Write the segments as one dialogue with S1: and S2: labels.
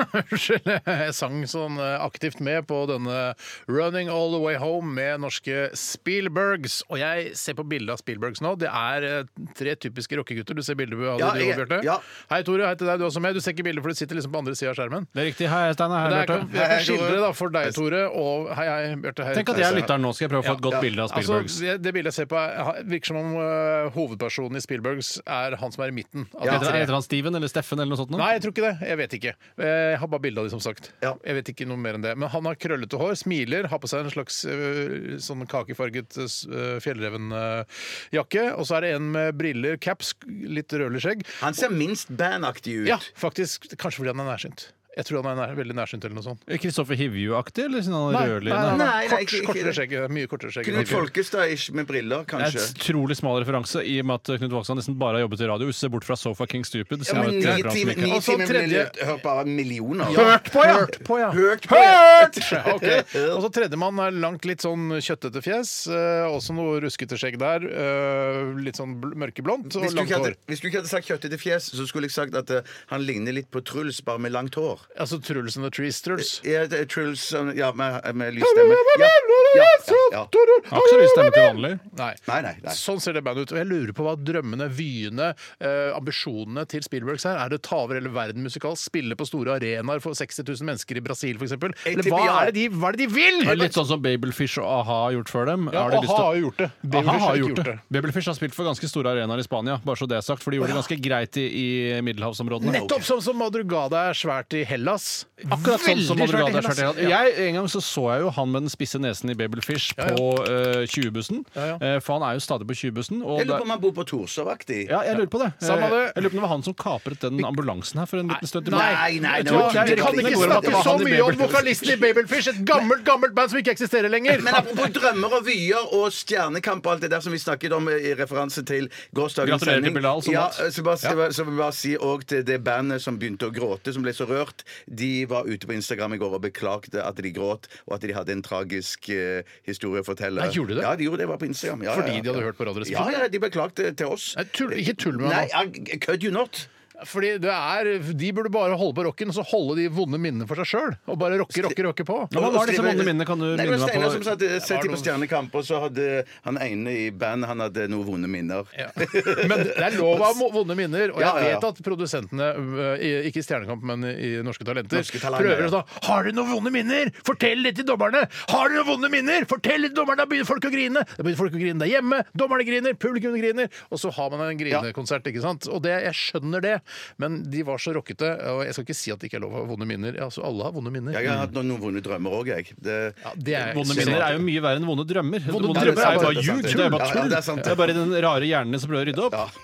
S1: Unnskyld, jeg sang sånn eh, aktivt med på denne 'Running All The Way Home' med norske Spielbergs. Og jeg ser på bildet av Spielbergs nå. Det er eh, tre typiske rockegutter. Du ser bildet av
S2: Ja,
S1: de,
S2: jeg-
S1: Bjarte?
S2: ja.
S1: Hei, Tore. Hei til deg, du også med. Du ser ikke bildet, for du sitter liksom på andre sida av skjermen.
S3: Det er riktig. Hei, Steinar.
S1: Men
S3: Hei,
S1: jeg kan,
S3: Bjarte.
S1: jeg kan skildre da for deg, Tore, og hei, hei, Bjarte. Hei.
S3: Tenk at jeg lytter nå, skal jeg prøve å få et godt bilde av
S1: Altså,
S3: Spielbergs.
S1: det, det bildet jeg ser på, er- ha- virker som om eh, hovedpersonen i Spielbergs er han som er i midten. av de
S3: Heter
S1: tre.
S3: heter han Steven eller Steffen eller noe sånt? nå?
S1: Nei, jeg tror ikke det. Jeg vet ikke. Eh, Jeg har bare bilde av dem, som sagt.
S2: Ja.
S1: Jeg vet ikke noe mer enn det. Men han har krøllete hår, smiler, har på seg en slags øh, sånn kakefarget øh, fjellrevenjakke. Og så er det en med briller, caps, litt rødlig skjegg.
S2: Han ser minst bandaktig ut.
S1: Ja, faktisk. Kanskje fordi han er nærsynt. Jeg tror han er nær, veldig nærsynt eller noe sånt.
S3: Kristoffer Hivju-aktig, eller sånn han rødlig?
S2: nei.
S1: Kort,
S2: ikke- ikke-
S1: kortere skjegg. Mye kortere skjegg. enn
S2: Knut
S1: Hivju.
S2: Folkestad med briller,
S3: Det er
S2: kanskje.
S3: en utrolig smal referanse i og med at Knut Vaksdal nesten bare har jobbet i radio. Se bort fra Sofa King Stupid.
S2: Ja,
S3: som er
S2: men
S3: et
S2: Ni
S3: program som
S2: timer
S3: ikke- Altså,
S2: ni
S1: Og så
S2: timer
S1: tredje-
S2: millioner- Hør på millioner.
S1: Hørt på, ja! Hørt på, ja.
S2: Hørt på!
S1: Hørt! Ok. Og så tredjemann er langt litt sånn kjøttete fjes. eh, også noe ruskete skjegg der. eh, litt sånn bl- mørkeblondt og
S2: Hvis du,
S1: langt
S2: ikke hadde,
S1: hår.
S2: hvis du ikke hadde sagt kjøttete fjes, så skulle jeg sagt at eh, han ligner litt på Truls, bare med langt hår.
S1: Altså Truls and the Trees Truls.
S2: Ja, det er Truls sånn, ja, med, med lys stemme. Eh, Ja, ja, ja, ja.
S3: Han har ikke så mye stemme til vanlig.
S1: Nei.
S2: Nei, nei, nei.
S1: Sånn ser det bandet ut. Og jeg lurer på hva drømmene, vyene, eh, ambisjonene til Spielbergs er. Er det å ta over hele verden musikalsk? Spille på store arenaer for 60 000 mennesker i Brasil, f.eks.? Eller
S2: tipper
S1: hva
S2: ja.
S1: er, det de, hva er det de vil?
S3: Det er Litt sånn som Babelfish og A-ha har gjort før dem.
S1: Ja,
S3: Har de
S1: A-ha
S3: lyst til å-
S1: har jo gjort det.
S3: A-ha
S1: Babelfish
S3: har
S1: har ikke
S3: gjort
S1: gjort
S3: det.
S1: det.
S3: Babelfish har spilt for ganske store arenaer i Spania, bare så det er sagt. For de gjorde det ganske greit i, i middelhavsområdene.
S1: Nettopp sånn som Madrugada er svært i Hellas.
S3: Akkurat sånn som
S1: Veldig svært i
S3: Madrugada er
S1: Hellas.
S3: svært i Hellas.
S1: Ja.
S3: Jeg, en gang så, så jeg jo han med den spisse nesen i Babelfish på eh, 20-bussen.
S1: Ja, ja.
S3: Eh, for han er jo stadig på 20-bussen. og
S2: Jeg lurer
S3: det-
S2: på om han bor på Torshov-aktig.
S3: Ja, jeg lurer på det.
S1: Samme
S3: Eh,
S1: det.
S3: Jeg lurer på om det var han som kapret den ambulansen her for en liten stund tilbake.
S2: Nei, nei,
S3: Jeg
S2: det
S3: tror ikke-
S2: var ikke-
S1: Jeg
S3: ryktene
S1: kan
S2: det
S1: ikke
S3: går om at det
S1: snakke
S3: var
S1: så
S3: han i
S1: mye om
S3: Babelfish.
S1: vokalisten i Babelfish, et gammelt, gammelt band som ikke eksisterer lenger.
S2: Men apropos drømmer og vyer og stjernekamp og alt det der som vi snakket om i referanse til gårsdagens
S3: Gratulerer til Bilal, sånn
S2: ja,
S3: at.
S2: så, bare, så, bare, så bare si òg til det bandet som begynte å gråte, som ble så rørt. De var ute på Instagram i går og beklagde at de gråt, og at de hadde en tragisk eh, historie å fortelle.
S1: Nei, gjorde de det?
S2: Ja, de gjorde det. Jeg var på Instagram. Ja,
S1: Fordi
S2: ja, ja.
S1: de hadde hørt på Radioresepsjonen?
S2: Ja, ja, de beklagde til oss.
S1: Nei, tull- ikke tull med meg altså?
S2: Nei, I- could you not?
S1: Fordi det er, De burde bare holde på rocken og så holde de vonde minnene for seg sjøl. Og bare rocke, rocke, rocke på.
S3: Ja, hva var disse
S2: Skriver-
S3: vonde minnene? Kan du minne
S2: Nei, Det var
S3: meg
S2: Steinar som
S3: på?
S2: satt sett
S1: var
S2: på
S1: noe-
S2: Stjernekamp, og så hadde han ene i bandet Han hadde noen vonde minner.
S1: Ja. Men det er lov å ha mo- vonde minner, og jeg
S2: Ja, ja, ja.
S1: vet at produsentene, øh, i- ikke i Stjernekamp, men i Norske Talenter,
S2: Norske Talenter,
S1: prøver å
S2: ja.
S1: si 'Har du noen vonde minner? Fortell det til dommerne!' 'Har du noen vonde minner? Fortell det til dommerne!' Da begynner folk å grine. Da begynner folk å grine der hjemme. Dommerne griner, publikum griner. Og så har man en grinekonsert, ikke sant. Og det, jeg skjønner det, men de var så rockete. Og jeg skal ikke si at det ikke er lov å ha vonde minner. Ja, Altså, alle har vonde minner.
S2: Jeg har hatt noen noen vonde drømmer òg, jeg. Det,
S1: Ja, det er-
S3: Vonde minner er jo mye verre enn vonde drømmer.
S1: drømmer
S3: Vonde, drømmer er
S1: er
S3: jo
S1: bare-
S3: bare ljug. Det er jo
S2: Ja,
S3: bare
S2: ja,
S3: tull.
S2: det er sant, det.
S3: Det er bare den rare hjernen din som prøver å rydde opp.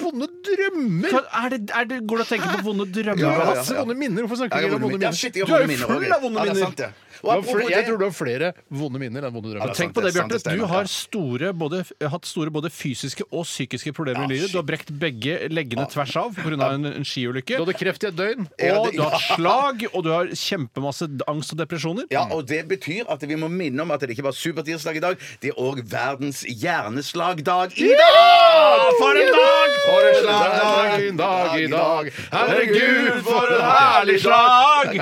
S1: Vonde drømmer!
S3: Hva- Er det, er det, går det å tenke på vonde drømmer?
S2: Ja, ja, ja.
S1: Masse vonde minner. Hvorfor
S2: Jeg
S1: snakker
S2: har
S1: vi om
S2: vonde
S1: vonde
S2: minner. Ja,
S1: minner?
S2: shit, jeg har
S1: Du er jo
S2: vonde minner
S1: full
S2: også.
S1: av vonde
S2: Ja, det er
S1: minner.
S2: sant, det.
S1: Du har fl- Jeg tror du har flere vonde minner enn vonde drømmer.
S2: Ja,
S3: Tenk på det,
S2: sant,
S3: Bjarte.
S2: det er
S3: Du
S2: sant,
S3: har
S2: det
S3: store, både, hatt store både fysiske og psykiske problemer i livet. Du har brekt begge leggene tvers av pga. en, en skiulykke.
S1: Du hadde kreft i et døgn.
S3: Og du har hatt slag, og du har kjempemasse angst og depresjoner.
S2: Ja, og Det betyr at vi må minne om at det ikke bare er supertirsdag i dag, det er òg verdens hjerneslagdag i dag!
S1: For en dag!
S2: Ah, For en slag dag!
S1: dag, en dag i dag. Herregud, for en herlig slag!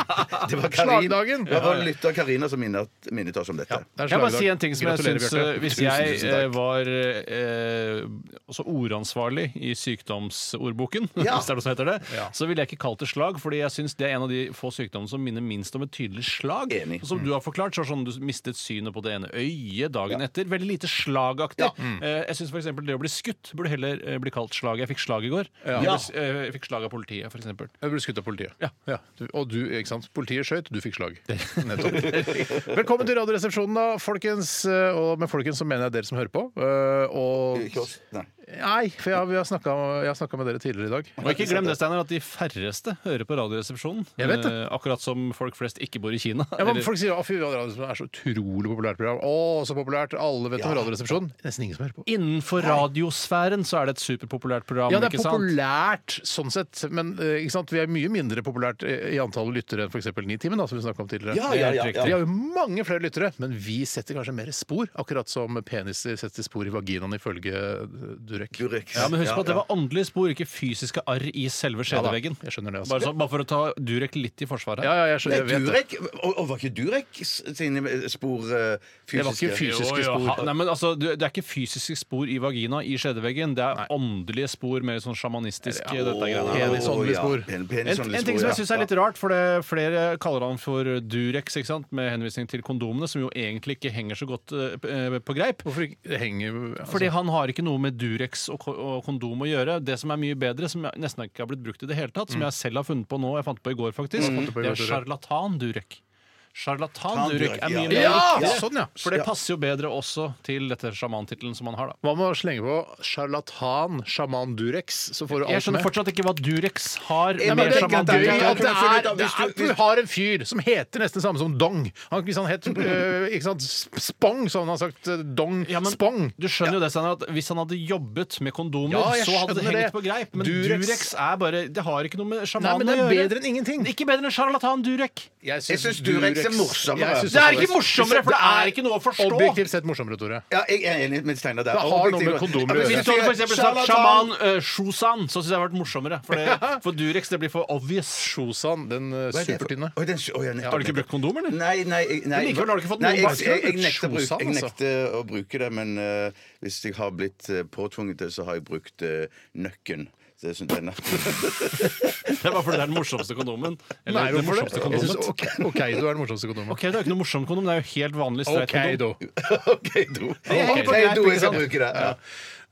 S2: Det, det, det var Karin,
S1: Slagdagen.
S2: det var lytter Karina som minnet, minnet oss om dette.
S1: Det er
S3: Kan jeg bare
S1: slagdag.
S3: si en ting som jeg
S1: Gratulerer,
S3: syns
S1: Bjarte.
S3: eh, Hvis
S2: Tusen,
S3: jeg
S2: tusen takk.
S3: eh, var eh, også ordansvarlig i sykdomsordboken,
S2: Ja.
S3: hvis det er noe som heter det,
S1: Ja.
S3: så ville jeg ikke kalt det slag, fordi jeg syns det er en av de få sykdommene som minner minst om et tydelig slag.
S2: Enig.
S3: Og Som
S1: Mm.
S3: du har forklart, så er det sånn du mistet synet på det ene øyet dagen etter. Veldig lite slagaktig.
S1: Mm.
S3: Eh, Jeg syns f.eks. det å bli skutt burde heller eh, bli kalt slag. Jeg fikk slag i går. Jeg, ble, s- eh, jeg fikk slag av politiet, f.eks.
S1: Jeg ble skutt av politiet.
S3: Ja.
S1: Du, og du, ikke sant? Politiet skøyt, du fikk slag. Nettopp. Velkommen til Radioresepsjonen, da, folkens. Eh, Og med folkens så mener jeg dere som hører på. Eh, Og
S2: Ikke oss. Nei.
S1: Nei, for jeg, har- vi har snakka- jeg har snakka med dere tidligere i dag.
S3: Og ikke glem det, Steiner, at de færreste hører på Radioresepsjonen.
S1: Jeg vet det.
S3: Eh, akkurat som folk flest ikke bor i Kina.
S1: Ja, men
S3: Eller-
S1: Folk sier at det er så utrolig populært program. Å, så populært! Alle vet om Radioresepsjonen. Nesten ingen som hører på.
S3: Innenfor radiosfæren så er det et superpopulært program.
S1: Ja, det er
S3: ikke sant?
S1: populært sånn sett, men eh, ikke sant? vi er mye mindre populært eh, i antall lyttere enn f.eks. Nitimen, da, som vi snakket om tidligere.
S2: Ja, ja, ja,
S1: Det er helt riktig. Vi har jo mange flere lyttere, men vi setter kanskje mer spor, akkurat som peniser setter spor i vaginaen, ifølge eh, Durek.
S2: Durex.
S3: Ja, men husk på at det
S2: ja.
S3: var åndelige spor, ikke fysiske arr i selve
S1: Ja da,
S3: skjedeveggen.
S1: jeg skjønner det, altså.
S3: bare, sånn. så, bare for å ta Durek litt i forsvaret.
S1: Ja, ja, jeg, skjønner,
S2: Nei,
S1: jeg vet det.
S2: Durek, og, og var ikke Durek sine spor eh,
S1: Det var ikke
S2: fysiske?
S1: fysisk. fysiske
S3: Jo, jo,
S1: spor.
S3: ha- Nei, men altså, du- Det er ikke fysiske spor i vagina i skjedeveggen. Det er åndelige spor, mer sånn sjamanistisk. dette greiene her.
S1: Penis, åndelige
S2: ja.
S1: sånn spor.
S2: En,
S3: En,
S2: penis,
S3: en
S2: åndelige
S3: ting som
S2: spor, ja.
S3: jeg synes er litt rart, for det, flere kaller han for Durex ikke sant? med henvisning til kondomene, som jo egentlig ikke henger så godt eh, p- eh, på greip.
S1: Hvorfor ikke? Det henger jo altså.
S3: Fordi han har ikke noe med Durex og, ko- og kondom å gjøre. Det som er mye bedre, som nesten ikke har blitt brukt i det hele tatt, som jeg selv har funnet på nå, jeg fant på i går faktisk,
S1: på i
S3: det
S1: går,
S3: er
S1: Tore.
S3: sjarlatan Durek. Sjarlatan
S2: Tan
S3: Durek
S2: Durek,
S3: er
S2: ja.
S3: mye mer
S1: Ja!
S3: riktig.
S1: Sånn, ja.
S3: For det passer jo bedre også til dette sjamantittelen som han har, da.
S1: Hva med å slenge på sjarlatan, sjaman Durex, så får du
S3: Jeg
S1: alt
S3: skjønner
S1: med?
S3: fortsatt ikke hva Durex har
S2: Jeg
S3: med
S1: Men det,
S2: sjaman
S3: sjaman
S1: det er
S2: Durek.
S1: gøy
S3: Durek.
S2: Jeg
S1: at
S2: kunne
S1: det
S2: funnet ut
S1: er,
S2: av
S1: det
S2: hvis du-
S1: er Du har en fyr som heter nesten det samme som Dong. Han hvis han het øh, ikke sant, Spong, så han har sagt øh, Dong
S3: Ja, men
S1: Spong.
S3: Du skjønner jo det, Steinar, at Hvis han hadde jobbet med kondomer,
S1: Ja, jeg
S3: så hadde det
S1: skjønner
S3: hengt
S1: det.
S3: på greip. Men
S1: Durex-
S3: Durex, er bare Det har ikke noe med
S1: Nei, men
S3: sjamanen
S1: det
S3: å
S1: er
S3: gjøre.
S1: bedre enn ingenting.
S3: Ikke bedre enn sjarlatan Durek.
S1: Jeg
S2: Jeg synes Durex er morsommere.
S1: Jeg synes
S3: Det er ikke morsommere, for det er ikke noe å forstå.
S1: Objektivt sett morsommere, Tore.
S2: Ja, jeg er enig med Steinar der.
S1: Det har noe med kondomer å
S2: Ja,
S1: gjøre.
S2: men hvis
S3: Hvis
S2: du
S3: du for
S2: sier
S3: eksempel sagt
S2: sjarlatan-
S3: sjaman eh, Shosan, så syns jeg det har vært morsommere. For, det, for Durex det blir for obvious.
S1: Shosan,
S3: eh,
S1: den øh,
S2: Hva er det for-
S1: supertynne.
S2: Oi, den su- oi, ja, nettopp,
S3: Har du ikke brukt kondom, eller?
S2: Nei, nei, jeg- nei
S3: Men likevel har du ikke fått
S2: nei,
S3: noen
S2: jeg, jeg, jeg,
S1: bakgrunn.
S2: nekter å bruke, jeg
S1: Sjosan, altså.
S2: nekter å bruke det, men eh, hvis jeg har blitt eh, påtvunget det, så har jeg brukt eh, nøkken. Så jeg synes den
S3: Det er bare fordi det er den morsomste kondomen.
S1: Nei,
S3: Eller det
S1: hvorfor
S3: morsomste
S1: det? Jeg synes,
S3: kondomet.
S1: OK, ok, du er den morsomste kondomen.
S3: Ok, det er jo ikke noe morsom kondom. Det er jo helt vanlig streit
S1: OK,
S3: kondom.
S1: do.
S2: OK, do.
S3: henger på
S2: Ok,
S3: greip,
S2: do,
S3: ikke
S2: jeg skal
S3: sant?
S2: bruke det. Ja.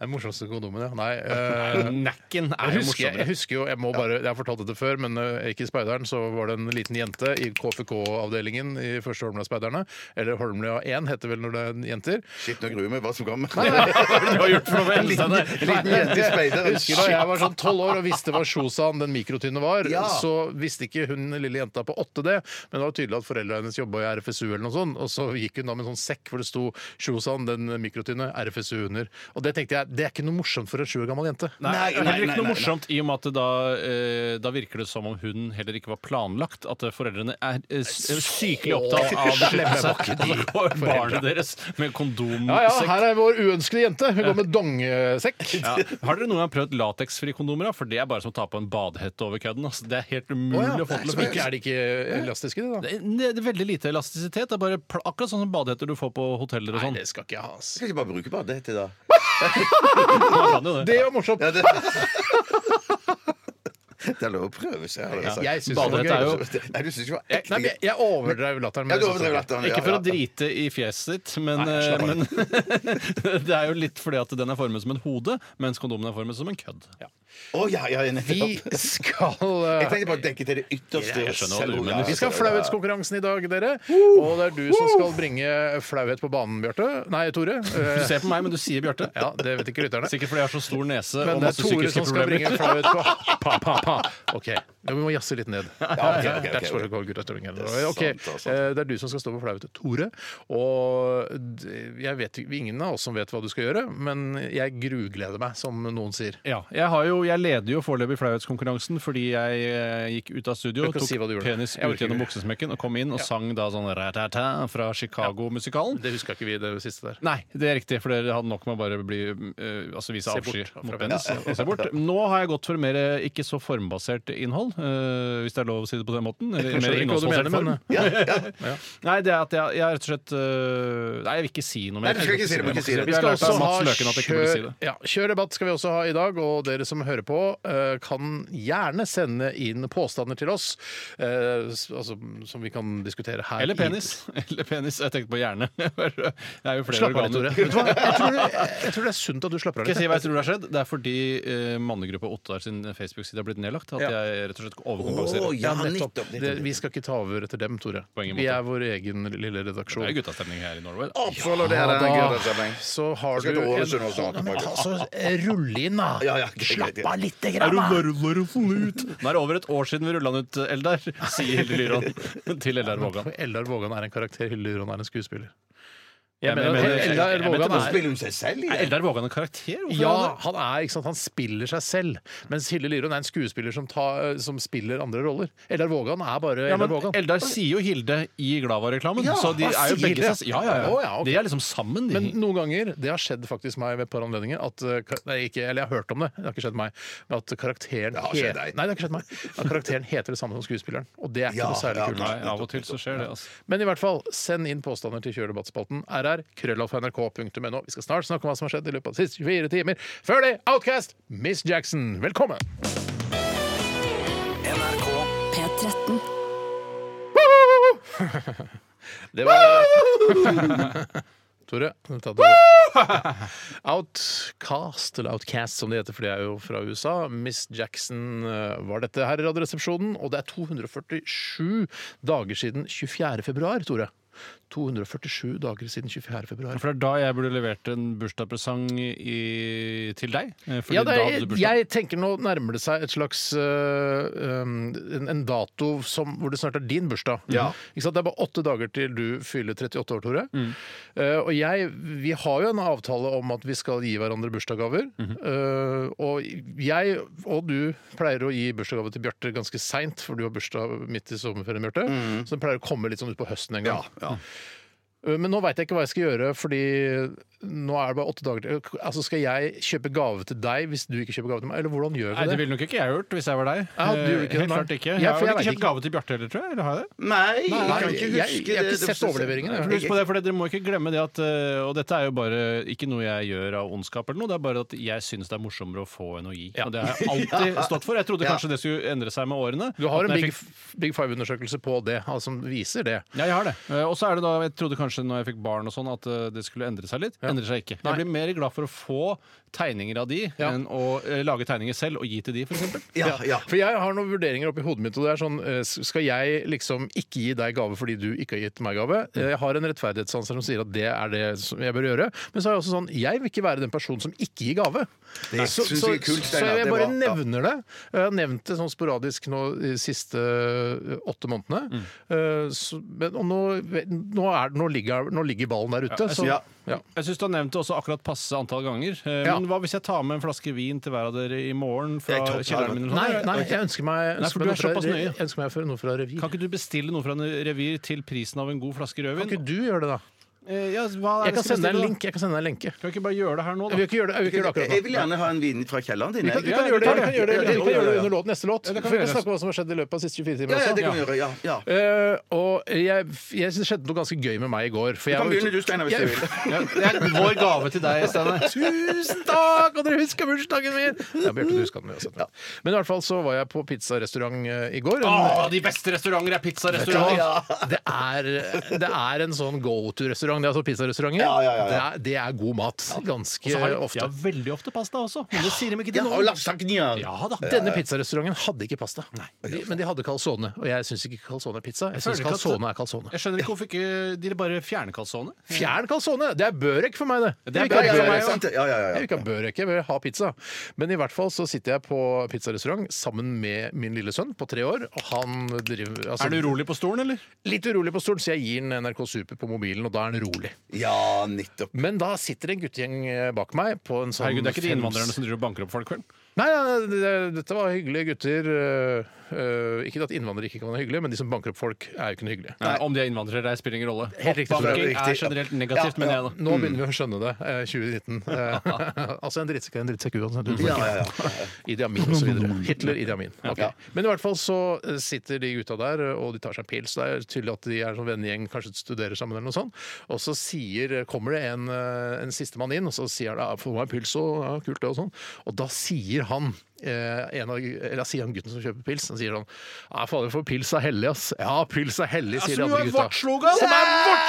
S1: Den morsomste kondomen, ja. Nei. øh,
S3: Nacken er
S1: Jeg
S3: jo
S1: husker, jeg
S3: morsommere.
S1: husker jo, jeg må bare, jeg har fortalt dette før, men eh, ikke i Speideren, så var det en liten jente i KFK-avdelingen i første Holmlia-speiderne. Eller Holmlia 1 heter vel når det er jenter.
S2: Shit, nå gruer jeg meg hva som kommer.
S3: Hva er det du har gjort for noe med
S2: En liten,
S3: helsene?
S2: en liten jente i
S1: Jeg
S2: speideren.
S1: husker da jeg var sånn tolv år og visste hva Sjosan, den mikrotynne, var,
S2: Ja.
S1: så visste ikke hun lille jenta på åtte det, men det var tydelig at foreldrene hennes jobba i RFSU eller noe sånt, og så gikk hun da med en sånn sekk hvor det sto Sjosan, den mikrotynne, RFSU under. Og det tenkte jeg, det er ikke noe morsomt for en sju år gammel jente.
S3: Nei,
S2: Nei,
S3: det er
S2: nei,
S3: heller
S2: nei,
S3: ikke noe
S2: nei.
S3: morsomt i og med at det da, eh, da virker det som om hun heller ikke var planlagt. At eh, foreldrene er eh, s- sykelig opptatt av beskyttelse. Og barnet deres
S1: Ja
S3: med
S1: ja,
S3: kondomsekk.
S1: her er vår uønskede jente. Hun går med dongsekk.
S3: Ja. Har dere noen gang prøvd lateksfrie kondomer? da? For det er bare som å ta på en badehette over kødden. Altså. Det er helt umulig å få til å
S1: Som ikke
S3: funke.
S1: er de ikke eh, elastiske, de, da?
S3: Det er det er veldig lite elastisitet. Det er bare pl akkurat sånn som badehetter du får på hoteller og
S1: Nei,
S3: sånn.
S1: det skal ikke jeg ha. ass.
S2: Skal ikke bare bruke bare det til da.
S3: sånn. Man kan jo det.
S1: Det var morsomt.
S2: Ja, det... det er lov å prøve seg, har dere sagt.
S1: Jeg syns det var
S3: Badehette er
S1: gøy.
S3: jo
S2: Nei, du syns ikke det var
S1: Jeg- Nei, men jeg- jeg overdrev latteren. men
S2: Ja, du
S1: jeg synes det sånn
S2: overdrev
S1: var
S2: latteren. ja,
S3: Ikke for å
S2: ja.
S3: drite i fjeset ditt, men,
S1: Nei, slapp av.
S3: men det er jo litt fordi at den er formet som en hode, mens kondomen er formet som en kødd.
S2: Å ja, ja, ja, nettopp.
S1: gøy. Vi skal
S2: Jeg
S1: eh,
S2: tenkte bare å dekke til det ytterste.
S3: Jeg skjønner hva du
S2: selv-
S3: mener.
S1: vi skal ha flauhetskonkurransen i dag, dere. Og det er du som skal bringe flauhet på banen, Bjarte. Nei, Tore.
S3: Du
S1: Eh,
S3: ser på meg, men du sier Bjarte.
S1: Ja, det vet ikke lytterne.
S3: Sikkert fordi jeg har så stor nese
S1: Men
S3: og
S1: det er
S3: masse
S1: Tore
S3: psykiske
S1: som skal bringe
S3: problemer.
S1: flauhet på pa, pa, pa. OK. Ja, vi må jazze litt ned.
S2: ok, ok, ok.
S1: That's what I call good at doing it.
S2: Det er
S1: Ok,
S2: sant, det er sant.
S1: eh, Det er du som skal stå på flauhet, Tore. Og d- jeg vet jo- ingen av oss som vet hva du skal gjøre, men jeg grugleder meg, som noen sier.
S3: Ja, jeg, har jo, jeg leder jo foreløpig flauhetskonkurransen fordi jeg eh, gikk ut av studio,
S1: Du kan
S3: tok
S1: si hva du gjorde.
S3: penis
S1: Jeg
S3: ut
S1: orker
S3: gjennom
S1: ikke.
S3: buksesmekken og kom inn og sang da sånn ra-ta-ta fra Chicago-musikalen.
S1: Det huska ikke vi, det siste der.
S3: Nei, det er riktig, for dere hadde nok med å bare bli, eh, altså vise
S1: Se
S3: avsky
S1: bort
S3: mot
S1: fra
S3: penis. og se bort. Nå har jeg gått for mer eh, ikke så formbasert innhold, eh, hvis det er lov å si det på den måten. Eller
S1: Jeg
S3: mer
S1: skjønner ikke hva du
S3: innholdsbasert
S1: mener, men
S3: form.
S2: Ja, ja.
S3: Nei, det er at jeg, jeg er rett og slett eh, Nei, jeg vil ikke si noe mer.
S2: Nei, du skal ikke si det, du skal ikke si det.
S3: Vi
S1: Vi skal også ha
S3: kjør... Si
S1: kjør,
S3: det.
S1: ja, kjør debatt skal vi også ha i dag, og dere som hører på eh, kan gjerne sende inn påstander til oss eh, s- altså, som vi kan diskutere her.
S3: Eller
S1: i-
S3: penis. Eller penis. Jeg tenkte på hjerne. Det er jo flere
S1: Slapp av litt, Tore.
S3: organer.
S1: Vet du hva? Jeg tror, jeg tror det er sunt at du slapper av
S3: Skal jeg si
S1: litt.
S3: hva jeg tror det har skjedd? Det er fordi eh, mannegruppa Ottar sin Facebook-side har blitt nedlagt. At
S1: Ja.
S3: jeg rett og rett og slett overkompensere.
S2: Å, ja, nettopp,
S1: nettopp.
S2: nettopp,
S1: Det,
S2: nettopp.
S1: vi skal ikke ta over etter dem, Tore.
S3: På ingen
S1: Vi
S3: måte.
S1: er vår egen lille redaksjon.
S3: Det er guttastemning her i Norway. da.
S2: Absolutt, det er det.
S1: Ja,
S2: Jeg gleder meg.
S1: så har du
S2: skal til Ålesund og sånn.
S1: Ja, men altså, rulle inn, da.
S2: Ja, ja, greit, greit,
S1: Slapp
S2: greit.
S1: av lite
S3: Er
S1: grann,
S3: du
S1: da.
S3: varmere for lut? Nå er det over et år siden vi rulla den ut, eh, Eldar, sier Hilde Lyron til Eldar Vågan.
S1: Eldar Vågan er en karakter, Hilde Lyron er en skuespiller.
S3: Jeg mener-
S1: at
S3: jeg- jeg- jeg-
S1: Eldar
S3: jeg-
S1: Vågan
S2: Nå
S1: er
S2: spiller hun seg selv
S3: Er
S2: igjen.
S3: Eldar Vågan en karakter? Hvorfor
S1: ja,
S3: er han det?
S1: han er, ikke sant, han spiller seg selv. Mens Hilde Lyron er en skuespiller som, ta, som spiller andre roller. Eldar Vågan er bare
S3: Ja,
S1: Eldar
S3: men
S1: Vågan.
S3: Eldar sier jo Hilde i Glava-reklamen.
S1: Ja,
S3: så de
S1: hva
S3: er jo
S1: sier
S3: begge
S1: det?
S3: seg- Ja, ja, ja.
S1: Å, ja, ok.
S3: De er liksom sammen, de.
S2: Mhm.
S1: Men noen ganger, det har skjedd faktisk meg ved et par anledninger at, eh, ka- nei, ikke, Eller jeg har hørt om det, det har ikke skjedd meg. men At karakteren,
S2: har
S1: het-
S2: skjedd deg.
S1: nei, det har ikke skjedd meg. At karakteren heter det samme som skuespilleren. Og det er ikke
S2: Ja,
S1: noe særlig
S2: ja,
S1: kult.
S3: Nei, av og til så skjer det, altså.
S1: Men i hvert fall, send inn påstander til Kjør debattspalten rr krøllalfa.nrk.no. Vi skal snart snakke om hva som har skjedd i løpet av de siste 24 timer. Før det, Outcast, Miss Jackson. Velkommen!
S4: NRK
S5: P13.
S1: Det var Tore. ta det over. Outcast, eller Outcast som det heter, for det er jo fra USA. Miss Jackson eh, var dette her i Radioresepsjonen, og det er 247 dager siden 24. februar, Tore. 247 dager siden 24. februar.
S3: For det er da jeg burde levert en bursdagspresang i- til deg. eh, Fordi
S1: Ja, det
S3: da
S1: er,
S3: hadde du bursdag.
S1: jeg tenker nå nærmer det seg et slags øh, um, en, en dato som, hvor det snart er din bursdag. Ikke sant? Det er bare åtte dager til du fyller 38 år, Tore.
S3: Mm.
S1: Eh, og jeg, vi har jo en avtale om at vi skal gi hverandre bursdagsgaver.
S3: Mhm.
S1: Eh, og jeg og du pleier å gi bursdagsgave til Bjarte ganske seint, for du har bursdag midt i sommerferien, Bjarte.
S3: Mm.
S1: Så den pleier å komme litt sånn utpå høsten en gang.
S2: Ja, ja.
S1: Uh, Men nå veit jeg ikke hva jeg skal gjøre, fordi nå er det bare åtte dager til. Altså, Skal jeg kjøpe gave til deg hvis du ikke kjøper gave til meg? Eller hvordan gjør
S3: Nei,
S1: vi
S3: det
S1: det?
S3: ville nok ikke jeg gjort hvis jeg var deg.
S1: Ja, du gjorde
S3: Eh,
S1: ikke det,
S3: Helt
S1: nei.
S3: klart ikke. Jeg
S1: Ja,
S3: har
S1: for jeg
S3: vel ikke
S1: vet
S3: kjøpt
S1: ikke.
S3: gave til Bjarte heller, tror jeg. Eller har jeg det?
S2: Nei, jeg
S1: Nei,
S2: kan ikke
S1: jeg-
S2: huske
S1: jeg har ikke
S2: det.
S1: sett overleveringen, jeg.
S3: For Husk på det, for det- Dere må ikke glemme det at eh, Og dette er jo bare ikke noe jeg gjør av ondskap, eller noe, det er bare at jeg syns det er morsommere å få enn å gi. Og det har jeg alltid stått for. Jeg trodde
S2: Ja.
S3: kanskje det skulle endre seg med årene.
S1: Du har
S3: At
S1: en
S3: når
S1: Big,
S3: jeg fikk-
S1: Big Five-undersøkelse på det, altså, som viser det.
S3: Ja, jeg har det. Eh, Og så er det da, jeg trodde kanskje når jeg fikk barn og sånn at eh, det skulle endre seg litt. Endrer seg ikke. Jeg blir mer glad for å få tegninger av de
S1: Ja.
S3: enn å eh, lage tegninger selv og gi til de, f.eks.
S2: Ja, ja.
S1: For jeg har noen vurderinger oppi hodet mitt, og det er sånn eh, Skal jeg liksom ikke gi deg gave fordi du ikke har gitt meg gave? Eh, Jeg har en rettferdighetssans som sier at det er det som jeg bør gjøre. Men så er jeg også sånn Jeg vil ikke være den personen som ikke gir gave.
S2: Det
S1: så,
S2: synes
S1: så,
S2: jeg er kult,
S1: så
S2: Steinar.
S1: jeg
S2: Det
S1: bare
S2: var- ja.
S1: nevner det. Jeg har nevnt det sånn sporadisk nå de siste eh, åtte månedene. Eh, Så, men, og nå, nå, er, nå, ligger, nå ligger ballen der ute. så,
S2: ja.
S1: ja.
S3: Jeg syns du har nevnt det også akkurat passe antall ganger. Eh,
S1: Ja.
S3: Men hva hvis jeg tar med en flaske vin til hver av dere i morgen fra
S2: Jeg tar-
S3: kjelleren min? sånn? eller noe
S1: Nei,
S3: sånt?
S1: nei, jeg ønsker meg,
S3: Nei, for
S1: ønsker meg
S3: du er
S1: noe fra-
S3: såpass nøye.
S1: Jeg ønsker meg for- noe fra revy.
S3: Kan ikke du bestille noe fra en revir til prisen av en god flaske
S1: Kan
S3: rødvin?
S1: ikke du gjøre det, da?
S3: Eh, ja, hva er det
S1: Jeg kan sende
S3: skal
S1: deg en
S3: bestille, da?
S1: link. Jeg kan sende deg en lenke.
S3: Kan vi ikke bare gjøre det her nå,
S1: Vi
S3: da?
S1: kan ikke gjøre det, vi kan ikke gjøre det
S2: Jeg
S1: akkurat nå.
S2: vil gjerne ha en vin fra kelleren din.
S1: Vi kan, vi
S2: jeg.
S1: kan gjøre det, vi kan gjøre det,
S2: Ja,
S1: vi kan gjøre det under låt, neste låt.
S3: det kan
S1: For vi
S3: gjøres.
S1: kan snakke om hva som har skjedd i løpet av de siste 24
S2: Ja, ja, det
S1: timer.
S2: kan vi gjøre. Ja, ja.
S1: Uh, og jeg, jeg synes det skjedde noe ganske gøy med meg i går. For
S2: Du
S1: jeg var
S2: kan
S1: ute-
S2: begynne du, Steinar, hvis du
S1: Jeg-
S2: vil.
S3: Ja, det er vår gave til deg, Steinar.
S1: Tusen takk! Og dere husker bursdagen min! Ja, Bjarte, du husker den uansett. Men i hvert fall så var jeg på pizzarestaurant eh, i går.
S3: Åh, de beste restauranter er pizzarestauranter!
S1: Det er, det er en sånn go to-restaurant. Det er altså pizzarestauranter.
S2: Ja, ja, ja, ja.
S1: Det, er- det er god mat. Ganske
S3: Så har de-
S1: eh, ofte.
S3: Ja, veldig ofte pasta også. Men det sier de ikke
S2: Ja,
S3: til
S2: og
S3: nå.
S2: lasagna.
S3: Ja da.
S1: Denne pizzarestauranten hadde ikke pasta, de, men de hadde calzone. Og jeg syns ikke calzone er pizza. Jeg syns
S3: føler ikke at-
S1: calzone er calzone.
S3: Jeg skjønner ikke hvorfor ikke de bare fjerner calzone.
S1: Fjern calzone! Det er børek for meg, det.
S3: Det er
S1: Jeg vil ikke ha børek.
S3: børek
S2: Ja, ja,
S3: for
S2: ja,
S3: meg,
S2: sant det. ja, ja,
S1: Jeg
S2: ja.
S1: vil ikke ha børek, jeg vil ha pizza. Men i hvert fall så sitter jeg på pizzarestaurant sammen med min lille sønn på tre år, og han driver altså,
S3: Er du urolig på stolen, eller?
S1: Litt urolig på stolen, så jeg gir han NRK Super på mobilen, og da er han rolig.
S2: ja, nettopp.
S1: Men da sitter det en guttegjeng eh, bak meg på en sånn
S3: Herregud, Det er ikke de
S1: fems-
S3: innvandrerne som driver og banker opp folk, vel?
S1: Nei, nei, nei, det- dette var hyggelige gutter. øh, øh, Ikke at innvandrere ikke kan være hyggelige, men de som banker opp folk, er jo ikke noe hyggelige.
S3: Nei, Om de er innvandrere eller ei, spiller ingen rolle.
S1: Helt riktig, Tore.
S3: Banking er
S2: Riktig, ja.
S3: generelt negativt,
S2: Ja,
S3: mener
S2: ja.
S3: jeg da.
S1: Nå begynner vi å skjønne det. eh, 2019. Eh, altså en drittsekk er en drittsekk uansett.
S2: Ja, ja, ja.
S1: Idi Amin osv. Hitler, Idi Amin. Ok. Men i hvert fall så eh, sitter de gutta der, eh, og de tar seg en pils. Det er tydelig at de er sånn vennegjeng, kanskje studerer sammen eller noe sånt. Og så sier, kommer det eh, en, eh, en sistemann inn, og så sier han ja, 'få meg en pils', og ja, kult det, og sånn. Og da sier han eh, en av, eller jeg sier han gutten som kjøper pils, han sier sånn Ja, fader, for pils er hellig, ass. Ja, pils er hellig, sier de andre gutta.
S3: slogan!
S1: Som er vårt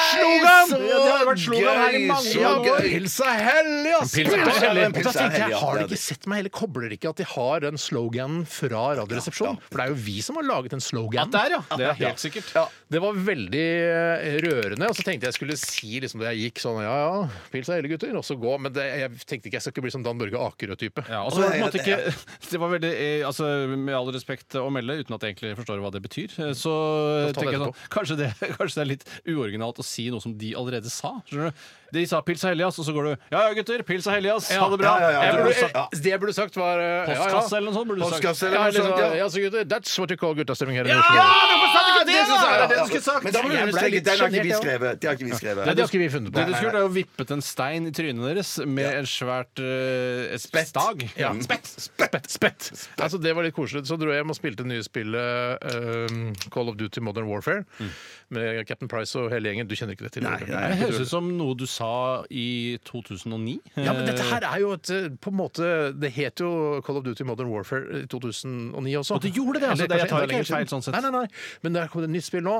S1: slogan!
S2: Nei, så
S3: Ja, det har vært slogan her i
S2: gøy,
S3: mange
S2: så
S3: år.
S2: gøy.
S1: Pils er hellig, ass!
S3: Pils er hellig.
S1: Og da
S2: Pils er
S1: tenkte jeg,
S2: hellig, ja,
S1: Har
S2: det
S1: de
S2: er
S1: ikke sett meg heller? Kobler de ikke at de har den sloganen fra Radioresepsjonen? For det er jo vi som har laget den sloganen.
S3: Der, ja. Det er helt sikkert.
S1: Det var veldig eh, rørende. Og så tenkte jeg skulle si liksom da jeg gikk sånn Ja ja, pils er hele gutter. Og så gå. Men det, jeg tenkte ikke jeg skal ikke bli som Dan Børge Akerø-type.
S3: Ja, og så var det på en måte ikke Det var veldig eh, altså, Med all respekt å melde, uten at jeg egentlig forstår hva det betyr, eh, så
S1: La oss ta det
S3: tenker jeg sånn kanskje det, kanskje det er litt uoriginalt å si noe som de allerede sa. Skjønner du? De sa 'pils er hellig, ass', og så går du 'ja ja, gutter, pils er hellig, ass', ha det bra'.
S2: ja, ja,
S1: Jeg
S2: ja.
S1: burde,
S2: Ja.
S1: eh, det jeg burde sagt, var eh, ja, ja.
S3: Postkasse eller noe sånt burde du sagt.
S2: Postkasse
S1: Ja,
S2: eller noe
S1: eller
S2: sånt.
S1: så,
S2: ja.
S1: ja, så gutter, that's what you call guttastemning her i
S3: Ja!
S1: Oslo.
S3: Det var
S2: Ja, ja,
S3: ikke
S2: ja.
S3: det du skulle sagt!
S2: Men da må du
S1: Jeg ble
S2: understreke,
S1: litt
S2: den har ikke vi
S1: sjenert, jeg
S2: skrevet. Det har ikke vi skrevet.
S1: Nei, det har ikke vi funnet på.
S3: Det du skulle gjort, er å vippet en stein i trynet deres med en svært eh, et
S2: Spett.
S3: stag.
S1: Ja.
S3: Spett.
S1: Spett, spett. Altså, det var litt koselig. Så dro jeg hjem og spilte det nye spillet ehm, Call of Duty Modern Warfare
S3: Mm.
S1: med Captain Price og hele gjengen. Du kjenner ikke det til?
S2: Nei,
S1: eller?
S2: nei.
S3: Det høres ut som noe du sa i 2009.
S1: Ja, men dette her er jo et eh, på en måte, Det het jo Call of Duty Modern Warfare i 2009 også.
S3: Og det gjorde det, altså.
S1: Eller
S3: Det- jeg
S1: kanskje enda
S3: tar ikke helt
S1: lenger siden.
S3: feil sånn sett.
S1: Nei, nei, nei. Men der kom det et nytt spill nå.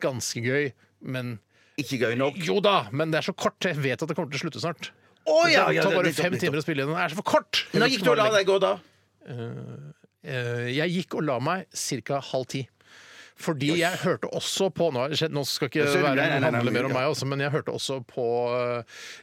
S1: Ganske gøy, men
S2: Ikke gøy nok.
S1: Jo da, men det er så kort. Jeg vet at det kommer til å slutte snart.
S2: Å ja!
S1: det
S2: ja,
S1: tar
S2: det-
S1: bare
S2: litt opp,
S1: fem
S2: litt opp.
S1: timer å spille igjen. Det er så for kort!
S2: Når gikk du og la deg gå, da?
S1: Eh, Jeg gikk og la meg ca. halv ti. Fordi jeg hørte også på Nå, er det skjedd- nå skal ikke
S2: Sorry,
S1: være,
S2: nei, nei, nei, nei,
S1: handle mer om
S2: ja.
S1: meg, også, men jeg hørte også på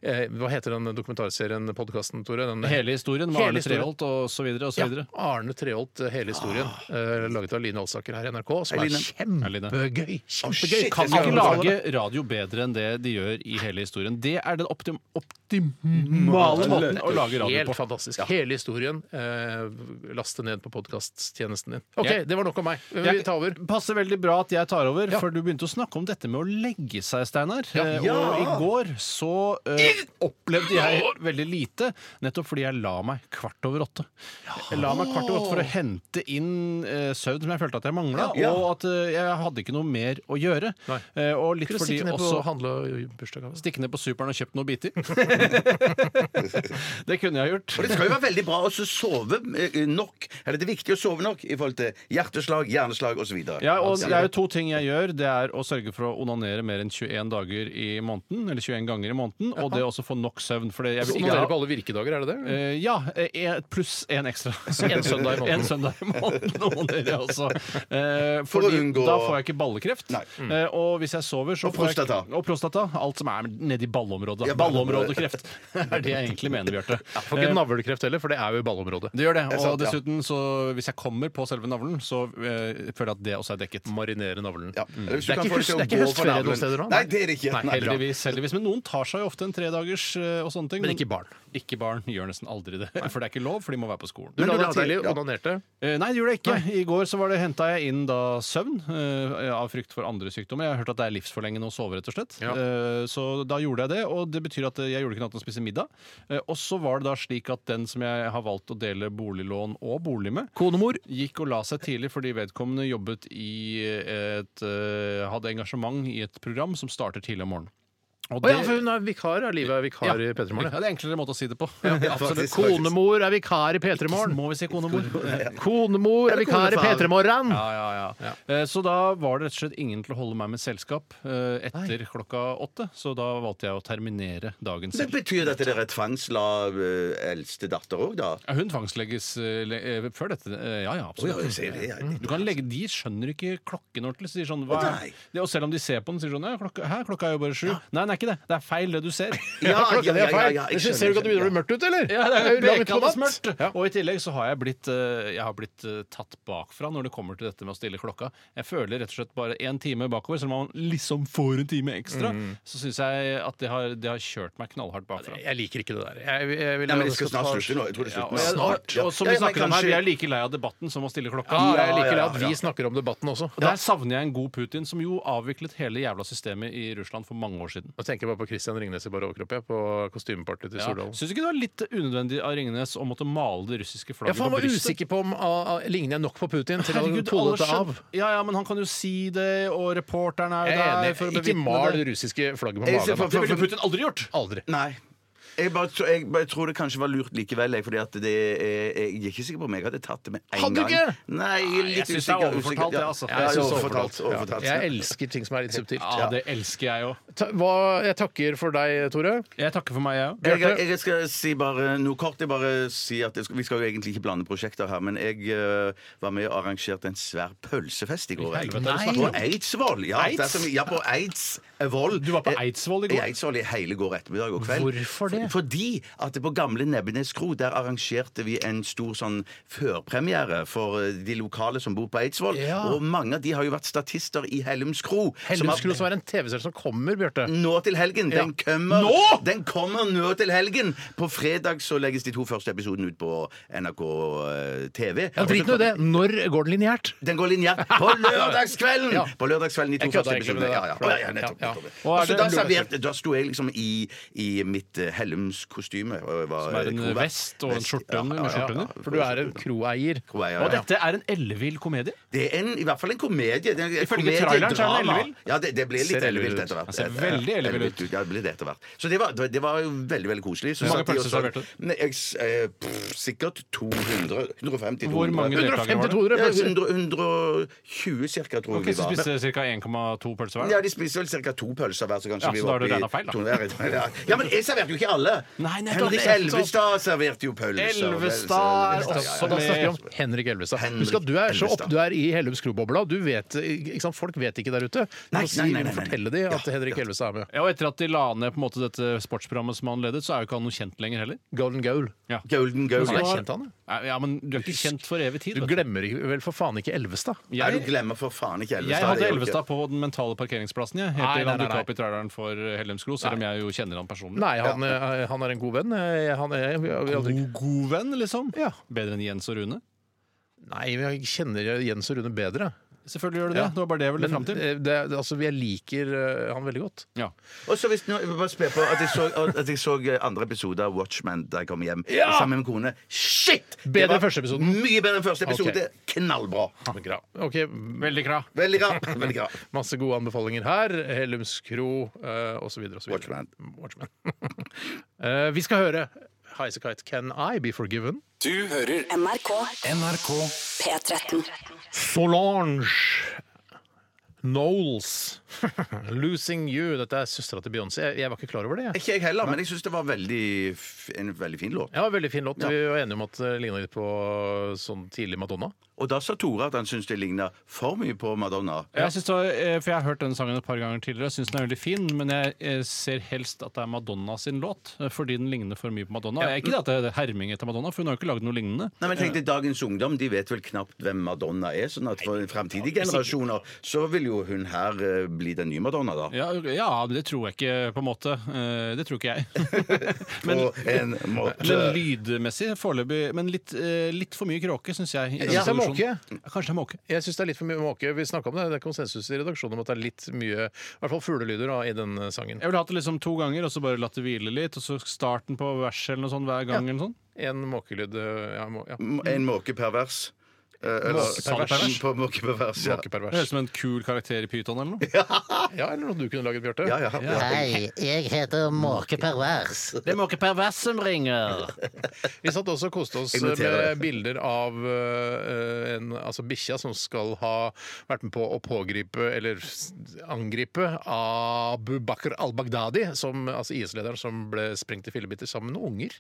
S1: eh, Hva heter den dokumentarserien, podkasten, Tore? Den,
S3: Eh, Hele historien med
S1: Hele
S3: Arne
S1: historien.
S3: Treholt og så videre og så videre.
S1: Ja, Arne Treholt, eh, hele historien, eh, laget av Line Alsaker her i NRK, som
S2: Hei,
S1: er
S2: Line.
S3: Hei, Line.
S1: kjempegøy. Kjempegøy. Kan
S2: shit, jeg
S3: Kan
S2: skal
S1: ikke lage
S3: ikke lage radio bedre enn det de gjør i hele historien. Det er den optim optimale måten å lage radio
S1: Helt
S3: på.
S1: fantastisk. Hele historien. Eh, laste ned på podkasttjenesten din. OK,
S3: Ja.
S1: det var nok om meg. Vi
S3: Jeg-
S1: tar over.
S3: Passer veldig bra at jeg tar over,
S1: Ja.
S3: for du begynte å snakke om dette med å legge seg, Steinar. Eh,
S2: Ja.
S3: Og i går så eh, opplevde jeg veldig lite, nettopp fordi jeg la meg kvart over åtte. Jeg la meg kvart over åtte for å hente inn eh, søvn som jeg følte at jeg mangla,
S2: Ja.
S3: og at eh, jeg hadde ikke noe mer å gjøre.
S1: Nei.
S3: Eh, og litt
S1: Skulle
S3: fordi
S1: stikke ned på
S3: også
S1: og handle bursdagsgave.
S3: Stikke ned på superen og kjøpt noen biter. det kunne jeg gjort.
S2: Og det skal jo være veldig bra å sove eh, nok. Eller det er viktig å sove nok i forhold til hjerteslag, hjerneslag osv.
S3: Ja, og Det er jo to ting jeg gjør. Det er å sørge for å onanere mer enn 21 dager i måneden. Eller 21 ganger i måneden. Og det å også få nok søvn. For det, jeg vil ikke
S1: Noterer
S3: ha
S1: på alle virkedager, er det det?
S3: Eh, ja, eh, pluss én ekstra.
S1: en søndag i måneden.
S3: En søndag i måneden onanerer jeg også. Eh,
S2: For å
S3: fordi
S2: unngå-
S3: Da får jeg ikke ballekreft.
S2: Nei. Mm.
S3: Eh, og hvis jeg sover, så
S2: Og
S3: får jeg ikke-
S2: prostata.
S3: Og prostata. Alt som er nedi ballområdet.
S2: Ja, ballområdet.
S3: Ballområdekreft er det jeg egentlig mener, Bjarte. Eh,
S1: Får
S2: Eh,
S1: ikke navlekreft heller, for det er jo i ballområdet.
S3: Det gjør det. Og
S2: sant, ja.
S3: dessuten, så hvis jeg kommer på selve navlen, så eh, føler jeg at det også er
S1: Mm,
S3: dekket.
S1: Marinere navlen. Mm.
S2: Ja. Eller hvis
S1: Det
S2: du
S1: er
S2: kan
S1: ikke
S2: få
S1: høst-
S2: til å
S1: det er ikke
S2: gå
S1: høstferie
S2: for navlen.
S1: noen steder nå.
S2: Nei, det er det ikke.
S1: Nei,
S2: Nei, bra.
S3: Heldigvis, heldigvis. Men noen tar seg jo ofte en tredagers eh, og sånne ting.
S1: Men ikke barn.
S3: Ikke barn gjør nesten aldri det. For det er ikke lov, for de må være på skolen.
S1: Du la deg
S2: du la deg
S1: tidlig,
S2: til- ja.
S1: onanerte.
S3: Eh, Nei, det gjorde jeg ikke. I går så var det henta jeg inn da søvn eh, av frykt for andre sykdommer. Jeg har hørt at det er livsforlengende å sove, rett og slett.
S1: Ja.
S3: Eh, så da gjorde jeg det, og det betyr at eh, jeg gjorde ikke noe annet enn å spise middag. Eh, og så var det da slik at den som jeg har valgt å dele boliglån og bolig med,
S1: Konemor.
S3: gikk og la seg tidlig fordi vedkommende jobbet i et eh, hadde engasjement i et program som starter tidlig om morgenen. Og
S1: Å ja, for hun er vikar. er Livet er vikar i P3
S3: Ja,
S1: Morgen.
S3: det er enklere måte å si det på.
S2: faktisk, faktisk.
S1: Konemor er vikar i P3 Morgen.
S3: Må vi si konemor?
S1: Konemor er
S2: Eller
S1: vikar i
S2: konefar.
S1: P3 Morgen.
S3: Ja, ja, ja. Eh, Så da var det rett og slett ingen til å holde meg med selskap eh, etter klokka åtte, så da valgte jeg å terminere dagen
S2: Det
S3: selv.
S2: betyr dette dere tvangslav eh, eldste datter òg, da?
S3: Ja, Hun tvangslegges eh, le- eh, før dette. Eh, Ja, ja,
S2: Å, ja,
S3: absolutt.
S2: jeg ser det, jeg-
S3: Du kan legge, De skjønner ikke klokken ordentlig. Så de sier sånn, hva er?
S2: Nei.
S3: det? Og selv om de ser på den, sier sånn ja, klokka, Hæ, klokka er jo bare sju. Nei, det er ikke det. Det er feil, det du ser.
S2: Ja,
S1: Klokka
S2: ja,
S1: di er
S2: ja,
S1: feil.
S2: ja, jeg
S1: Jeg synes-
S2: skjønner,
S1: Ser du ikke at det begynner å
S2: skjønner,
S1: bli mørkt ute, eller?
S3: Ja, det er jo
S1: langt på
S3: bekende
S1: natt.
S3: smørt.
S1: Ja.
S3: Og i tillegg så har jeg blitt, eh, jeg har blitt eh, tatt bakfra når det kommer til dette med å stille klokka. Jeg føler rett og slett bare én time bakover, selv om man liksom får en time ekstra.
S2: Mm.
S3: Så syns jeg at det har, det har kjørt meg knallhardt bakfra.
S1: Jeg liker ikke det der. Jeg, jeg vil
S2: Nei, men
S1: at
S2: det skal
S1: skal
S2: snart
S1: ta-
S2: slutte nå. Jeg tror det
S3: Ja, og,
S2: slutter
S3: jeg,
S2: snart.
S3: og, og som
S2: Ja,
S3: vi
S2: ja, men
S3: snakker om her, vi
S2: kanskje-
S3: er like lei av debatten som å stille klokka.
S1: Ja, jeg
S2: Ja,
S1: liker det
S2: ja,
S1: at vi
S2: ja.
S1: snakker om debatten også.
S3: Og der savner jeg en god Putin, som jo avviklet hele jævla systemet i Russland for mange år siden.
S1: Nå tenker jeg bare på Christian Ringnes i bare overkropp, jeg, på kostymepartiet til
S3: Ja.
S1: Stordalen.
S3: Syns du ikke det var litt unødvendig av Ringnes å måtte male det russiske
S1: Ja,
S3: flagget
S1: for han
S3: på
S1: var
S3: brystet?
S1: usikker på om ah, ah, ligner jeg nok på Putin til å
S3: Herregud,
S1: tone
S3: alle
S1: det av.
S3: skjønner- Ja, ja, men han kan jo si det, og reporteren er jo
S1: Jeg
S3: der
S1: er
S3: for å
S1: enig. Ikke
S3: bevitne
S1: mal
S3: det.
S1: det russiske flagget på
S2: Jeg ser
S1: magen.
S2: for-
S1: da.
S3: Det ville Putin aldri gjort!
S1: Aldri.
S2: Nei. Jeg, bare, tro- jeg bare tror det kanskje var lurt likevel, jeg, fordi at det er, jeg er ikke sikker på om jeg hadde tatt det med en
S1: Hadde du
S2: gang.
S1: ikke?
S2: Nei, jeg er
S3: Nei, jeg synes
S2: litt
S3: det er
S2: usikker.
S3: overfortalt,
S2: usikker.
S3: det,
S2: ja.
S3: altså.
S2: Ja,
S3: Jeg
S2: jeg
S3: synes det er
S2: overfortalt. overfortalt.
S1: Jeg elsker ting som er litt subtilt.
S3: Ja, det elsker jeg òg.
S1: Ta, hva, jeg takker for deg, Tore.
S3: Jeg takker for meg, jeg òg.
S2: Jeg, jeg skal si bare noe kort. Jeg bare si at jeg skal, Vi skal jo egentlig ikke blande prosjekter her, men jeg eh, var med og arrangerte en svær pølsefest i går. jeg.
S3: helvete, hva
S2: På Eidsvoll! Ja,
S3: Eids?
S2: det er som, ja på Eidsvoll. Eh,
S3: Du var på Eidsvoll i går?
S2: I Eidsvoll i hele går ettermiddag og kveld.
S1: Hvorfor det?
S2: Fordi at det på gamle Nebbenes kro der arrangerte vi en stor sånn førpremiere for eh, de lokale som bor på Eidsvoll.
S1: Ja.
S2: Og mange av de har jo vært statister i Hellums kro. som har-
S1: Hellumskro, som er en TV-serie som kommer, Bjarte.
S2: nå til helgen. Den,
S1: Ja.
S2: kommer,
S1: Nå?
S2: den kommer nå til helgen! På fredag så legges de to første episodene ut på NRK eh, TV.
S1: Ja, Drit nå i det. Når går den lineært?
S2: Den går linjert på lørdagskvelden!
S1: Ja.
S2: På lørdagskvelden de to
S1: Jeg kødder
S2: første
S1: egentlig med
S2: episodene.
S1: det
S2: Ja,
S1: der.
S2: ja. Å, ja, ja, nettopp,
S1: Ja, ja.
S2: nettopp.
S3: Og er
S2: Og så
S3: det-
S2: da, serverte- da sto jeg liksom i, i mitt eh, Hellums-kostyme. og jeg var,
S3: Som er en
S2: krovert.
S3: vest og en skjorte
S2: Ja,
S3: under,
S2: ja,
S3: med
S2: ja,
S3: skjorte
S2: ja.
S3: under.
S1: For du er en kroeier.
S2: Kroeier,
S3: Og
S2: ja.
S3: dette er en ellevill komedie.
S2: Det er en, i hvert fall en komedie. Det er en
S3: Ifølge
S2: komedie-
S3: traileren så er den
S2: drama.
S3: ellevill.
S2: Ja, det, det blir
S1: Ser
S2: litt
S1: ellevill
S2: ellevilt
S1: ut.
S2: etter hvert.
S3: Han ser veldig ellevill ut.
S2: Ja, det blir det etter hvert. Så det var, det det var jo veldig veldig koselig. Så
S3: Hvor mange
S2: satt de og
S3: pølser
S2: så-
S3: serverte du?
S2: Nei, jeg s- eh, pff, Sikkert 200 150-200.
S3: Hvor mange deltakere var det?
S1: 150-200
S2: Ja,
S1: pølser.
S2: 100, 120 cirka, tror jeg
S3: Okay,
S2: vi
S3: så
S2: var.
S3: spiste ca. 1,2 pølser hver.
S2: Ja, De spiser vel ca. to pølser hver. Så kanskje
S3: Ja,
S2: vi
S3: så da
S2: var
S3: har du
S2: oppe i
S3: regnet feil, da.
S2: 200. Ja, Ja, men jeg serverte jo ikke alle.
S3: Nei, nettopp,
S2: Henrik
S3: nettopp.
S2: Elvestad serverte jo pølser. og
S3: Elvestad er
S2: pølser, ja, ja,
S3: også
S1: Så
S2: ja.
S1: da snakker vi om Henrik Elvestad.
S2: Henrik
S1: Husk at du er så opp,
S2: Elvestad.
S1: du er i Hellums krobobla. Du vet, ikke sant? Folk vet ikke der ute. Du
S2: Nei,
S1: må si,
S2: nei, nei, nei, nei.
S1: fortelle dem at
S2: Ja,
S1: Henrik
S2: ja.
S1: Elvestad er med.
S3: Ja, og etter at de la ned på en måte dette sportsprogrammet som han ledet, så er jo ikke han noe kjent lenger heller.
S1: Golden Goal.
S3: Ja,
S2: Golden Goal.
S1: Han er kjent, han. ja.
S3: Nei, ja men du er ikke kjent for evig tid.
S1: Du
S3: vet
S1: glemmer ikke- vel for faen ikke Elvestad.
S2: Nei, du
S3: Jeg,
S2: glemmer for faen ikke Elvestad.
S3: jeg hadde
S2: det gjør du ikke.
S3: Elvestad på den mentale parkeringsplassen, jeg. Helt
S1: Nei,
S3: til
S1: nei,
S3: han
S1: nei,
S3: dukka
S1: nei.
S3: opp i traileren for Hellems Kro, selv om jeg jo kjenner han personlig.
S1: Nei, han, eh, han er en god venn. Eh, Han er, vi har- vi har aldri,
S3: God, god venn, liksom.
S1: Ja.
S3: Bedre enn Jens og Rune.
S1: nei, men jeg kjenner Jens og Rune bedre.
S3: Selvfølgelig gjør du det. Det var bare det jeg ville
S1: Men
S3: fram til.
S1: eh, det, altså, jeg liker eh, han veldig godt.
S3: Ja.
S2: Og så hvis nå, jeg vil bare spør på at jeg, så, at jeg så eh, andre episode av Watchmen da jeg kom hjem
S1: Ja!
S2: sammen med kone. Shit! Det
S1: Bedre enn
S2: var
S1: første episoden.
S2: Mye bedre enn første episode. Knallbra.
S1: Ok,
S3: Veldig bra.
S2: Veldig bra. Veldig bra.
S1: Masse gode anbefalinger her. Hellums kro eh, osv. osv.
S2: Watchmen.
S1: Watchmen. Eh, vi skal høre Highasakite Can I Be Forgiven?
S6: Du hører
S5: NRK
S4: NRK
S5: P13.
S1: Solange Knowles. Losing You. Dette er søstera til Beyoncé. Jeg, jeg var ikke klar over det. jeg.
S2: Ikke jeg heller, men jeg syns det var veldig, f- en veldig fin låt.
S1: Ja, Veldig fin låt. Vi var enige om at det ligna litt på sånn tidlig Madonna.
S2: Og da sa Tore at han syntes det ligna for mye på Madonna.
S3: Jeg synes det var, eh, for jeg har hørt den sangen et par ganger tidligere og syns den er veldig fin, men jeg eh, ser helst at det er Madonna sin låt, eh, fordi den ligner for mye på Madonna. Jeg- Ikke det at det er herming etter Madonna, for hun har jo ikke lagd noe lignende.
S2: Nei, men tenk deg, Dagens ungdom de vet vel knapt hvem Madonna er, sånn at for fremtidige generasjoner så vil jo hun her eh, bli den nye Madonna, da.
S3: Ja, ja, det tror jeg ikke, på en måte. Eh, Det tror ikke jeg. Men,
S2: På en måte.
S3: men lydmessig foreløpig Men litt, eh, litt for mye kråke, syns jeg. i denne
S1: synes det er
S3: produksjonen.
S1: måke.
S3: Ja, Kanskje det er måke.
S1: Jeg syns det er litt for mye måke. Vi snakka om det. Det er konsensus i redaksjonen om at det er litt mye i hvert fall fuglelyder da, i den sangen.
S3: Jeg ville hatt det liksom to ganger, og så bare latt det hvile litt, og så starten på verset eller noe sånt hver gang. eller noe sånt.
S1: En måkelyd eh, ja, må, ja.
S2: En måke per vers. Eh, eller-
S1: Måkepervers.
S2: På måke per vers, ja.
S3: Det høres
S1: Måkepervers.
S3: ut som en kul karakter i Pyton eller noe.
S1: Ja, eller noe du kunne laget, Bjarte.
S2: Ja, ja, ja.
S7: Hei, jeg heter Måke Pervers.
S3: Det må ikke Per Wess som ringer!
S1: Vi satt også og koste oss
S2: Jeg noterer
S1: med bilder av eh, en, altså bikkja som skal ha vært med på å pågripe eller s- angripe Abu Bakr al-Baghdadi, som- altså IS-lederen som ble sprengt i fillebiter sammen med unger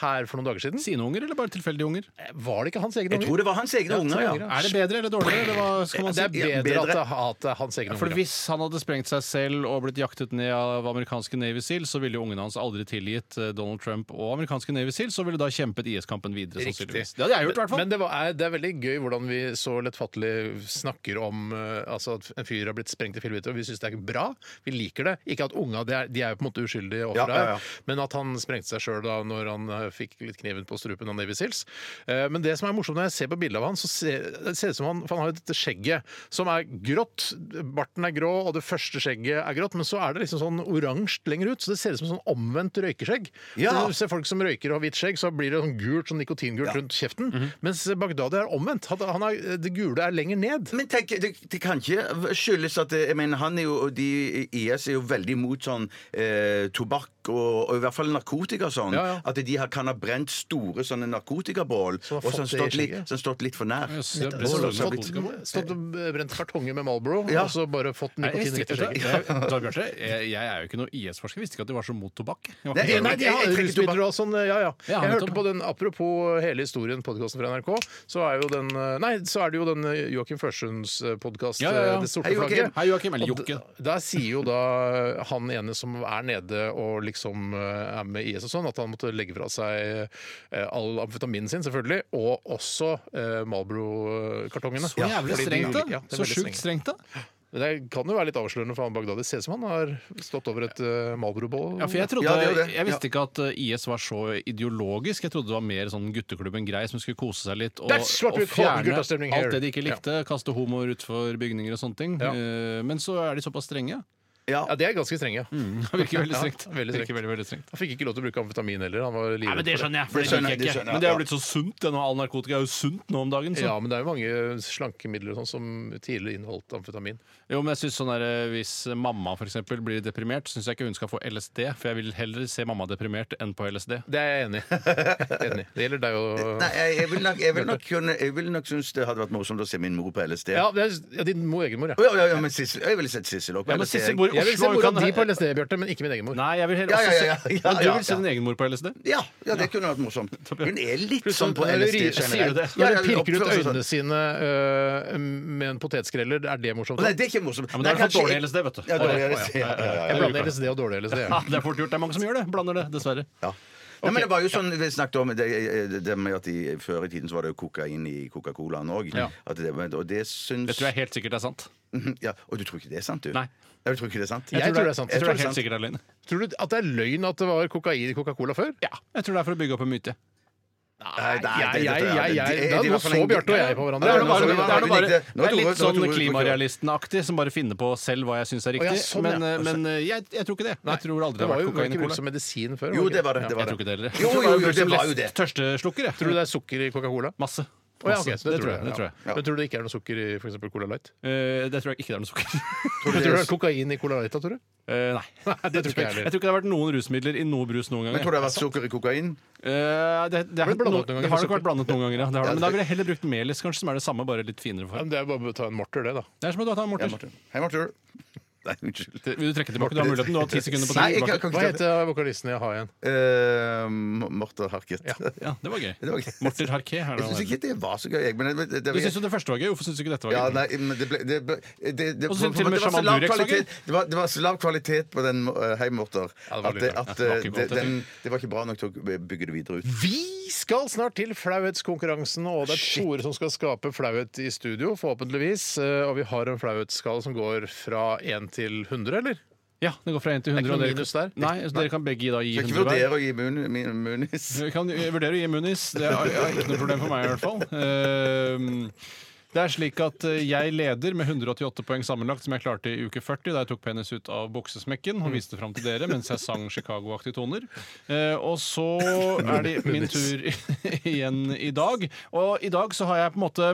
S1: her for noen dager siden.
S3: Sine unger, eller bare tilfeldige unger?
S1: Var det ikke hans egne
S2: Jeg tror
S1: unger?
S2: det var hans egne unger, ja.
S3: Er det bedre eller dårligere? Eller hva skal man
S1: Det er
S3: si?
S1: bedre,
S2: Ja, bedre.
S1: at det er- at det er hans egne
S3: For
S1: unger. ja.
S3: Hvis han hadde sprengt seg selv og blitt jaktet ned av amerikanske Navy Seal, så ville jo ungene hans aldri tilgitt eh, Donald Trump og amerikanske Navy Seal, så ville da kjempet IS-kampen videre.
S1: Riktig.
S3: sannsynligvis. Det hadde jeg gjort, i hvert fall.
S1: Men det, var, er, det er veldig gøy hvordan vi så lettfattelig snakker om eh, altså at en fyr har blitt sprengt i fillebiter, og vi syns det er bra. Vi liker det. Ikke at unga de er, de er jo på en måte uskyldige ofre,
S2: Ja, ja, ja.
S1: her, men at han sprengte seg sjøl da når han eh, fikk litt kniven på strupen av Navy Seals. Eh, Men det som er morsomt når jeg ser på bildet av han, så ser, det ser ut som han For han har jo dette skjegget som er grått. Barten er grå, og det første skjegget er grått, men så er det liksom sånn oransje lenger ut. Så det ser ut som sånn omvendt røykeskjegg.
S2: Ja.
S1: Så Når du ser folk som røyker og har hvitt skjegg, så blir det sånn gult, sånn nikotingult rundt kjeften.
S2: Mhm.
S1: Mens Baghdadi er omvendt. Han- Han er, det gule er lenger ned.
S2: Men tenk, det, det kan ikke skyldes at eh, jeg mener, han er jo, og de, IS er jo veldig imot sånn eh, tobakk og, og i hvert fall narkotika og sånn.
S1: Ja, ja.
S2: At de har, kan ha brent store sånne narkotikabål
S1: Som har
S2: og
S1: fått
S2: sånn
S1: det i
S2: stått, litt,
S1: skjegget.
S2: sånn stått litt for nær.
S3: Jøss, det er sånn
S1: Så
S3: best
S2: Bål
S1: har
S3: å
S2: og
S3: lage
S1: du
S3: narkotika.
S1: Stått, stått og brent kartonger med Marlboro,
S2: Ja.
S1: og så bare fått
S3: Nei,
S1: nikotin
S3: jeg visste-
S1: rett i skjegget.
S3: jeg- Dag Bjarte, jeg, jeg er jo ikke noen IS-forsker. Visste ikke at de var så mot tobakk. Jeg var
S2: Nei,
S3: ikke klar over
S1: Nei,
S3: det.
S1: de har
S2: Jeg- jeg trekker
S1: rusmidler og sånn, ja, ja.
S3: Ja,
S1: Jeg
S3: nettopp.
S1: hørte på den, apropos hele historien, podkasten fra NRK, så er jo den eh, Nei, så er det jo den eh, Joakim Førsunds podkast,
S3: Ja, ja, ja.
S1: eh, Det sorte
S2: Hei, Joakim.
S1: flagget.
S3: Hei, Joakim. Eller
S1: Og d-
S3: Jokke.
S1: Der sier jo da eh, han ene som er nede og liksom eh, er med IS og sånn, at han måtte legge fra seg eh, all amfetaminen sin, selvfølgelig, og også eh, Malbro-kartongene.
S3: Så jævlig strengt, da.
S1: Ja, det er
S3: Så
S1: veldig
S3: sjukt
S1: strengt.
S3: strengt, da.
S1: Men Det kan jo være litt avslørende for han Bagdadi. Ser ut som han har stått over et eh, Malbro-bål.
S3: Ja, for jeg, trodde,
S2: Ja, det er jo det.
S3: jeg visste ikke at uh, IS var så ideologisk. Jeg trodde det var mer sånn gutteklubben grei som skulle kose seg litt og,
S1: That's what
S3: og
S1: we call
S3: fjerne alt
S1: guttastemning here.
S3: det de ikke likte. Kaste homoer utfor bygninger og sånne ting.
S1: Ja.
S3: Eh, Men så er de såpass strenge.
S2: Ja.
S1: Ja, det er ganske strenge. ja.
S3: Det virker veldig strengt.
S1: veldig strengt.
S3: Virker veldig, veldig strengt.
S1: Han fikk ikke lov til å bruke amfetamin heller. Han var
S3: Nei, men
S1: livredd
S3: Det
S1: for
S3: skjønner jeg. for
S2: Det
S3: det
S2: skjønner jeg,
S3: liker jeg
S2: det skjønner jeg,
S3: ikke. Men det
S2: ja.
S3: er blitt så sunt. det nå. All narkotika er jo sunt nå om dagen. Så.
S1: Ja, men det er jo mange slankemidler og sånn som tidligere inneholdt amfetamin.
S3: Jo, men jeg synes sånn der, eh, Hvis mamma for eksempel, blir deprimert, syns jeg ikke hun skal få LSD. For jeg vil heller se mamma deprimert enn på LSD.
S1: Det er jeg enig i. Enig. Det gjelder deg
S2: Nei,
S1: og
S2: jeg, jeg vil nok, jeg vil nok, kunne- jeg vil nok synes det hadde vært morsomt å se min mor på LSD.
S1: ja, det er, ja, din mor, egen mor, ja.
S2: Å, ja, ja, ja, men Sissel, jeg ville sett Sissel også på
S3: Ja, men
S2: LSD.
S3: Sissel bor i
S1: Jeg vil se
S3: Oslo. hun
S1: mora
S3: kan-
S1: di på LSD, Bjarte, men ikke min egen mor.
S3: Nei, jeg vil heller
S2: Ja,
S3: også
S2: ja, ja,
S3: se
S2: ja,
S3: Men Du
S2: ja,
S3: vil se
S2: ja.
S3: din egen mor på LSD?
S2: Ja, ja, det kunne vært morsomt. Hun er litt
S1: Pluss
S2: sånn på
S1: at-
S2: LSD
S1: Sier
S2: generelt.
S1: du det?
S2: Ja,
S1: Når
S2: ja,
S1: hun pirker ut
S2: oppfører seg sånn.
S1: øynene sine øh, med en potetskrellet, er det morsomt?
S2: Nei, det er ikke morsomt.
S3: Ja, men det er i
S2: Nei,
S3: hvert fall
S2: kanskje-
S3: dårlig LSD, vet du.
S2: Ja, dårlig LSD, ja, ja, ja,
S1: Jeg blander LSD og dårlig LSD.
S3: Ja, det er fort gjort. Det er mange som gjør det. Blander det, dessverre.
S2: Ja. Nei, men det var jo sånn, Vi snakket om det, det med at i, før i tiden så var det jo kokain i Coca-Colaen òg.
S3: Ja.
S2: Og det
S3: Det
S2: syns
S3: tror jeg helt sikkert er sant.
S2: ja, Og du tror ikke det er sant, du?
S3: Nei.
S2: Ja, du tror ikke det er sant?
S1: Jeg tror det er sant.
S3: Jeg tror det
S2: er
S3: er helt
S2: sant.
S3: sikkert er løgn.
S1: Tror du at det er løgn at det var kokain i Coca-Cola før?
S3: Ja, jeg tror det er for å bygge opp en myte.
S2: Nei, nei,
S1: Jeg-
S2: det- det tror
S1: jeg- jeg-
S2: Det- det-
S1: da-
S2: det er i
S1: nå
S2: hvert fall
S1: så
S2: en-
S1: Bjarte og jeg på hverandre.
S3: Det
S2: Ja, ja,
S3: er,
S2: nå
S3: noe bare,
S2: så
S3: det
S2: vi
S3: er, noe bare,
S2: hverandre.
S3: det er
S2: Nå
S3: litt
S2: tror jeg-
S3: sånn
S2: nå tror jeg-
S3: klimarealisten-aktig, som bare finner på selv hva jeg syns
S1: Å,
S3: er
S1: ja,
S3: riktig.
S1: sånn, ja.
S3: men eh, men eh, jeg, jeg tror ikke det. Jeg tror aldri det
S1: Det
S3: har
S1: var
S3: vært
S1: jo var
S3: kokain i
S1: ikke brukt
S3: cola.
S1: som medisin før.
S2: Jo, det var det. det, var
S3: Jeg tror ikke det heller.
S2: Jo,
S3: Jeg tror
S2: jo,
S3: det
S2: jo,
S3: var
S2: det
S3: brukt
S2: var
S3: som
S2: jo det.
S3: Tørsteslukker, jeg.
S1: Tror du det er sukker i Coca-Cola?
S3: Masse.
S1: Å, ja, ok,
S3: Masse.
S1: så det, tror jeg.
S3: Det tror jeg.
S1: Ja. Men tror du det ikke er noe sukker i for eksempel Cola Light?
S3: Eh, det tror jeg ikke det er noe sukker.
S1: Tror du det er kokain i Cola Light, da, tror du?
S3: Eh, nei.
S1: det tror ikke jeg heller.
S3: Jeg tror ikke det har vært noen rusmidler i noe brus noen gang.
S2: Men tror du det har vært sukker i kokain?
S3: Eh, det, det, er,
S1: Har det blandet
S3: no,
S1: noen ganger
S3: det har nok
S1: med
S3: vært blandet noen ganger, ja. Det har det. Men da ville jeg heller brukt melis, kanskje, som er det samme, bare litt finere
S1: Ja,
S3: form.
S1: men det er bare å ta en morter, det, da.
S3: Det er som å ta en
S2: Ja,
S3: morter.
S2: Martin. Hei, Martin. Nei, unnskyld.
S3: Det- Vil du trekke tilbake? Du har muligheten. Du har ti sekunder på å trekke
S2: Nei, jeg kan,
S3: tilbake.
S2: kan
S1: Hva
S2: ikke ta det.
S1: heter vokalisten i A1?
S2: Eh, Morten Harket.
S3: Ja, det var gøy.
S2: Det var gøy.
S3: Morter Harké. her
S2: Jeg
S3: da.
S2: syns ikke det var så gøy, jeg. Men det, det, det,
S3: Du syns jo det første var gøy. Hvorfor syns du ikke dette var gøy?
S2: Ja, nei, men det ble, det ble det, det,
S3: Og så til og med
S2: det var så
S3: Shaman
S2: lav
S3: Durek så
S2: kvalitet- det var- Det var så lav kvalitet på den eh, Hei,
S1: Ja,
S2: Morter,
S1: det var
S2: at, det,
S1: litt
S2: at
S3: Ja, det var
S2: eh,
S3: ikke
S2: det,
S3: kvalitet.
S2: den, det var ikke bra nok til å eh, bygge det videre ut.
S1: Vi skal snart til flauhetskonkurransen, og det er Tore som skal skape flauhet i studio, forhåpentligvis. Eh, Og vi har en flauhetsskala som går fra 1 til 100, eller?
S3: Ja, det går fra 1 til
S1: Det er
S3: 100.
S1: ikke noe
S3: og dere-
S1: minus der?
S3: Nei, så dere kan begge da gi
S2: Skal ikke
S3: 100 hver.
S2: vurdere å gi mun, min, munis.
S3: Vi kan vurdere å gi munis. Det er, er ikke noe problem for meg i hvert fall. Ehm, Det er slik at eh, jeg leder med 188 poeng sammenlagt, som jeg klarte i uke 40, da jeg tok penis ut av buksesmekken og viste fram til dere mens jeg sang Chicago-aktige toner. Eh, og så er det min tur igjen i dag. Og i dag så har jeg på en måte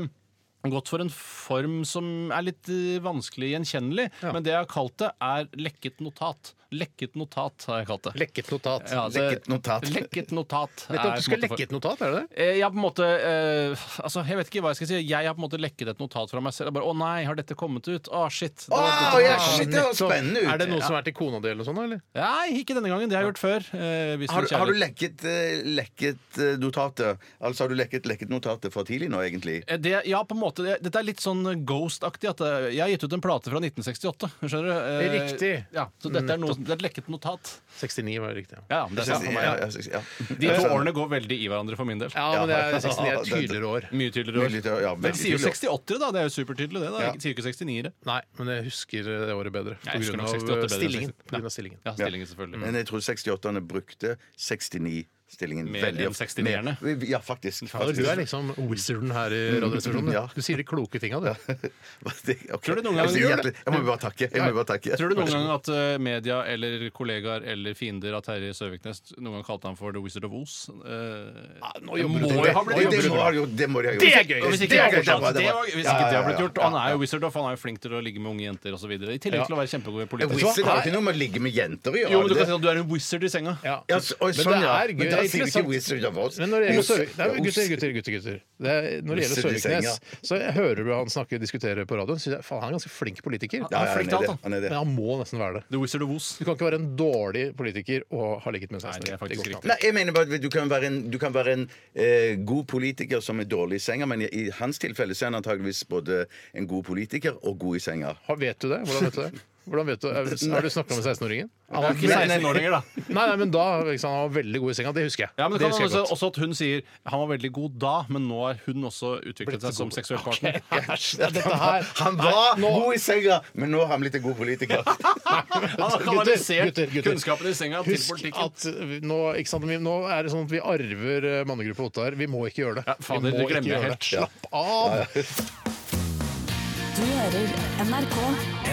S3: gått for en form som er litt eh, vanskelig gjenkjennelig, men det jeg har kalt det, er lekket notat. Lekket notat har jeg kalt det.
S1: Lekket notat.
S3: Ja, det-
S2: Lekket notat.
S3: Lekket notat.
S1: Vet du
S3: er
S1: at du skal
S3: på en måte
S1: lekke et notat, er det det?
S3: for- Eh, Jeg har på en måte eh, Altså, jeg vet ikke hva jeg skal si. Jeg har på en måte lekket et notat fra meg selv. Jeg bare, Å nei, har dette kommet ut? Å, shit. det var
S2: Å,
S3: dette-
S2: ja, shit, det høres spennende
S1: Er det
S2: ut!
S1: noe som er til kona di eller sånn, eller?
S3: Nei, ikke denne gangen. Det har jeg gjort før. Eh, hvis
S2: Har,
S3: det er
S2: har du
S3: kjærlighet.
S2: lekket, eh, lekket eh, notatet? Altså, har du lekket, lekket notatet for tidlig nå, egentlig?
S3: Eh, det, ja, på en måte. Det, dette er litt sånn Ghost-aktig. at det- Jeg har gitt ut en plate fra 1968. Skjønner du? Eh,
S1: Riktig.
S3: Ja, så dette er, noe, det er et lekket notat.
S1: 69 var det riktig. ja.
S3: Ja, ja, men det er sant for meg.
S2: Ja, ja, ja.
S3: De to årene går veldig i hverandre for min del.
S1: Ja, men det er 69 er et tydeligere år.
S3: Mye
S2: Mye
S3: tydeligere
S2: tydeligere,
S3: år.
S2: ja,
S3: Men
S2: veldig
S3: sier jo
S2: tydelig.
S3: 68, da. Det er jo supertydelig, det. da
S2: Ja.
S3: Ikke- Sier jo ikke 69-ere.
S1: Nei, men jeg husker eh, det året bedre. På
S3: Jeg husker
S1: grunn
S3: nok
S1: av eh,
S3: 68 bedre enn
S1: stillingen.
S3: 60. Mm.
S1: På grunn av stillingen.
S3: Ja, stillingen, selvfølgelig.
S2: Men jeg tror 68-erne brukte 69 stillingen
S3: Mer
S2: veldig
S3: enn
S2: ofte.
S3: 69-erne.
S2: Mer- Ja, faktisk.
S1: Ja, du er
S2: faktisk.
S1: liksom wizarden her i
S3: Mm.
S1: Radioresepsjonen.
S2: Ja.
S1: Du sier de kloke tinga, du.
S2: Hva er det? Ok.
S3: Tror du noen
S2: Jeg
S3: gang-
S2: sier hjertelig- Jeg må bare takke. Jeg må bare takke.
S3: Tror du noen gang at eh, media eller kollegaer eller fiender av Terje Søviknes noen gang kalte han for The Wizard of Oz? Eh,
S1: Ah, Nå jobber
S2: Det,
S1: du
S2: det,
S1: til
S2: det,
S1: det.
S2: må jeg ha gjort, det må de ha gjort.
S1: Det er gøy!
S3: og hvis
S1: det
S3: ikke
S1: er
S3: det, var
S1: gøy, det
S3: fortalt,
S1: var-
S3: det, var, hvis
S2: Ja,
S3: ikke det
S2: ja,
S3: har blitt
S2: ja,
S3: gjort Og Han er jo wizard of, han er jo flink til å ligge med unge jenter osv. I tillegg til å være kjempegod i
S2: En
S3: politikk.
S2: Wizard har ikke noe med å ligge med jenter å gjøre.
S3: Jo, men du
S2: det-
S3: kan si at du er en wizard i senga.
S1: Ja.
S2: Ja, så- oi,
S1: Men
S2: sånn,
S1: det
S2: ja.
S1: er gøy.
S2: Men da sier vi ikke
S1: Interessant.
S2: Wizard of Oz.
S1: Men når det gjelder
S2: Ost.
S1: Søvik- Nei, men gutter,
S2: Ost.
S1: gutter, gutter, gutter. Det er, når det gjelder
S2: Russer i senga.
S1: Søviknes, så hører du han snakke og diskutere på radioen. Synes jeg, faen, han er ganske flink politiker.
S2: Ja, ja,
S3: flink til
S2: han er det.
S3: alt, da.
S2: Han er det.
S1: Men han må nesten være det.
S3: The Wizard of Oz.
S1: Du kan ikke være en dårlig politiker og ha ligget med
S3: Nei,
S1: seg.
S3: det er faktisk riktig.
S2: Nei, jeg mener bare at Du kan være en, du kan være en eh, god politiker som er dårlig i senga, men i, i hans tilfelle så er han antageligvis både en god politiker og god i senga.
S1: Har- Vet du det? Hvordan vet du det? Hvordan vet du, er- har du snakka med 16-åringen?
S3: Han var ikke 16 år lenger, da.
S1: Nei, nei, men da ikke sant, han var veldig god i senga. Det husker jeg.
S3: Ja, men det kan
S1: husker jeg
S3: også,
S1: godt.
S3: også at hun sier han var veldig god da, men nå har hun også utviklet seg som seksuell partner.
S1: Æsj, det er dette her.
S2: Han var god i senga, men nå har han blitt en god politiker.
S3: Han har
S1: Gutter,
S3: kanalisert
S1: gutter, gutter.
S3: kunnskapen i senga til
S1: Husk
S3: politikken.
S1: at vi- nå, ikke sant, vi, nå er det sånn at vi arver eh, mannegruppa Ottar. Vi må ikke gjøre det.
S3: Ja, fader,
S1: vi må
S3: det glemmer jeg helt.
S1: det. Slapp av!
S5: Du hører NRK.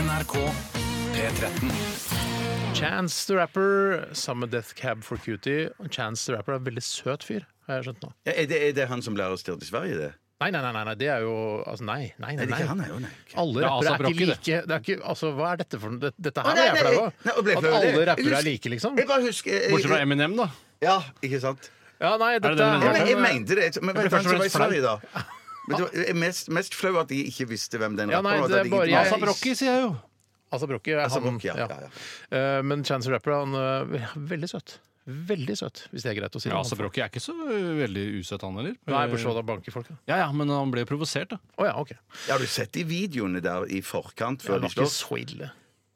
S4: NRK P13.
S1: Chance the Rapper sammen med Death Cab for Cutie. Chance the Rapper er en veldig søt fyr, har jeg skjønt nå.
S2: Ja, er, det, er det han som lærer oss til i Sverige, det?
S1: Nei, nei, nei, nei, nei, det er jo altså, Nei, nei, nei.
S2: Er det
S1: nei.
S2: ikke han? Nei, jo, nei.
S1: Alle
S3: Det er
S1: rappere
S3: ASAP
S1: er ikke
S3: Rocky, altså, det.
S1: like det er ikke, altså, Hva er dette for noe? Dette- Dette
S2: Å,
S1: her er
S2: nei,
S1: jeg
S2: nei,
S1: flau
S2: nei, og ble
S1: av. At
S2: flau, det.
S1: alle
S2: Jeg
S1: rappere
S2: husker-
S1: er like, liksom.
S2: Jeg bare husker jeg-
S3: Bortsett fra
S2: jeg-
S3: Eminem, da.
S2: Ja, ikke sant?
S1: Ja, nei, dette
S3: det den
S2: Jeg, men, jeg
S1: er
S2: mente det. Men vet du
S3: først og
S2: hvem som var i
S3: fremst flau.
S2: Sverige da? Men det var jeg er mest, mest flau at jeg ikke visste hvem den
S1: Ja, nei,
S2: rapperen var.
S1: det
S2: at
S1: er
S2: jeg
S1: bare
S2: ikke-
S1: jeg-
S3: ASAP Rocky, sier jeg jo.
S1: Asap Rocky er
S2: ASAP
S1: han.
S2: Rocky, ja,
S1: ja.
S2: ja,
S1: Eh, Men Chance the Rapper han eh, er veldig søt. Veldig søt, hvis det er greit å si.
S3: Ja, altså, ASAP Rocky er ikke så veldig usøt, han heller.
S1: Nei, bortsett fra å banke folk. da.
S3: Ja, ja, men han ble provosert, da.
S1: Å ja, OK. Det
S2: Ja, Har du sett de videoene der i forkant? Før de
S1: var ikke
S2: slåss?
S1: så ille.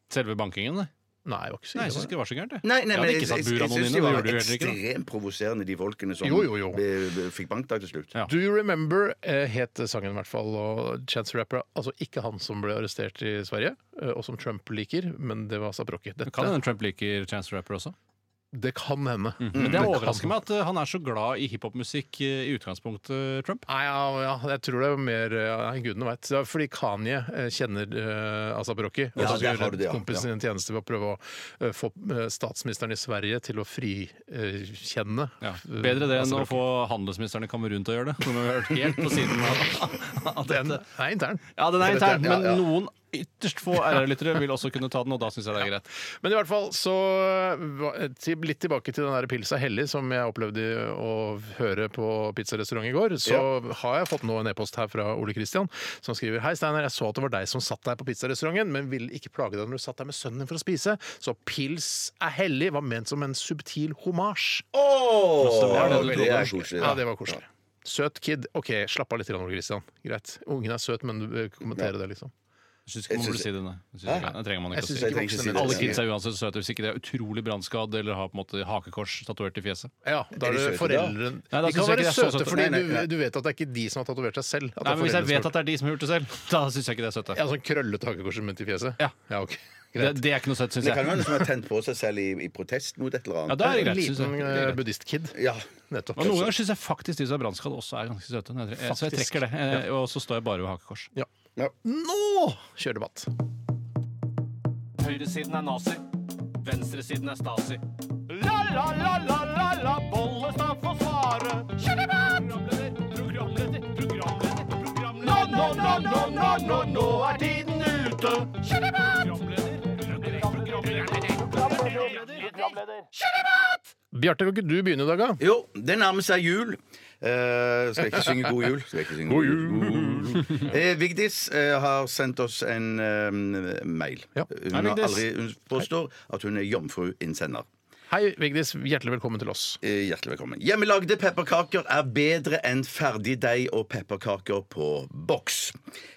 S3: Selve bankingen, det.
S1: Nei, det var ikke så
S3: Nei, jeg
S1: ille. var Mm. det.
S3: syns ikke det var så gærent, jeg.
S2: Nei, nei,
S3: jeg
S2: men
S3: hadde ikke
S2: jeg, jeg,
S3: satt buran
S2: jeg, syns
S3: noen
S2: de
S3: inne, det
S2: var
S3: gjorde du heller ikke. da.
S2: ekstremt provoserende, de folkene som
S1: Jo, jo, jo.
S2: Be, be, fikk bankdag til slutt.
S3: Ja.
S1: Do You Remember eh, het sangen i hvert fall. Og Chance the Rapper, altså ikke han som ble arrestert i Sverige, eh, og som Trump liker, men det var ASAP Rocky. Dette,
S3: Kan hende Trump liker Chance the Rapper også.
S1: det kan hende.
S2: Mm.
S3: Men det
S1: kan-
S3: overrasker meg at eh, han er så glad i hiphopmusikk eh, i utgangspunktet, eh, Trump.
S1: Nei, ja, ja, jeg tror det er mer ja, Nei, gudene veit. Det er fordi Kanye eh, kjenner uh, Asap Rocky. Og
S2: Ja,
S1: så skal
S2: der har du
S1: gjøre
S2: det, ja.
S1: kompisen sin en tjeneste ved å prøve å eh, få eh, statsministeren i Sverige til å eh, frikjenne
S3: Ja. Bedre det enn å få handelsministeren i Kamerun til å gjøre det. Som vi har hørt helt på siden av- av
S1: Den
S3: dette.
S1: er intern.
S3: Ja, den er intern, men
S2: ja.
S3: noen ytterst få RR-lyttere vil også kunne ta den, og da syns jeg det er greit.
S1: Men i hvert fall så eh, til- Litt tilbake til den der pilsa Hellig som jeg opplevde å høre på pizzarestaurant i går. Så har jeg fått nå en e-post her fra Ole Kristian som skriver Hei Steinar, jeg så at det var deg som satt der på pizzarestauranten, men ville ikke plage deg når du satt der med sønnen din for å spise. Så pils er hellig var ment som en subtil homasj.
S2: Ja,
S3: det
S2: det er koselig.
S1: Ja,
S2: da.
S1: det var koselig. Søt kid. OK, slapp av litt, Ole Kristian. Greit. Ungen er søt, men du bør kommentere det, liksom.
S3: Jeg syns ikke man
S2: Jeg
S3: burde
S2: syns-
S3: si det, nei. Jeg Synes ikke, det trenger man
S1: Jeg
S3: ikke
S1: synes
S3: å si.
S2: Jeg trenger ikke si det.
S3: Alle kids er uansett søte hvis ikke de er utrolig brannskadd eller har på en måte hakekors tatovert i fjeset.
S1: Ja, da
S2: Er
S1: er
S2: de
S1: det
S2: søte, da?
S1: foreldrene
S3: Nei, da
S1: De kan
S3: synes jeg ikke
S1: være
S3: det er så
S1: søte
S3: søte.
S1: fordi
S2: Nei, nei, nei.
S1: Du, du vet at det er ikke de som har tatovert seg selv. At
S3: Nei, men Hvis jeg vet
S1: foreldrene
S3: at det er de som har gjort det selv, da syns jeg ikke det er søte.
S1: som har gjort det. Ja, sånn krøllete hakekors midt i fjeset?
S3: Ja.
S1: ok.
S3: Det,
S1: Greit.
S3: det er ikke noe søtt, syns
S2: Det kan jo
S3: jeg.
S2: være noen som har tent på seg selv i, i protest mot et eller
S3: Ja,
S2: annet.
S3: da er det
S1: en
S3: greit, synes
S1: liten
S3: jeg. Det
S1: eh,
S3: er greit.
S1: buddhistkid.
S2: Ja.
S1: Nettopp.
S3: Og noen ganger syns jeg faktisk de som er brannskadd, også er ganske søte. når jeg tre- Så jeg
S1: Faktisk.
S3: trekker det, eh, og så står jeg bare ved hakekors.
S1: Ja.
S2: Ja.
S1: Nå kjører debatt.
S8: Høyresiden er nazi. Venstresiden er stasi. La, la, la, la, la, la, Bollestad får svare. Kjør debatt! Programleder, programleder, programleder. Nå, nå, nå, nå, nå, nå, nå er tiden ute. Kjør debatt!
S1: Bjarte, kan ikke du begynne i dag, da?
S2: Jo, det nærmer seg jul. Eh, skal jeg ikke synge God jul? Skal jeg ikke synge God jul. Eh, Vigdis eh, har sendt oss en eh, mail.
S1: Ja.
S2: Hun,
S3: Hei,
S2: har
S3: Vigdis.
S2: aldri, hun påstår at hun er jomfruinnsender.
S1: Hei, Vigdis. Hjertelig velkommen til oss.
S2: Eh, Hjertelig velkommen. Hjemmelagde pepperkaker er bedre enn ferdig deig og pepperkaker på boks.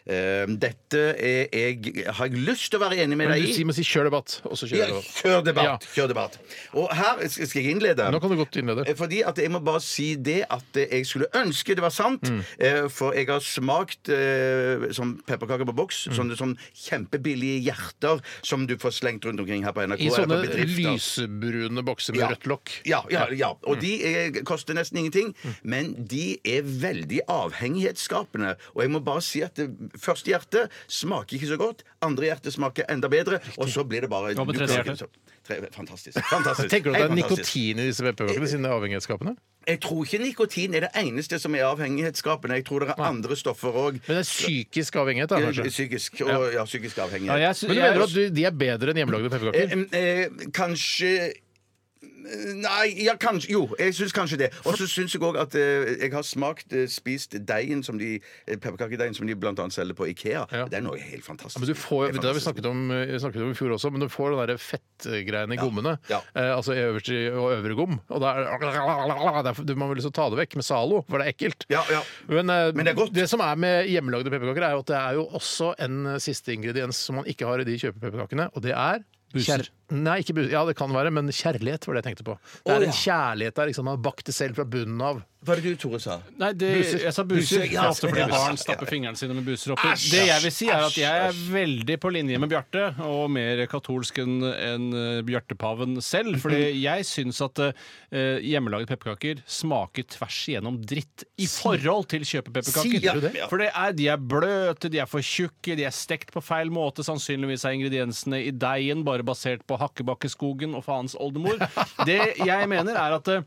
S2: Eh, Dette er jeg, har jeg lyst til å være enig med
S1: Men
S2: deg
S1: du
S2: i.
S1: si- må si 'kjør debatt', og så
S2: Ja,
S1: kjører du.
S2: kjør
S1: Ja.
S2: debatt! Kjør debatt. Og her skal skal jeg innlede.
S1: Nå kan du godt innlede.
S2: Eh, Fordi at Jeg må bare si det at eh, jeg skulle ønske det var sant.
S1: Mm.
S2: eh, For jeg har smakt eh, som pepperkaker på boks.
S1: Mm.
S2: Sånne som kjempebillige hjerter som du får slengt rundt omkring her på NRK.
S1: I
S2: eller på
S1: sånne
S2: bedrifter.
S1: lysebrune sånne bokser med rødt lokk. Mm.
S2: Ja, ja, ja. Og de er, koster nesten ingenting, men de er veldig avhengighetsskapende. Og jeg må bare si at det, første hjerte smaker ikke så godt, andre hjerte smaker enda bedre, og så blir det bare
S3: Hva med
S2: du
S3: tredje
S2: klarer
S3: hjerte?
S2: ikke så- Tre, fantastisk. fantastisk.
S1: Tenker du at
S2: Helt
S1: det er
S2: fantastisk.
S1: nikotin i disse VP-bakene siden det er avhengighetsskapende?
S2: Jeg tror ikke nikotin er det eneste som er avhengighetsskapende. Jeg tror det er andre stoffer òg.
S1: Men det er psykisk avhengighet, da, kanskje?
S2: Psykisk, og, ja, psykisk avhengighet.
S3: Ja, jeg sy-
S1: Men du
S3: jeg-
S1: mener at du, de er bedre enn hjemmelagde pepperkaker?
S2: Eh, eh, kanskje eh, Nei, ja, kanskje Jo, jeg syns kanskje det. Og så syns jeg òg at eh, jeg har smakt, eh, spist deigen som de eh, pepperkakedeigen som de blant annet selger på Ikea.
S1: Ja.
S2: Det er noe helt fantastisk.
S1: Ja, men du får,
S2: Helt
S1: det har vi
S2: fantastisk.
S1: snakket om, eh, snakket om i fjor også, men du får den der fettgreiene i gommene.
S2: Ja.
S1: Eh, altså i øverste og øvre gom. Og da er det- derfor- du- man vil lyst til å ta det vekk med Zalo, for det er ekkelt.
S2: Ja, ja.
S1: Men, eh,
S2: Men det er godt.
S1: som er med hjemmelagde pepperkaker, er jo at det er jo også en eh, siste ingrediens som man ikke har i de kjøpepepperkakene, og det er
S3: Buser.
S1: kjær- Nei, ikke buser. Ja, det kan være, men kjærlighet var det jeg tenkte på. Det er en kjærlighet der. Ikke sant? Man har bakt det selv fra bunnen av.
S2: Hva er det du, Tore, sa?
S3: Nei, det,
S1: Buser.
S3: jeg sa buser.
S2: Buser,
S3: Det
S2: ja.
S3: er ofte fordi
S2: Ja.
S3: barn stapper fingrene sine med buser oppi. Det jeg vil si er at jeg er veldig på linje med Bjarte, og mer katolsk enn enn Bjartepaven selv. Fordi
S1: Mm-hmm.
S3: jeg syns at eh, hjemmelaget pepperkaker smaker tvers igjennom dritt i forhold til kjøpepepperkaker.
S1: Sier du det?
S3: For det er, de er bløte, de er for tjukke, de er stekt på feil måte. Sannsynligvis er ingrediensene i deigen bare basert på Hakkebakkeskogen og faens oldemor. Det jeg mener er at eh,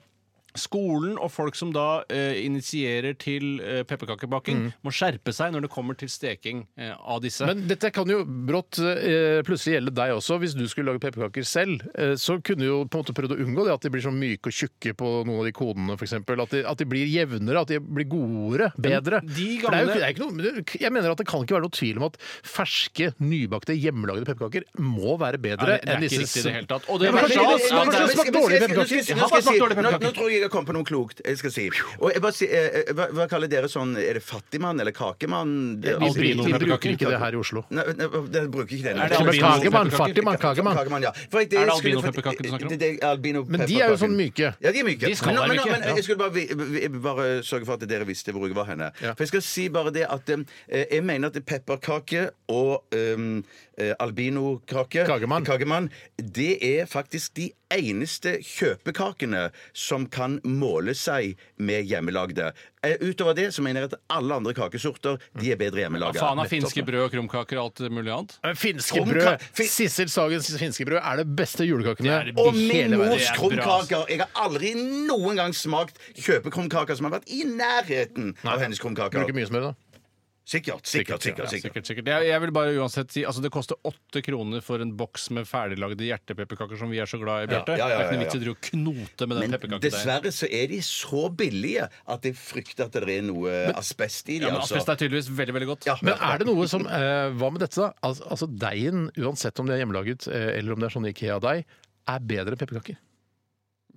S3: Skolen og folk som da eh, initierer til eh, pepperkakebaking,
S2: Mm.
S3: må skjerpe seg når det kommer til steking eh, av disse.
S1: Men dette kan jo brått eh, plutselig gjelde deg også. Hvis du skulle lage pepperkaker selv, eh, så kunne du jo på en måte prøvd å unngå det at de blir så myke og tjukke på noen av de kodene, f.eks. At, de- at de blir jevnere, at de blir godere, bedre.
S3: de
S1: For det er jo,
S3: gamle-
S1: ikke- det er ikke noe, men det- jeg mener at det kan ikke være noe tvil om at ferske, nybakte, hjemmelagde pepperkaker må være bedre
S3: Nei, det- det er
S1: enn
S3: ikke
S1: disse
S3: riktig i det
S1: som-
S3: hele tatt. Og det
S1: Ja,
S3: var
S1: men-
S3: stas.
S1: men-
S3: Ja,
S1: men-
S3: det-
S1: men-
S3: men-
S1: smakt dårlige pepperkaker.
S3: Jeg har bare smakt dårlige
S2: Nå,
S3: pepperkaker.
S2: nå tror jeg jeg kom på noe klokt. Jeg skal si. Og jeg bare si eh, eh, hva, hva kaller dere sånn Er det fattigmann eller kakemann?
S1: Vi bruker-
S3: Albino
S1: vi bruker ikke
S3: pepperkaker.
S1: det her i Oslo.
S2: Nei, nei, dere bruker ikke det.
S3: Er det
S1: Som en
S3: albino
S1: kakemann,
S3: pepperkaker?
S1: fartimann, kakemann.
S2: Kakemann, ja. For jeg-
S3: Er det
S2: skulle-
S3: albinopepperkaker du snakker om?
S2: Det, det er albino
S1: Men de er jo sånn
S2: pepperkaker.
S1: myke.
S2: Ja, de er myke.
S3: De skal
S2: men, nå-
S3: være
S2: men, nå-
S3: myke,
S2: men jeg skulle bare, vi- vi- jeg bare sørge for at dere visste hvor jeg var henne.
S1: Ja.
S2: For jeg skal si bare det at eh, jeg mener at pepperkake og um, eh, albinokake
S1: Kagemann.
S2: det er faktisk de eneste kjøpekakene som kan måle seg med hjemmelagde. Eh, Utover det så mener jeg at alle andre kakesorter de er bedre hjemmelaga.
S3: Faen av finske brød og krumkaker og alt mulig annet.
S1: Men Finske
S2: Krom-
S1: brød,
S2: fin-
S1: Sissel Sagens finske brød er det beste julekakene
S3: Det er det
S2: Og
S1: i
S2: min
S1: hele verden.
S2: mors
S3: Det er bra,
S2: krumkaker. Jeg har aldri noen gang smakt kjøpekrumkaker som har vært i nærheten av hennes krumkaker.
S1: Bruker mye smør, da.
S2: Sikkert, sikkert, sikkert. sikkert.
S3: Sikkert, sikkert. Jeg, jeg vil bare uansett si altså Det koster åtte kroner for en boks med ferdiglagde hjertepepperkaker som vi er så glad i, Bjarte.
S2: Ja, ja, ja,
S3: Det er ikke noe
S2: ja, ja.
S3: vits i å drive og knote med den
S2: Men
S3: pepperkakedeigen.
S2: dessverre så er de så billige at jeg frykter at det er noe asbest i
S3: Ja, altså.
S2: dem.
S3: men asbest er tydeligvis veldig veldig godt.
S2: Ja.
S1: Men er det noe som eh, Hva med dette, da? Altså, altså Deigen, uansett om det er hjemmelaget eh, eller om det er sånn Ikea-deig, er bedre enn pepperkaker.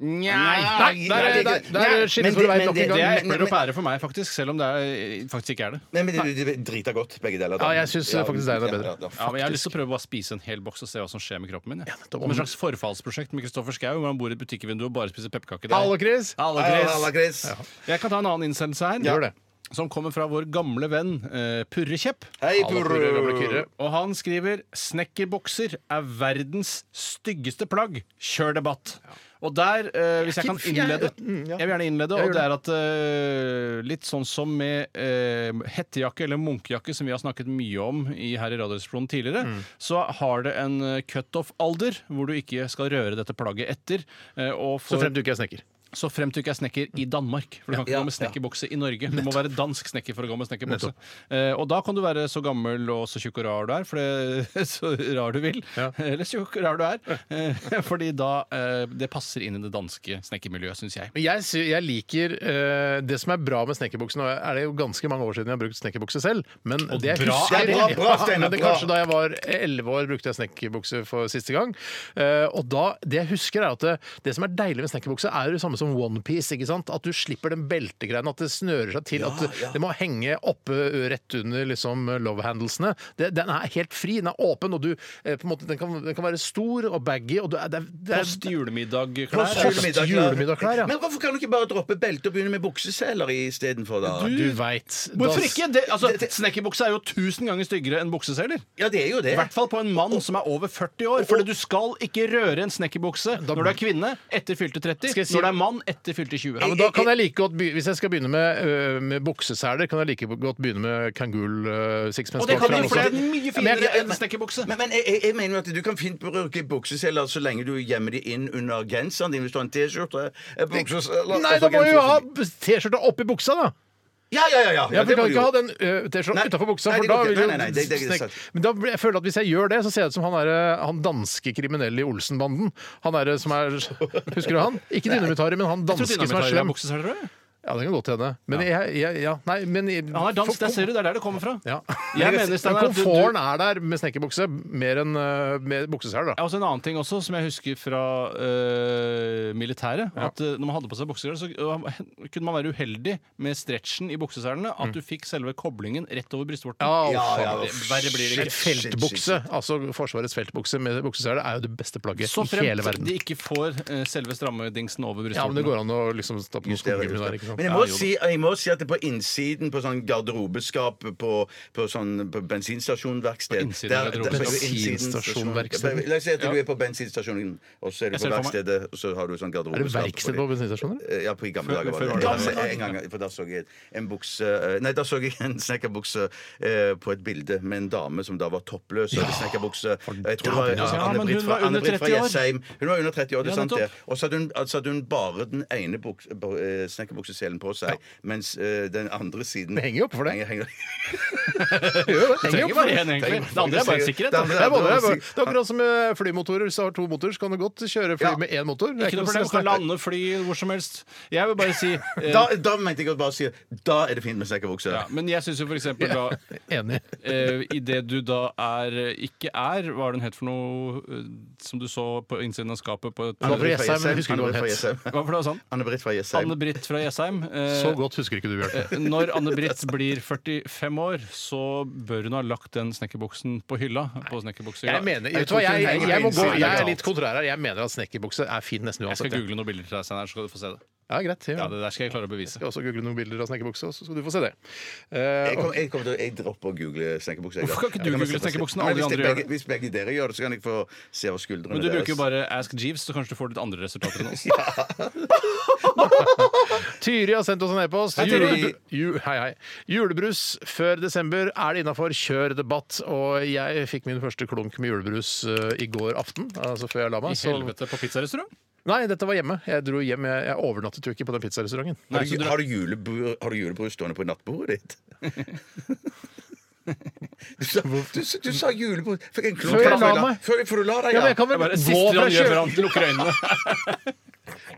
S2: Nei,
S1: der,
S2: nei, det er
S1: der,
S2: ikke-
S1: der
S2: Nei,
S1: skilles
S2: men
S1: våre
S2: det-
S1: veier
S2: men
S1: nok en
S2: det-
S3: Det
S1: gang.
S3: er
S2: Men-
S3: epler og pærer for meg, faktisk, selv om det er, eh, faktisk ikke er det.
S2: Nei, men det, det det driter godt, begge deler. da.
S1: Ja, jeg synes faktisk det er bedre.
S2: ja,
S3: Ja, men Jeg har lyst til å prøve å bare spise en hel boks og se hva som skjer med kroppen min. Ja.
S1: nettopp.
S3: Som et slags forfallsprosjekt med Kristoffer Schau, hvor han bor i et butikkvindu og bare spiser pepperkaker.
S1: Hallo, Chris!
S3: Hallo,
S2: Hei,
S3: Chris.
S2: halla, Chris.
S3: Jeg kan ta en annen innsendelse her.
S1: Gjør det.
S3: Som kommer fra vår gamle venn eh, Purre Kjepp.
S2: Hei,
S1: Hallo, Kyrre, gamle
S2: Purre.
S1: Kyrre.
S3: Og han skriver 'Snekkerbukser er verdens styggeste plagg. Kjør debatt'. Og der, eh, hvis jeg kan
S1: Jeg-
S3: innlede
S1: Mm, ja.
S3: Jeg vil gjerne innlede,
S1: Jeg
S3: og
S1: gjør
S3: det er at eh, litt sånn som med eh, hettejakke eller munkejakke, som vi har snakket mye om i, her i Radioresepsjonen tidligere,
S1: Mm.
S3: så har det en eh, cutoff-alder hvor du ikke skal røre dette plagget etter. eh, og
S1: Så
S3: for,
S1: fremt du ikke er snekker.
S3: så fremt du ikke er snekker i Danmark. For du kan ikke gå med snekkerbukse i Norge. Du må være dansk snekker for å gå med snekkerbukse. Eh, og da kan du være så gammel og så tjukk og rar du er, for det, så rar du vil. Eller så tjukk og rar du er. Eh, fordi da eh, Det passer inn i det danske snekkermiljøet, syns jeg.
S1: Men jeg, sy- jeg liker eh, Det som er bra med snekkerbukse Nå er det jo ganske mange år siden jeg har brukt snekkerbukse selv. Men det jeg
S3: bra
S1: husker-
S2: er det. Bra, bra, Steinar,
S1: Men det er
S2: bra.
S1: Kanskje da jeg var elleve år, brukte jeg snekkerbukse for siste gang. Eh, og da, det jeg husker, er at det, det som er deilig med snekkerbukse, er jo det samme som onepiece, ikke sant? At du slipper den beltegreien, at det snører seg til, at det- det må henge oppe ø, rett under liksom love handlesene. Det, den er helt fri, den er åpen, og du eh, på en måte, den kan, den kan være stor og baggy, og du, det er, det er
S3: Post julemiddag-klær.
S1: Post julemiddag, Julemiddagklær, ja.
S2: Men hvorfor kan du ikke bare droppe belte og begynne med bukseseler istedenfor, da?
S1: Du veit.
S3: Hvorfor ikke? Det, altså, Snekkerbukse er jo tusen ganger styggere enn bukseseler.
S2: Ja, det er jo det.
S3: I hvert fall på en mann som er over 40 år. For du skal ikke røre en snekkerbukse når du er kvinne etter fylte 30,
S1: Skal jeg si-
S3: når du er mann etter fylte 20.
S1: Ja, men da kan jeg like godt be- Hvis jeg skal begynne med, ø, med bukseseler, kan jeg like godt begynne med Kangool uh, sixpence.
S3: Og det kan
S1: bakfra
S3: du, for det er
S1: også.
S3: mye
S1: Ja, men
S3: finere
S1: jeg-
S3: enn snekkerbukse.
S2: Men, men jeg, jeg- jeg mener jo at du kan fint bruke bukseseler så lenge du gjemmer de inn under genseren din hvis du har en T-skjorte. eh, bukseseler,
S1: Nei,
S2: altså
S1: da må
S2: genser-
S1: du jo ha T-skjorta oppi buksa, da!
S2: Ja, ja, ja. ja.
S1: Ja,
S2: ja
S1: for Du
S2: det må
S1: kan
S2: du
S1: ikke
S2: jo.
S1: ha den ø, T-skjorta
S2: Nei,
S1: utafor buksa,
S2: nei,
S1: for
S2: det
S1: da
S2: går ikke.
S1: vil jo
S2: Nei, nei, nei, det- det er ikke
S1: snekk-
S2: sant.
S1: Men da blir- jeg føler at hvis jeg gjør det, så ser jeg ut som han, er, øh, han danske kriminelle i Olsenbanden. Han er, øh, som er Husker du han? Ikke Dynamitt-Harry, men han danske som er slem. Ja, det kan godt hende. Men jeg, jeg ja, Nei, men
S3: Han er dansk, der ser du, det er der det kommer fra.
S1: Ja.
S3: Jeg mener,
S1: Men
S3: Steinar, at du-
S1: komforten er der med snekkerbukse mer enn eh, med buksesel,
S3: Ja,
S1: da.
S3: også En annen ting også, som jeg husker fra øh, militæret. at øh, Når man hadde på seg bukseseler, så øh, kunne man være uheldig med stretchen i bukseselene. At du fikk selve koblingen rett over brystvorten.
S2: Ja, ja, ja.
S3: Verre blir det
S1: En
S3: ikke.
S2: Shit, shit,
S1: feltbukse, altså Forsvarets feltbukse med buksesel, er jo det beste plagget
S3: Så
S1: i hele
S3: fremt
S1: verden.
S3: de ikke får øh, selve strammedingsen over
S1: Ja, men
S3: brystvorten.
S1: det går an å liksom stappe noen skogegummi
S2: Justere, justere.
S1: der, ikke sant?
S2: Men jeg må, si, jeg må si at det på innsiden på sånn garderobeskap på, på, sånn, på bensinstasjonverksted
S3: På innsiden av garderoben.
S2: på
S1: Bensinstasjonverksted.
S2: innsiden- La oss si at du er på bensinstasjonen, og så er du
S3: Jeg ser
S2: på
S3: for meg-
S2: verkstedet, og så har du sånn
S1: Er det
S2: garderobeskap.
S1: verksted på bensinstasjoner?
S2: Eh, Ja, på i
S3: Før-
S2: gamle dager. var
S3: før
S2: det.
S3: var det
S2: Ja,
S3: det.
S2: men en gang, for da så jeg en bukse eh, Nei, da så jeg en snekkerbukse eh, på et bilde med en dame som da var toppløs. og hadde snekkerbukse. Eh, Jeg tror det var
S3: Ja, men
S2: Anne-Britt
S3: hun
S2: fra,
S3: var under
S2: Anne-Britt fra
S3: 30 år.
S2: Jessheim. Hun var under 30 år, det
S3: Ja,
S2: er sant det.
S3: nettopp.
S2: Og så hadde hun, altså, hadde hun bare den ene buks- bo- eh, snekkerbukseselen på seg, mens eh, den andre siden
S1: Det henger jo opp for det.
S2: Henger- henger-
S3: det trenger bare én, egentlig. Det andre er bare sikkerhet.
S2: Det
S3: Da.
S2: andre-
S1: Det er, både, det, er bare, det er akkurat som med flymotorer. Hvis du har to motorer, så kan du godt kjøre fly
S2: Ja.
S1: med én motor. Det er
S3: Ikke noe problem,
S1: stress,
S3: kan
S1: nei.
S3: lande, fly hvor som helst. Jeg vil bare si øh,
S2: Da, da mente jeg å bare si da er det fint med snekkerbukse.
S3: ja, Men jeg syns jo for eksempel da
S1: Enig.
S3: eh, i det du da er eh, ikke er, hva er den het for noe eh, som du så på innsiden av skapet på et
S1: var fra Jessheim, men jeg husker ikke hva den
S2: Anne-Britt fra
S1: het.
S2: Jessheim.
S3: Hva for det var sånn?
S2: Anne-Britt fra Jessheim.
S3: Anne-Britt fra Jessheim. eh,
S1: Så godt husker ikke du, Bjarte.
S3: Når Anne-Britt blir 45 år, så bør hun ha lagt den snekkerbuksen på hylla. På snekkerbuksehylla.
S1: Jeg mener,
S2: Jeg
S1: vet du
S2: tror
S1: hva,
S2: ikke
S1: jeg,
S2: hun henger
S1: jeg,
S2: på
S1: må gå,
S2: innsiden,
S1: jeg
S2: det
S1: er
S2: er
S1: litt kontrær her. Jeg mener at snekkerbukse er fin nesten
S3: Jeg skal
S1: uansett.
S3: google noen bilder til deg, Steinar, så skal du få se det.
S1: Ja, greit.
S3: Ja,
S1: Ja.
S3: Det der skal jeg klare å bevise.
S1: Jeg skal også google noen bilder av snekkerbukse, og så skal du få se det. Eh,
S2: Jeg, kom, jeg, kommer til, å- jeg dropper å google snekkerbukse. jeg, da.
S3: Hvorfor kan ikke du
S2: Jeg kan
S3: google
S2: bare se på-
S3: snekkerbuksen?
S2: Nei,
S3: Alle de
S2: hvis
S3: andre
S2: det-
S3: gjør
S2: begge-
S3: det.
S2: Hvis begge dere gjør det, så kan jeg få se over skuldrene
S3: Men du bruker jo bare
S2: deres.
S3: Ask Jeeves, så kanskje du får litt andre resultater enn oss.
S1: Tyri har sendt oss en e-post.
S2: Hei, Tyri.
S1: Julebru- ju- Hei, hei. Julebrus før desember. Er det innafor? Kjør debatt. Og jeg fikk min første klunk med julebrus eh, i går aften. Altså før jeg la meg.
S3: I
S1: Så...
S3: helvete, på pizzarestaurant?
S1: Nei, dette var hjemme. Jeg dro hjem. Jeg, jeg overnattet jo ikke på den pizzarestauranten.
S2: Har
S3: Nei,
S2: du,
S3: så du-
S2: har, du julebru, har du julebrus stående på nattbordet ditt? Du sa, du, sa- du sa julebrus Fikk en klump
S1: Før jeg
S2: i
S1: la
S2: øynene.
S1: meg.
S2: Før, før du la
S1: Ja,
S2: deg, ja.
S1: men jeg kan
S3: Det
S1: vel
S3: er bare det
S1: gå
S3: siste
S1: fra
S3: han gjør før han lukker øynene.
S1: kjø...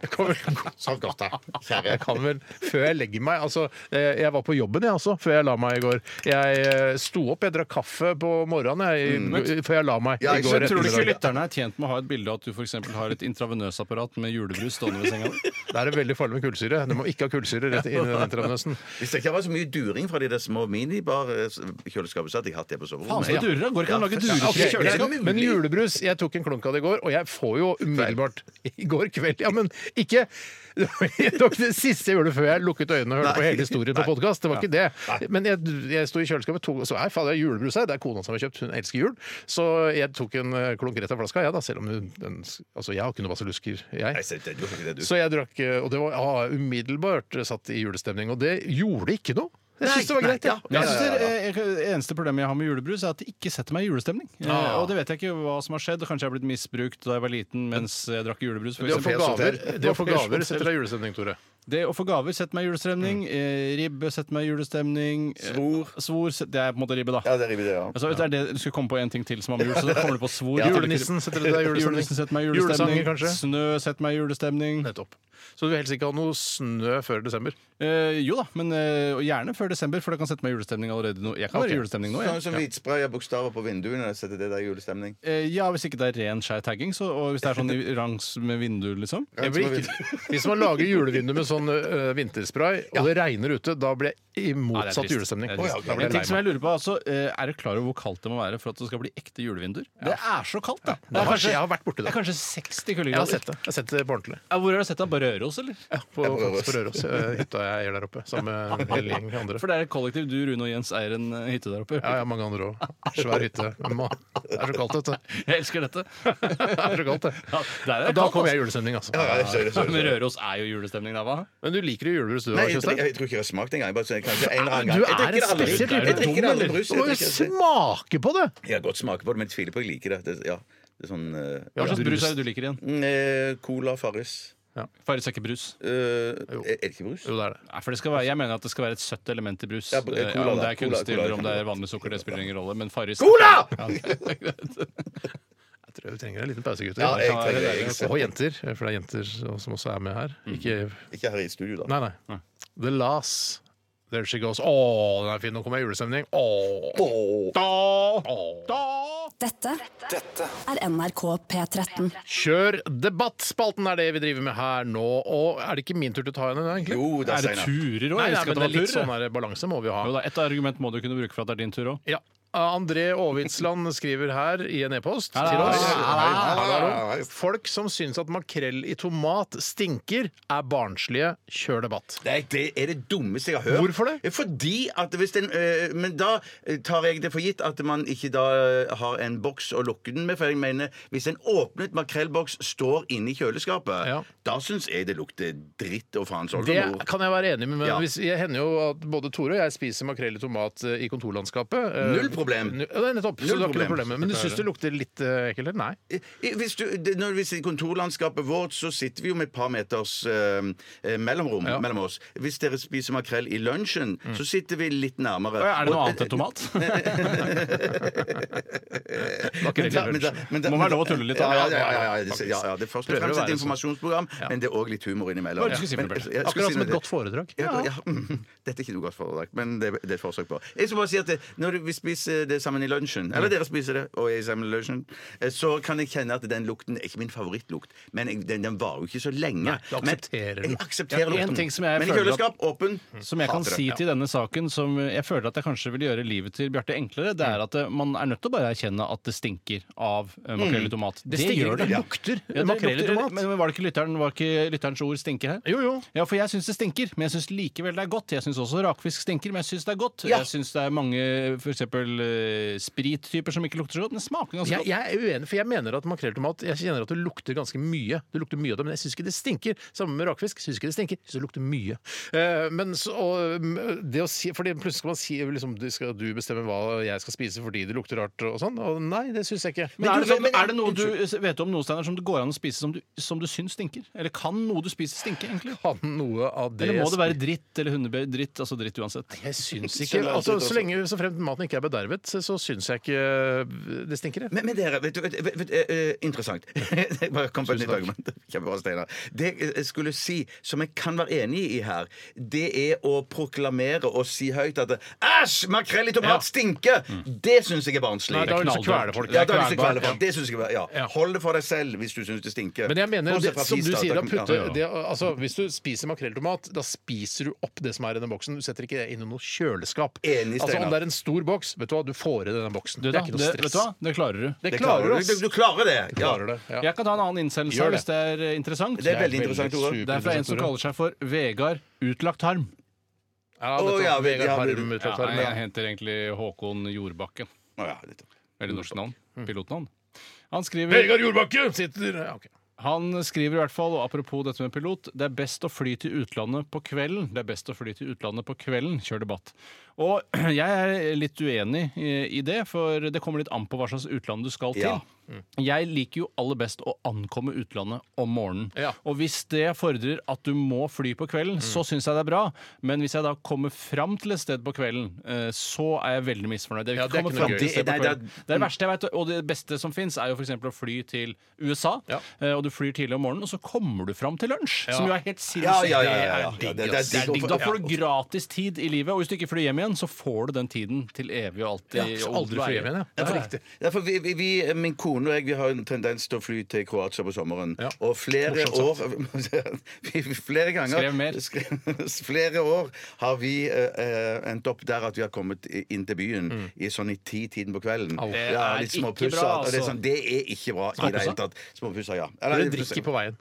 S3: Sånn
S1: Jeg kan vel, før jeg legger meg Altså, eh, jeg var på jobben, jeg også, før jeg la meg i går. Jeg eh, sto opp, jeg drakk kaffe på morgenen jeg, i- før jeg la meg.
S2: Ja,
S1: i
S2: jeg
S1: går
S2: skjønner.
S3: Tror du Mm. ikke
S1: ettermiddag.
S3: lytterne er tjent med å ha et bilde av at du f.eks. har et intravenøsapparat med julebrus stående ved senga di?
S1: Det er veldig farlig med kullsyre. Du må ikke ha kullsyre rett inn i den intravenøsen.
S2: Hvis det ikke var så mye during fra de der små eh, minibar-kjøleskapene, så hadde jeg hatt det på
S3: Faen,
S2: soverommet.
S3: så det durer, da. Går ikke an å lage durefri
S1: Ok,
S3: kjøleskap?
S1: jeg, men julebrus, jeg tok en klunk av det i går, og jeg får jo umiddelbart I går kveld, ja, men ikke Det var ikke det siste jeg gjorde før jeg lukket øynene og hørte på hele historien på podkast. Det var ikke det. Men jeg, jeg sto i kjøleskapet tok, og så her, faen, det er julebrus her. Det er kona som har kjøpt, hun elsker jul. Så jeg tok en eh, klunk rett av flaska, jeg, da, selv om hun den, Altså, jeg har ikke noe basillusker,
S2: Nei,
S1: jeg.
S2: se, det, du har ikke det, du.
S1: Så jeg drakk, eh, og det var ja, umiddelbart satt i julestemning. Og det gjorde ikke noe. Jeg syns det var
S2: Nei,
S1: greit.
S2: nei,
S1: jeg.
S2: ja.
S3: Jeg synes det, er- jeg- det eh, eneste problemet jeg har med julebrus, er at det ikke setter meg i julestemning. Eh,
S1: Ah,
S3: Og det vet jeg ikke hva som har skjedd. Kanskje jeg har blitt misbrukt da jeg var liten mens jeg drakk julebrus. For
S1: Det å få
S3: eksempel.
S1: gaver, det å få gaver Mm. setter deg i julestemning, Tore.
S3: det å få gaver setter meg i julestemning. Eh, Ribbe setter meg i julestemning. Eh,
S2: Svor.
S3: Svor set- Det er på en måte ribbe, da.
S2: Ja, det river det, ja.
S3: Altså, det er det, du skulle komme på en ting til som har med jul, så da kommer du på svor.
S1: Ja. Julenissen setter deg i julestemning.
S3: Julenissen setter meg i julestemning.
S1: Julesanger, kanskje?
S3: Snø setter meg i julestemning.
S1: Nettopp. Så du vil helst ikke ha noe snø før desember.
S3: Eh, jo da, men eh, og gjerne før desember, for da kan jeg sette meg i julestemning allerede nå. Jeg kan være i julestemning nå, jeg.
S2: Sånn som hvitsprayer bokstaver på vinduene. Setter det der i julestemning.
S3: Eh, ja, hvis ikke det er ren skeiv tagging, så, og hvis det er sånn i rangs med vinduer, liksom.
S1: Jeg blir ikke, hvis man lager julevindu med sånn øh, vinterspray, og det regner ute, da blir jeg i
S3: Nei, det er
S1: motsatt
S3: trist.
S1: julestemning.
S3: Det er, trist.
S1: Da blir
S3: En
S1: jeg
S3: ting som
S1: lei meg.
S3: jeg lurer på, altså, eh, er du klar over hvor kaldt det må være for at det skal bli ekte julevinduer? Det er så kaldt, da! Det
S1: Jeg
S3: er
S1: har-
S3: kanskje,
S1: jeg har vært borti det.
S3: det er kanskje 60
S1: Jeg har sett
S3: kuldegrader.
S1: det Jeg har sett det på ordentlig.
S3: Ja, Hvor har du sett det? På Røros, eller?
S1: På, faktisk på Røros. øh, Hytta jeg eier der oppe, sammen med en hel gjeng andre.
S3: For det er et kollektiv. Du, Rune og Jens eier en eh, hytte der oppe.
S1: Ja, ja, mange andre òg. Svær hytte. Ma- Det er så kaldt, vet du.
S3: Jeg elsker dette.
S1: Det er så kaldt, det.
S3: Ja, der er det
S1: Da
S3: kaldt,
S1: kommer jeg
S3: altså.
S1: i julestemning, altså.
S2: sånn-
S3: Men Røros er jo julestemning, da, hva?
S1: Men du liker jo julebrus, du
S2: Nei,
S1: òg,
S2: jeg,
S1: Kjøstheim?
S2: jeg, jeg tror ikke jeg har smakt engang. Bare så jeg- kanskje en eller annen gang.
S1: Du
S2: Jeg
S1: er en
S2: drikker det aldri.
S1: spesiell
S2: Jeg drikker det aldri brus.
S1: Du
S2: Jeg,
S1: må jo
S2: drikker det.
S1: smake på det!
S2: jeg har godt smake på det, men jeg tviler på at jeg liker det. det ja, det er sånn eh,
S3: Hva slags brus er det du liker igjen?
S2: mm, eh, Cola Farris.
S3: Farris er ikke brus.
S2: Eh, er det ikke brus?
S1: Jo, det er det.
S3: Nei, for det skal være, Jeg mener at det skal være et søtt element i brus.
S2: Ja, cola,
S3: Eh, ja, om det
S2: da.
S3: er kunstig
S2: Cola, cola,
S3: eller om det er
S2: cola.
S3: vanlig sukker, det spiller ingen rolle. Men Farris
S2: Cola!
S3: Ja, det er greit.
S1: Jeg tror vi trenger en liten pause, gutter.
S2: Ja, jeg trenger det, jeg
S1: og jenter, for det er jenter som også er med her.
S2: Mm.
S1: Ikke
S2: Ikke her i studio, da.
S1: Nei, nei. The Last. There she goes. Å, den er fin. Nå kommer jeg i julestemning. Å. Da.
S5: Dette er NRK P13.
S1: Kjør debattspalten er det vi driver med her nå. Og er det ikke min tur til å ta henne, egentlig?
S2: Jo, det
S3: Er
S2: er
S3: det
S2: Steinar.
S3: turer òg?
S1: Nei,
S3: Jeg
S1: nei,
S3: elsker
S1: men det
S3: at det
S1: er
S3: var
S1: litt
S3: turer.
S1: sånn her balanse må vi jo ha.
S3: Jo da, Et argument må du kunne bruke for at det er din tur òg.
S1: Ja. André Aavitsland skriver her i en e-post
S3: Hallo.
S1: til oss.
S3: Hallo.
S1: Hallo, hallo. Folk som syns at makrell i tomat stinker, er barnslige. Kjør debatt.
S2: Nei, det er det dummeste jeg har hørt.
S1: Hvorfor det?
S2: Eh, Fordi at hvis den, eh, Men da eh, tar jeg det for gitt at man ikke da eh, har en boks å lukke den med. For jeg mener, hvis en åpnet makrellboks står inne i kjøleskapet,
S1: Ja.
S2: da syns jeg det lukter dritt og faens
S1: Det
S2: oldemor.
S1: kan jeg være enig med, men
S2: Ja.
S1: hvis, jeg hender jo at både Tore og jeg spiser makrell i tomat eh, i kontorlandskapet. Eh,
S2: Null problem.
S1: nu- Ja, det er nettopp. så
S2: Null
S1: du har ikke noe
S2: problem.
S1: problem. med det. Men du syns det lukter litt eh, ekkelt? eller? Nei.
S2: I- i- Hvis du, det- når vi sitter i kontorlandskapet vårt, så sitter vi jo med et par meters eh, eh, mellomrom
S1: Ja.
S2: mellom oss. Hvis dere spiser makrell i lunsjen, så sitter vi litt nærmere.
S3: Er det noe
S2: Og-
S3: annet enn tomat?
S2: Men da- men da- men da-
S3: Må være lov å tulle litt, da.
S2: Ja, ja, ja, ja, ja, det, ja, ja, det er først og
S1: Prøver å
S2: fremst et
S1: være sånn.
S2: informasjonsprogram, men det er òg litt humor innimellom.
S3: Hva er det du skulle si,
S2: Men-
S3: Bjarte?
S2: jeg skulle
S1: Akkurat
S2: si
S1: som et
S2: det-
S1: godt foredrag.
S2: Ja, ja. mm, Dette er ikke noe godt foredrag, men det, det er et forsøk på. Jeg skal bare si at det, Når vi spiser det sammen i lunsjen, eller dere spiser det og jeg er sammen i lunsjen, eh, så kan jeg kjenne at den lukten er ikke min favorittlukt, men jeg, den, den varer jo ikke så lenge.
S1: Nei, du aksepterer
S2: men,
S1: den.
S2: jeg aksepterer
S3: Ja, en
S2: lukten.
S3: ting som jeg
S2: men i
S3: føler at- Mm.
S2: kjøleskap, åpen,
S3: Som jeg kan
S2: hater det.
S3: si til denne saken, som jeg føler at jeg kanskje vil gjøre livet til Bjarte enklere, det
S2: Mm.
S3: er at eh, man er nødt til å bare erkjenne at det stinker av eh,
S2: Mm.
S3: makrell i tomat. Det,
S1: stinker ikke, det
S3: Ja.
S1: lukter
S3: Ja, det
S1: makrell i
S3: lukter-
S1: tomat.
S3: Men men var det ikke, lytteren, var ikke lytterens ord 'stinke' her?
S1: Jo, jo.
S3: Ja, for jeg syns det stinker, men jeg syns likevel det er godt. Jeg syns også rakfisk stinker, men jeg syns det er godt. Jeg syns det er mange f.eks. Uh, sprittyper som ikke lukter så godt, men smaker ganske
S1: Jeg,
S3: godt.
S1: jeg er uenig, for jeg mener at makrell i tomat Jeg kjenner at det lukter ganske mye. Det lukter mye av det, Men jeg syns ikke det stinker. Samme med rakfisk. Syns ikke det stinker. Syns det lukter mye. Eh, men så, og, mm, det å si Fordi plutselig skal man si liksom, du skal du bestemme hva jeg skal spise fordi det lukter rart og sånn. Og nei, det syns jeg ikke.
S3: Men er det,
S2: Men-
S3: sånn,
S2: men-
S3: er det noe du vet du om noe Steiner, som det går an å spise som du, som du syns stinker? Eller kan noe du spiser stinke, egentlig?
S1: Kan noe av det
S3: Eller må
S1: jeg
S3: det være dritt eller hundebøy? Dritt, altså dritt uansett.
S1: Jeg syns ikke altså, Så lenge så fremt maten ikke er bedervet, så- så syns jeg ikke øh, det stinker. jeg.
S2: Men, men dere, vet du, vet, vet, vet, eh, Interessant. Jeg bare kom på et nytt argument. Kjempebra, Steinar. Det jeg skulle si, som jeg kan være enig i her, det er å proklamere og si høyt at Æsj! Makrell i tomat stinker! Det syns jeg er barnslig.
S1: Mm. Nei, da har du lyst til å kvele
S3: knalldørt.
S1: folk.
S2: ja, da vil jeg
S1: Kvelbart,
S2: kvele folk. Det liksom synes jeg var, ja.
S1: Ja.
S2: Hold det for deg selv hvis du syns det stinker.
S1: Men jeg mener, det,
S2: Bortsett fra
S1: som du
S2: pizza,
S1: sier, da
S2: kan-
S1: putter,
S2: ja.
S1: det, altså, hvis du spiser makrell i tomat, da spiser du opp det som er i den boksen. Du setter ikke det inn i noe kjøleskap.
S2: Enig,
S1: altså,
S2: Steinar.
S1: om det er en stor boks, vet du hva, du får i denne boksen.
S3: Du,
S1: det
S3: da,
S1: er ikke
S3: det,
S1: noe
S3: vet
S1: stress.
S3: du hva? Det klarer du.
S2: Det klarer du. Du, du klarer det.
S1: Du klarer det. Ja.
S3: Jeg kan ta en annen innsendelse
S1: Gjør det.
S3: hvis det er eh, interessant.
S2: Det er veldig interessant, Tore.
S3: Det er fra en som kaller seg for Vegard Utlagt Harm.
S1: ja,
S2: Å,
S1: dette,
S2: ja, vi-
S1: Vegard
S2: ja, vi-
S1: Harm, utlagt
S3: Ja,
S1: Harm,
S3: jeg
S1: ja.
S3: henter egentlig Håkon Jordbakken.
S2: Å, ja, litt.
S3: Veldig norsk navn. Mm. Pilotnavn. Han skriver,
S1: Vegard Jordbakke sitter ja, ok.
S3: han skriver i hvert fall, og apropos dette med pilot, det er best å fly til utlandet på kvelden. Det er best å fly til utlandet på kvelden, kjør debatt. Og jeg er litt uenig i i det, for det kommer litt an på hva slags utland du skal til.
S2: Ja.
S1: Mm.
S3: Jeg liker jo aller best å ankomme utlandet om morgenen.
S1: Ja. Mm.
S3: Og hvis det fordrer at du må fly på kvelden, så syns jeg det er bra. Men hvis jeg da kommer fram til et sted på kvelden, eh, så er jeg veldig misfornøyd. Jeg vil
S1: Ja,
S3: ikke
S1: det er
S3: komme
S1: ikke noe
S3: fram
S1: gøy.
S3: til et sted på
S2: Nei, det er-
S3: kvelden. Det er det verste jeg vet, og det beste som fins, er jo f.eks. å fly til USA.
S1: Ja.
S3: eh, Og du flyr tidlig om morgenen, og så kommer du fram til lunsj,
S1: Ja.
S3: som jo er helt sinnssykt.
S2: Ja, ja, ja, ja, ja.
S3: Det er digg,
S2: Ja, det- det er
S3: ass. Det er
S2: digg å
S3: digg.
S2: få-
S3: Da får du
S2: ja.
S3: gratis tid i livet, og hvis du ikke flyr hjem igjen, så får du den tiden til evig og alltid.
S1: Ja, så
S3: og
S1: aldri fly hjem igjen, ja. Det er riktig.
S2: Ja, for vi, vi, vi, min kone og jeg vi har en tendens til å fly til Kroatia på sommeren.
S1: Ja.
S2: Og flere år vi, Flere ganger
S3: Skrev mer.
S2: skre- Flere år har vi eh, eh, endt opp der at vi har kommet i- inn til byen
S1: Mm.
S2: i sånn i ti-tiden på kvelden.
S3: Au. Det
S2: Ja,
S3: er
S2: litt
S3: ikke
S2: småpusset,
S3: bra,
S2: og Det er,
S3: altså.
S2: sånn, det er ikke bra i det hele tatt. Småpusser, ja.
S1: Dere drikker på veien.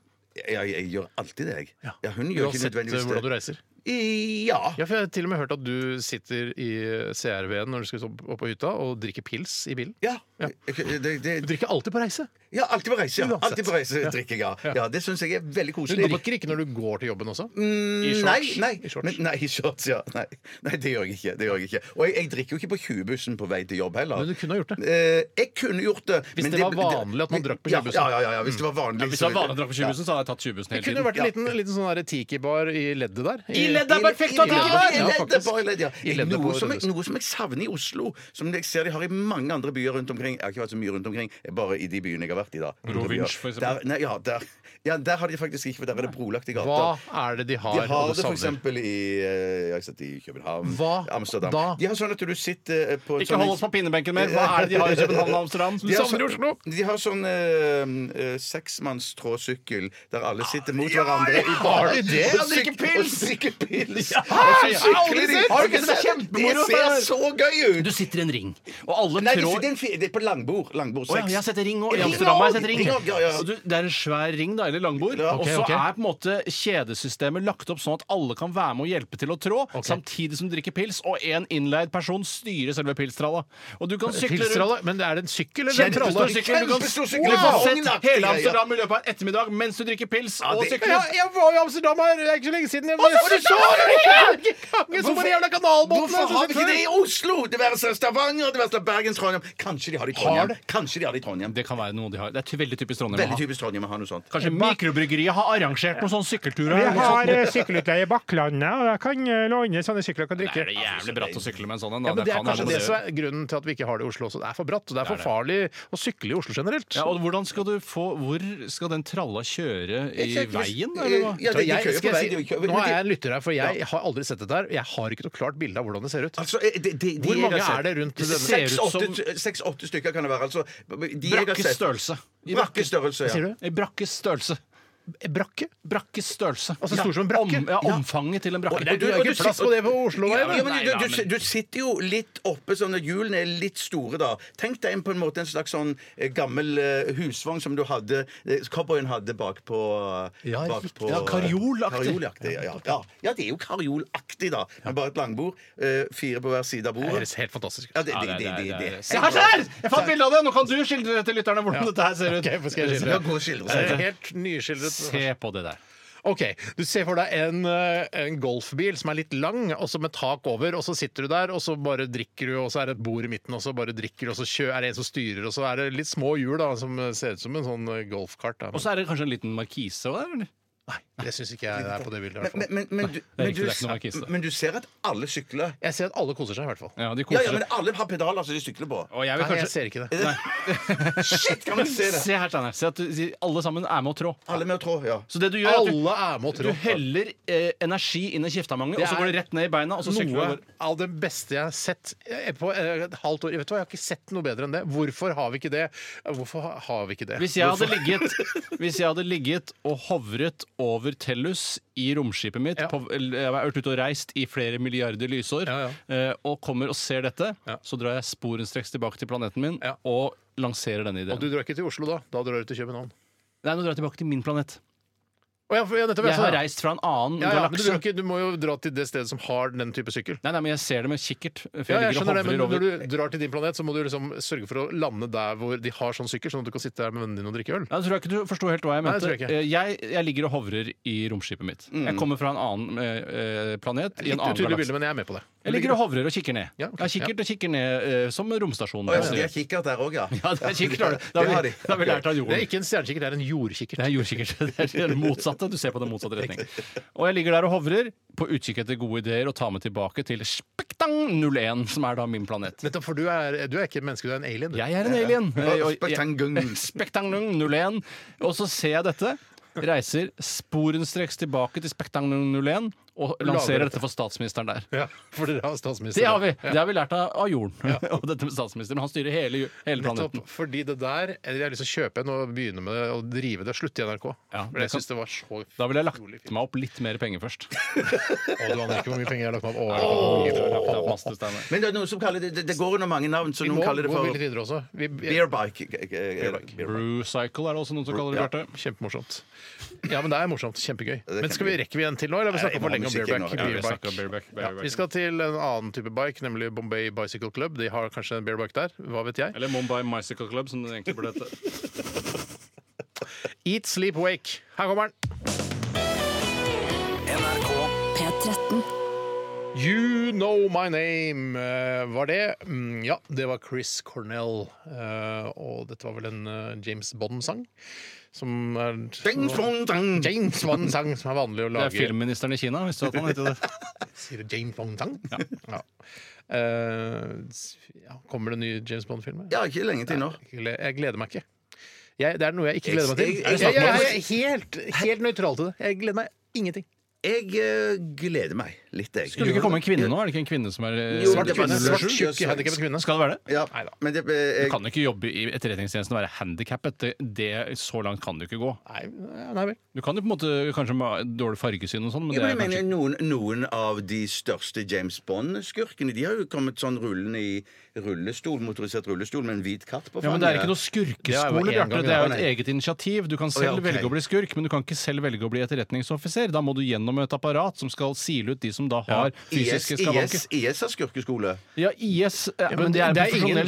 S2: Ja, jeg, gjør alltid det, jeg. Ja, hun gjør ikke
S1: Uansett eh,
S2: nødvendigvis
S1: hvordan du
S2: det.
S1: reiser.
S2: I- Ja.
S1: Ja, for Jeg har til og med hørt at du sitter i CRV-en når du skal opp opp på hytta, og drikker pils i bilen.
S2: Ja.
S1: Ja.
S2: Det,
S1: Du
S2: det,
S1: drikker alltid på reise.
S2: ja, alltid på reise. Ja.
S1: Uansett.
S2: Alltid på reise drikker jeg. Ja. Ja, det syns jeg er veldig
S1: Du
S2: koselig.
S1: drikker ikke når du går til jobben også. I
S2: Nei,
S1: shorts.
S2: nei,
S1: I shorts.
S2: men, nei, i shorts, ja. Nei, nei det gjør jeg ikke. Det gjør jeg ikke. Og jeg, jeg drikker jo ikke på 20-bussen på vei til jobb heller.
S1: Men du kunne ha gjort det.
S2: Eh, jeg kunne gjort det.
S1: Hvis
S2: men
S1: det var vanlig at man drakk på
S2: Ja,
S1: 20-bussen.
S2: Ja, ja, ja, ja, hvis det var vanlig.
S3: Hvis
S2: så-
S3: jeg hadde vanlig drakk på 20 så hadde jeg tatt 20-bussen
S1: Det
S3: hele
S1: kunne
S3: tiden.
S1: jo vært en liten, liten sånn der tiki-bar i leddet der.
S3: I leddet er perfekt å
S2: I-
S3: ha
S2: i-
S3: tiki-bar!
S2: i
S1: Ja,
S2: leddet,
S1: faktisk.
S2: bare i leddet, ja.
S1: I leddet på
S2: noe, som jeg,
S1: Rødhuset.
S2: noe som jeg savner i Oslo, som jeg ser de har i mange andre byer rundt omkring. Jeg har ikke vært så mye rundt omkring, jeg er bare i de byene jeg har vært i, da. Andre byer.
S3: Rovinj, for eksempel.
S2: Der- Nei, ja, der, ja, der har de faktisk ikke, for der er det brolagte gater.
S1: Hva er det de har,
S2: De har
S1: og
S2: det
S1: du
S2: for
S1: savner?
S2: eksempel i, eh, jeg har sett det i København,
S1: Hva
S2: Amsterdam.
S1: da?
S2: De har sånn at du sitter eh, på
S3: Ikke hold oss på pinnebenken mer! Hva er det de har i København og Amsterdam?
S1: Du savner Oslo!
S2: De har sånn eh, eh, seksmanns tråsykkel der alle sitter mot hverandre. i bar.
S1: har de det?
S2: Og
S3: drikker
S2: syk-
S3: pils!
S2: Og drikker pils!
S3: har
S2: Og
S3: jeg aldri
S2: sykler de!
S3: sett! Har du ikke sett? Kjempemoro,
S2: Det
S3: det
S2: ser så gøy ut!
S3: Du sitter i en ring, og alle
S2: Nei, det
S3: trår
S2: er, en fi- det er på langbord. Langbord
S3: Å ja,
S2: seks.
S3: jeg har sett en ring òg. I
S2: Ring
S3: Amsterdam har jeg
S2: også.
S3: sett en ring.
S2: Ring også, ja, ja.
S3: Så du, det er en svær ring, da, eller langbord.
S2: Ja,
S1: ok,
S3: og så
S1: ok.
S3: er på en måte kjedesystemet lagt opp sånn at alle kan være med og hjelpe til å trå, samtidig som du drikker pils, og en innleid person styrer selve pilstralla. Og du kan sykle rundt.
S1: Pilstralle? Men er det en sykkel eller en
S3: Kjempestor
S1: tralle?
S3: sykkel. Du kan
S2: Kjempestor sykkel.
S3: du kan
S2: Wow.
S3: sette
S2: Vognaktig
S3: hele
S2: greie.
S3: Amsterdam i løpet av en ettermiddag mens du drikker pils og
S2: det-
S1: Ja,
S3: sykler.
S1: jeg var i Amsterdam her det er ikke så lenge siden. Jeg var, og det så du ikke! Gangen så på de jævla kanalbåtene! så
S2: Hvorfor har vi ikke
S1: sitter
S2: det i
S1: jeg-
S2: Oslo? Det være seg Stavanger, det være seg Bergen, Trondheim. Kanskje de har det i Trondheim.
S1: det?
S2: Kanskje de har det i Trondheim.
S3: Det kan være noe de har. Det er ty- veldig typisk Trondheim. å ha.
S2: Veldig typisk Trondheim å ha noe sånt.
S3: Kanskje mikrobryggeriet har arrangert noen sånne sykkelturer. Liksom.
S9: Vi
S3: eller noe sånt.
S9: har eh, sykkelutleie i Bakklandet, og jeg kan eh, låne sånne sykler jeg kan
S3: Det
S9: drikke.
S3: er det jævlig bratt å sykle med en sånn en. da.
S1: Ja, men Det er
S3: kan
S1: kanskje
S3: alle
S1: det
S3: gjøre.
S1: som er grunnen til at vi ikke har det i Oslo også. Det er for bratt, og det er for farlig å sykle i Oslo generelt.
S3: Ja, og hvordan skal du få Hvor skal den tralla kjøre i veien, eller hva?
S2: Ja,
S1: Så
S2: de, de
S1: jeg,
S2: køyer på
S1: skal
S2: vei.
S1: jeg
S2: de
S1: si,
S2: køyer-
S1: nå er jeg
S2: men
S1: en lytter her, for jeg har aldri sett dette her. Jeg har ikke noe klart bilde av hvordan det ser ut.
S2: Altså, eh, de, de, de
S1: Hvor
S2: jeg har
S1: mange
S2: sett-
S1: er det rundt
S2: Det
S1: denne-
S2: ser
S3: Seks,
S2: ut
S3: åtte-
S2: som- Seks-åtte stykker kan det være. Altså, de jeg har
S3: Brakkes
S2: sett-
S3: størrelse. I brakke-
S2: Brakke størrelse, ja.
S1: Sier du? Eh,
S3: I brakkes størrelse.
S1: Brakke?
S3: Brakkes størrelse.
S1: Altså stor som en brakke?
S3: Om, ja, omfanget til en brakke.
S2: Og-
S1: Det er jo
S2: og du
S1: ikke plass
S2: sitter-
S1: på det på Osloveien.
S2: Ja, men
S3: Nei,
S2: du,
S3: da,
S2: du,
S3: men-
S2: du sitter jo litt oppe, sånn at hjulene er litt store da. Tenk deg en, på en måte en slags sånn eh, gammel eh, husvogn som du hadde, eh, cowboyen hadde bakpå
S1: Ja,
S2: bak
S1: riktig.
S2: på-
S1: Ja,
S3: karjolaktig.
S2: Karjolaktig, ja, ja. ja, det er jo karjolaktig, da. Men bare et langbord. eh, Fire på hver side av
S1: Det
S2: bordet.
S1: høres helt fantastisk ut.
S2: Ja, det,
S3: Ja,
S2: det,
S3: det-
S2: det, det,
S3: det-
S2: det.
S3: det- Se her, se her! Jeg fant bilde av det! Nå kan du skildre til lytterne hvordan dette her ser ut.
S1: Ok, for skal jeg
S2: Ja,
S1: skildre?
S2: gå og skildre
S1: Det
S2: seg.
S1: er Helt nyskildret.
S3: Se på det der.
S1: OK. Du ser for deg en, eh, en golfbil som er litt lang, og så med tak over, og så sitter du der, og så bare drikker du, og så er det et bord i midten, og så bare drikker du, og så kjø, er det en som styrer, og så er det litt små hjul, da, som ser ut som en sånn eh, golfkart. da.
S3: Og
S1: Men
S3: så er det kanskje en liten markise også der, eller?
S1: Det syns ikke jeg det er på det bildet, i hvert
S2: Men,
S1: fall.
S2: men, men, du,
S3: er
S2: men,
S3: riktig, det er
S2: du,
S3: ikke noe markis, da.
S2: men du ser at alle sykler.
S1: Jeg ser at alle koser seg, i hvert fall.
S3: Ja, de
S2: Ja,
S3: koser
S2: ja, men
S3: seg.
S2: alle har pedaler som de sykler på.
S3: Og jeg
S1: Nei,
S3: vil
S1: jeg
S3: kanskje
S1: ser ikke det.
S2: Shit, kan vi se det?
S3: Se her, Steinar. Se at du- alle sammen er med å trå.
S2: Alle med å trå, ja.
S3: Så det du gjør, er at du
S1: Alle er med og
S3: du
S1: trår.
S3: heller eh, energi inn i kjeftemanget, og så
S1: er
S3: går det rett ned i beina, og så sykler du.
S1: Noe
S3: over.
S1: av det beste jeg har sett eh, på eh, et halvt år. Vet du hva, Jeg har ikke sett noe bedre enn det. Hvorfor har vi ikke det? Hvorfor ha- har vi ikke det?
S3: Hvis jeg, hadde
S1: Hvorfor-
S3: ligget, hvis jeg hadde ligget og hovret over Tellus i romskipet mitt
S1: Ja.
S3: på, eller Jeg har vært ute og reist i flere milliarder lysår
S1: Ja,
S3: eh, og kommer og ser dette, så drar jeg sporenstreks tilbake til planeten min
S1: Ja.
S3: og lanserer denne ideen.
S1: Og du drar ikke til Oslo da? Da drar du til København.
S3: Nei, nå drar jeg tilbake til min planet.
S1: Å, ja, for- ja, nettopp,
S3: Jeg har
S1: sånn, ja.
S3: reist fra en annen
S1: ja, ja, men du, drar
S3: galakse.
S1: ikke, du må jo dra til det stedet som har den type sykkel.
S3: Nei, nei, men jeg ser det med kikkert. eh, For jeg
S1: Ja, jeg
S3: ligger og
S1: skjønner det, men
S3: hovrer over.
S1: Når du drar til din planet, så må du liksom sørge for å lande der hvor de har sånn sykkel, sånn at du kan sitte der med vennene dine og drikke øl.
S3: Ja, Jeg tror jeg ikke du forsto helt hva jeg
S1: Nei,
S3: mente.
S1: det tror jeg ikke. Mm.
S3: Eh, jeg, jeg ligger og hovrer i romskipet mitt. Jeg kommer fra en annen eh, eh, planet i
S1: Litt
S3: en annen
S1: utydelig
S3: galakse.
S1: bilde, men jeg er med på det.
S3: Jeg ligger og hovrer og kikker ned.
S1: Ja, ok.
S3: Jeg har kikkert og kikker ned eh, som romstasjonen.
S2: Å, ja,
S3: passer.
S2: de har kikkert der òg, ja.
S3: Ja, det er kikkert. har du.
S2: Det har
S3: Det
S2: de.
S3: har vi lært
S1: Det
S3: av
S1: er
S3: jorden.
S1: ikke en stjernekikkert, det er en jordkikkert.
S3: Det er jordkikkert. Det er det motsatte. Du ser på den motsatte retning. Og jeg ligger der og hovrer, på utkikk etter gode ideer, og tar med tilbake til Spektang 01, som er da min planet.
S1: Nettopp, for du er, du er ikke et menneske, du er en alien. Du.
S3: Jeg er en alien.
S1: Eh,
S2: Ja,
S3: Og jeg-
S2: Spektangung.
S3: Spektangung 01. Og så ser jeg dette, reiser sporenstreks tilbake til Spektangung 01 og lanserer dette for statsministeren der.
S1: Ja, for dere har statsminister.
S3: Det har vi Det har vi lært av av jorden. Og dette med statsministeren. Han styrer hele, hele planeten.
S1: Nettopp, fordi det der Jeg har lyst til å kjøpe en og begynne med det og drive det. Slutte i NRK.
S3: Ja,
S1: For
S3: det
S1: jeg
S3: kan-
S1: syns det var så
S3: Da ville jeg lagt meg opp litt mer penger først.
S1: Å, du aner ikke hvor mye penger jeg har lagt meg opp. Å, jeg har lagt meg opp.
S3: Lagt meg opp masse steiner.
S2: Men det er noen som kaller det Det, det går under mange navn, så
S1: Vi
S2: noen
S1: må
S2: kaller det
S1: gå
S2: for
S1: litt videre også. Vi,
S2: Beerbike. eh, eh, beerbike.
S3: Brew cycle er det også noen som kaller det,
S2: Ja.
S3: Bjarte.
S1: Kjempemorsomt. Ja, men det er morsomt. Kjempegøy.
S2: er
S1: Men skal vi rekke vi en til nå, eller har vi
S2: Nei,
S1: snakket for
S2: vi må
S1: lenge om bareback?
S2: musikken nå. Ja, vi
S1: Bareback.
S3: snakker om bareback,
S1: Ja,
S3: bareback.
S1: vi skal til en annen type bike, nemlig Bombay Bicycle Club. De har kanskje en bareback der, hva vet jeg.
S3: Eller Mumbai Mycicle Club, som det egentlig burde hete.
S1: Eat, sleep, wake. Her kommer den.
S4: NRK
S5: P13.
S1: You Know My Name eh, var det. Mm, Ja, det var Chris Cornell. eh, Og dette var vel en eh, James Bond-sang? Som er
S2: Ding, dong, dong.
S1: James Bond-sang som er vanlig å
S3: Det
S1: lage.
S3: er filmministeren i Kina, hvis du vet hva han heter. det.
S1: Sier du James Bond-sang? Ja. Eh, s- ja. Kommer det en ny James Bond-film?
S2: Ja, ikke lenge til nå.
S1: Jeg gle- Jeg gleder meg ikke. Jeg, det er noe jeg ikke gleder meg til.
S2: Jeg- jeg-
S1: Jeg, jeg, jeg er helt, helt nøytral til det. Jeg gleder meg ingenting.
S2: Jeg eh, gleder meg litt, jeg.
S3: Skulle det ikke komme en kvinne nå? Er det ikke en kvinne som er eh,
S2: Jo,
S3: svart
S2: det var
S3: kvinne?
S2: en
S1: Svart,
S2: Sju,
S1: tjukk,
S2: ja,
S1: handikappet kvinne.
S3: Skal det være det?
S2: Ja,
S1: Neida.
S2: men det, eh,
S3: Du
S2: jeg,
S3: kan jo ikke jobbe i Etterretningstjenesten og være handikappet. Det, det, så langt kan du ikke gå.
S1: Nei, nei vel.
S3: Du kan jo på en måte kanskje med dårlig fargesyn og sånn, men
S2: Ja,
S3: det
S2: men jeg
S3: er
S2: mener
S3: kanskje
S2: noen, noen av de største James Bond-skurkene De har jo kommet sånn rullende i rullestol, motorisert rullestol med en hvit katt på fanget.
S3: ja, men Det er ikke noe
S1: Det er jo
S3: skurkeskole,
S1: en
S3: Bjarte.
S1: gang,
S3: Det er jo
S1: ja,
S3: et eget initiativ. Du kan
S2: Å, ja,
S3: selv
S2: ok.
S3: velge å bli skurk, men du kan ikke selv velge å bli etterretningsoffiser. Da må du gjennom et apparat som skal sile ut de som da har
S2: IS,
S3: fysiske
S2: IS,
S3: skavanker.
S2: IS har skurkeskole.
S3: Ja, IS eh, men Det er en profesjonell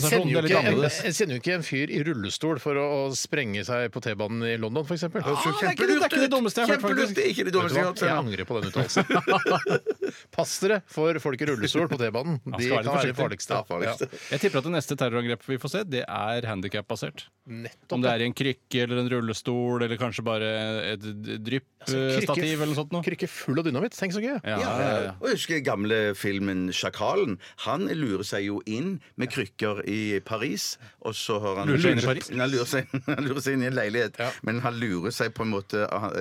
S1: De
S3: Det er
S1: sender
S3: litt
S1: jo, ikke en,
S3: annerledes.
S1: de sender jo ikke en fyr i rullestol for å, å sprenge seg på T-banen i London, f.eks.
S3: Ah, det er ikke det- det er ikke det dummeste jeg har hørt,
S2: Kjempelurt!
S3: faktisk.
S2: Det er ikke det
S1: Vet du
S2: dummeste
S1: hva?
S2: jeg har hørt.
S1: Jeg angrer på den uttalelsen. Pass dere for folk i rullestol på T-banen.
S3: Man
S1: De
S3: skal være
S1: kan være de
S3: litt
S1: farligste.
S2: farligste.
S1: Ja.
S3: Jeg tipper at det neste terrorangrepet vi får se, det er handikapbasert. Om
S1: Nettopp.
S3: det er i en krykke eller en rullestol eller kanskje bare et
S1: Krykke-
S3: dryppstativ eh, eller noe sånt noe.
S1: Krykke full av dynamitt. Tenk så gøy.
S3: Ja,
S2: Ja,
S3: ja, ja.
S2: Og jeg husker gamle filmen 'Sjakalen'. Han lurer seg jo inn med krykker i Paris. Og så har han
S3: Lurer seg inn i Paris?
S2: Nei, Han lurer seg, han lurer seg inn i en leilighet, men han lurer seg på en måte av-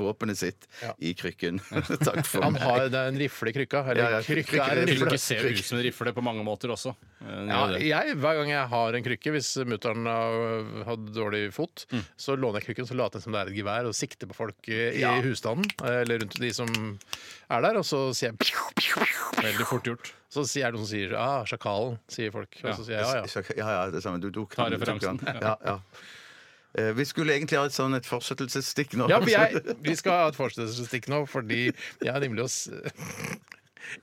S2: våpenet sitt i krykken. Takk for
S1: Han
S2: meg.
S1: har, det er en rifle i krykka.
S2: Ja,
S1: Eller
S2: ja,
S1: krykka
S2: krykke-
S1: er en
S3: Krykke
S1: rifle.
S3: ser ut som en rifle på mange måter også.
S1: Ja,
S3: Ja, det.
S1: jeg, hver gang jeg har en krykke, hvis mutter'n har- har dårlig fot, så låner jeg krykken så later jeg som det er et gevær og sikter på folk eh, i husstanden. eh, Eller rundt de som er der, og så sier jeg «Pju, pju, pju».
S3: Veldig fort gjort.
S1: Så sier er det noen som sier ah, 'sjakalen', sier folk. Og så sier jeg ja, ja.
S2: Sjaka- Ja, ja, det samme. Du tok den,
S3: Ta
S2: du tok
S3: referansen.
S2: den. Ja, ja. Eh, Vi skulle egentlig ha et sånn et fortsettelsesstikk nå.
S1: Ja, for jeg, vi skal ha et fortsettelsesstikk nå, fordi jeg har nemlig oss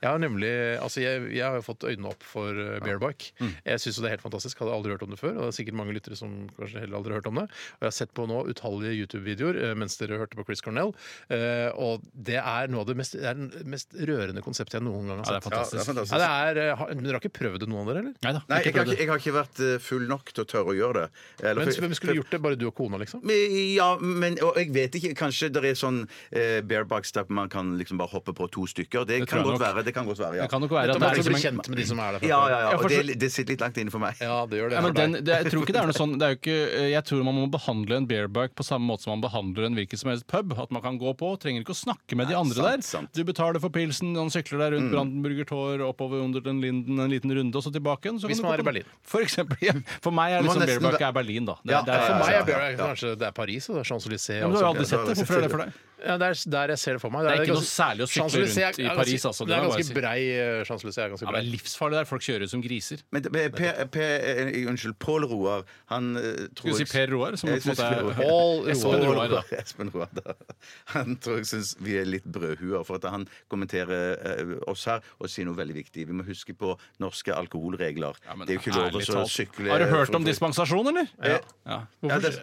S1: jeg har nemlig, altså jeg, jeg har jo fått øynene opp for eh, Bearbike. Jeg syns det er helt fantastisk. Hadde aldri hørt om det før. Og det er sikkert mange lyttere som kanskje heller aldri har hørt om det. Og jeg har sett på nå utallige YouTube-videoer eh, mens dere hørte på Chris Cornell. eh, Og det er noe av det mest, det er den mest rørende konseptet jeg noen gang har
S3: Ja, det er
S1: sett.
S3: fantastisk.
S2: Ja, det er fantastisk.
S1: Ja, det er, eh, har- men dere har ikke prøvd det, noen av dere, eller?
S3: Neida,
S2: Nei,
S3: ikke
S2: jeg har,
S3: prøvd
S2: ikke,
S3: det.
S2: jeg har ikke vært eh, full nok til å tørre å gjøre det. Eller-
S1: Men hvem skulle gjort det? Bare du og kona, liksom?
S2: Men- Ja, men og jeg vet ikke. Kanskje det er sånn eh, bareback step man kan liksom bare hoppe på to stykker. Det,
S3: Det
S2: kan
S3: tror jeg
S2: godt
S3: nok.
S2: være. Det kan godt være, ja.
S3: Det kan nok være
S1: Da
S3: at
S1: må
S3: det
S1: du
S3: er
S1: bli
S3: liksom en
S1: kjent med de som er der. fra
S2: ja,
S1: før.
S2: ja, ja.
S3: Ja,
S2: Og
S3: for så-
S2: det, det sitter litt langt inne for meg.
S1: ja, det gjør det.
S3: ja, men
S1: for deg.
S3: den, det, jeg tror ikke det er noe sånn det er jo ikke, Jeg tror man må behandle en bareback på samme måte som man behandler en hvilken som helst pub. At man kan gå på, trenger ikke å snakke med de andre der.
S2: sant, sant.
S3: Du betaler for pilsen, han sykler deg rundt Brandenburger Tor, oppover under den linden en liten runde, og så tilbake igjen. så kan
S1: Hvis
S3: du
S1: man
S3: gå
S1: er i
S3: på-
S1: Berlin.
S3: For eksempel. Ja. For meg er
S2: Må
S3: liksom
S2: nesten
S3: bareback
S2: være-
S3: er Berlin, da. Det,
S2: Ja,
S3: er- der-
S2: ja,
S1: For
S3: for
S1: meg
S3: meg
S1: er Bearbike kanskje det er Paris og det er Champs-Élysées.
S3: ja, men du har jo aldri
S2: Ja,
S3: sett det. Hvorfor er det for deg?
S1: Ja, det, er, der jeg ser det for meg.
S3: Det er ikke noe særlig å sykle
S1: Champs-Élysées
S3: rundt i
S1: er ganske-
S3: Paris, altså, det
S1: Det er
S3: må jeg
S1: ganske brei eh, Champs-Élysées. er ganske
S3: Ja, men
S1: brei.
S3: det er livsfarlig der. Folk kjører jo som griser.
S2: Men det- men Per, per, eh, unnskyld, Pål Roar, han eh, tror
S3: Skulle du si Per Roar, som på
S2: Jeg
S3: en
S2: synes
S3: måte
S2: Per
S3: er
S2: Roar.
S1: All
S3: Espen
S1: Roar.
S3: Roar, da.
S2: Espen Roar, da. Han tror jeg syns vi er litt brødhuer, for at han kommenterer eh, oss her og sier noe veldig viktig. Vi må huske på norske alkoholregler.
S3: Ja, men
S2: det er jo ikke lov
S3: ærlig
S2: å så
S3: talt.
S2: sykle
S3: Har du hørt om
S2: for-
S3: dispensasjon, eller?
S2: Ja.
S3: Ja.
S2: Ja, det,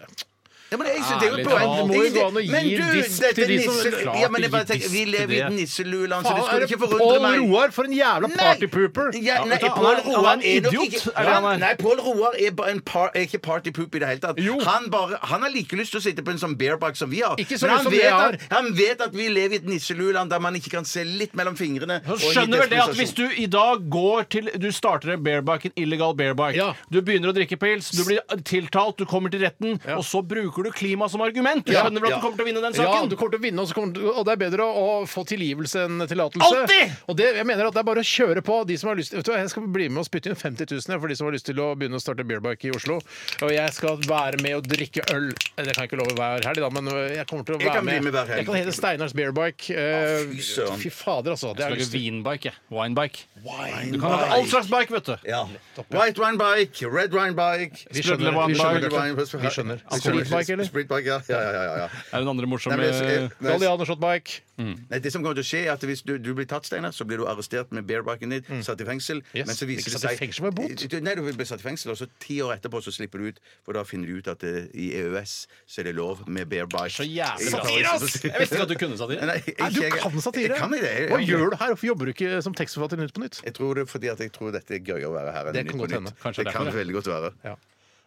S2: Ja, men jeg, synes det er jo
S3: Ærlig
S2: et poeng.
S3: talt.
S1: Det må jo gå an å gi
S2: Men du,
S1: disk
S2: dette
S1: til de som-
S2: nisse-
S3: Klart
S2: Ja, men jeg
S3: ikke
S2: bare tenker, Vi
S3: disk til
S2: lever i
S3: det.
S2: et nisselueland, så det
S1: Faen,
S2: skulle
S1: er det
S2: ikke forundre
S1: Pål
S2: meg.
S1: Roar for en jævla partypooper?
S2: Ja,
S3: Ja,
S2: nei,
S3: vet du,
S2: Pål
S3: han er-
S2: Roar
S3: han er en
S2: er nok
S3: idiot,
S2: ikke
S3: er det han er?
S2: han- Nei, Pål Roar er bare en par, er ikke partypoop i det hele tatt.
S1: Jo.
S2: Han, bare, han har like lyst til å sitte på en sånn bareback som vi har.
S1: Ikke så
S2: men
S1: lyst
S2: han
S1: som vi
S2: vet,
S1: har.
S2: at, han vet at vi lever i et nisselueland der man ikke kan se litt mellom fingrene.
S3: Så
S2: og litt
S3: skjønner vel det at
S2: desperation.
S3: hvis du i dag går til Du starter en bareback, en illegal bareback.
S1: Ja.
S3: Du begynner å drikke pils, du blir tiltalt, du kommer til retten, og så bruker du klima som argument. Du
S1: Ja.
S3: skjønner vel at
S2: Ja.
S3: du kommer til å vinne
S1: Ja,
S3: den
S1: du
S3: saken?
S1: kommer til å vinne, og, så kommer du, og det er bedre å, å få tilgivelse enn tillatelse.
S3: Alltid!
S1: Og det, jeg mener at det er bare å kjøre på. De som har lyst, vet du, hva, jeg skal bli med og spytte inn 50 000 jeg, for de som har lyst til å begynne å starte beerbike i Oslo. Og jeg skal være med og drikke øl. Eh, Det kan jeg ikke love hver helg, da, men eh, jeg kommer til å
S2: Jeg
S1: være
S2: kan bli med hver helg.
S1: Jeg kan hete Steinars beerbike. Eh,
S2: fy søren.
S1: fy fader, altså. Det
S3: Jeg
S1: har jeg
S3: skal lage
S1: lyst til.
S3: vinbike. jeg. Winebike.
S2: Wine
S3: Du kan lage all slags bike, vet du.
S2: ja. White wine bike, red wine bike
S1: Vi skjønner. Vi skjønner.
S2: Red wine-
S1: Vi skjønner. Vi skjønner. Streetbike, eller?
S2: Streetbike, ja. Ja, ja, ja, ja.
S3: Er det en andre
S2: Nei,
S3: morsomme
S2: men jeg- jeg-
S1: Galliano shotbike.
S2: Nei, det som kommer til å skje er at Hvis du, du blir tatt, Steiner, så blir du arrestert med barebacken din, satt i fengsel.
S1: Mm. Yes.
S2: Men så
S1: Ikke
S2: viser det
S1: satt i
S2: seg
S1: fengsel, men bot.
S2: Du- Nei, du blir satt i fengsel, og så ti år etterpå så slipper du ut. For da finner de ut at det, i EØS så er det lov med barebike.
S3: Så jævlig bra.
S2: Satire, ass!
S3: Jeg visste ikke at du kunne satire.
S2: Nei,
S1: Nei,
S2: ikke
S1: du
S2: jeg-
S1: kan satire!
S2: Jeg kan ikke det.
S1: Hva gjør du her? Hvorfor jobber du ikke som tekstforfatter i Nytt på Nytt?
S2: Jeg tror det er fordi at jeg tror dette er gøyere å være her enn
S1: Det
S2: Nytt
S1: kan
S2: på
S1: godt
S2: Nytt.
S1: hende.
S3: Kanskje
S2: det
S3: derfor,
S2: kan
S3: ja.
S2: veldig godt være.
S1: Ja.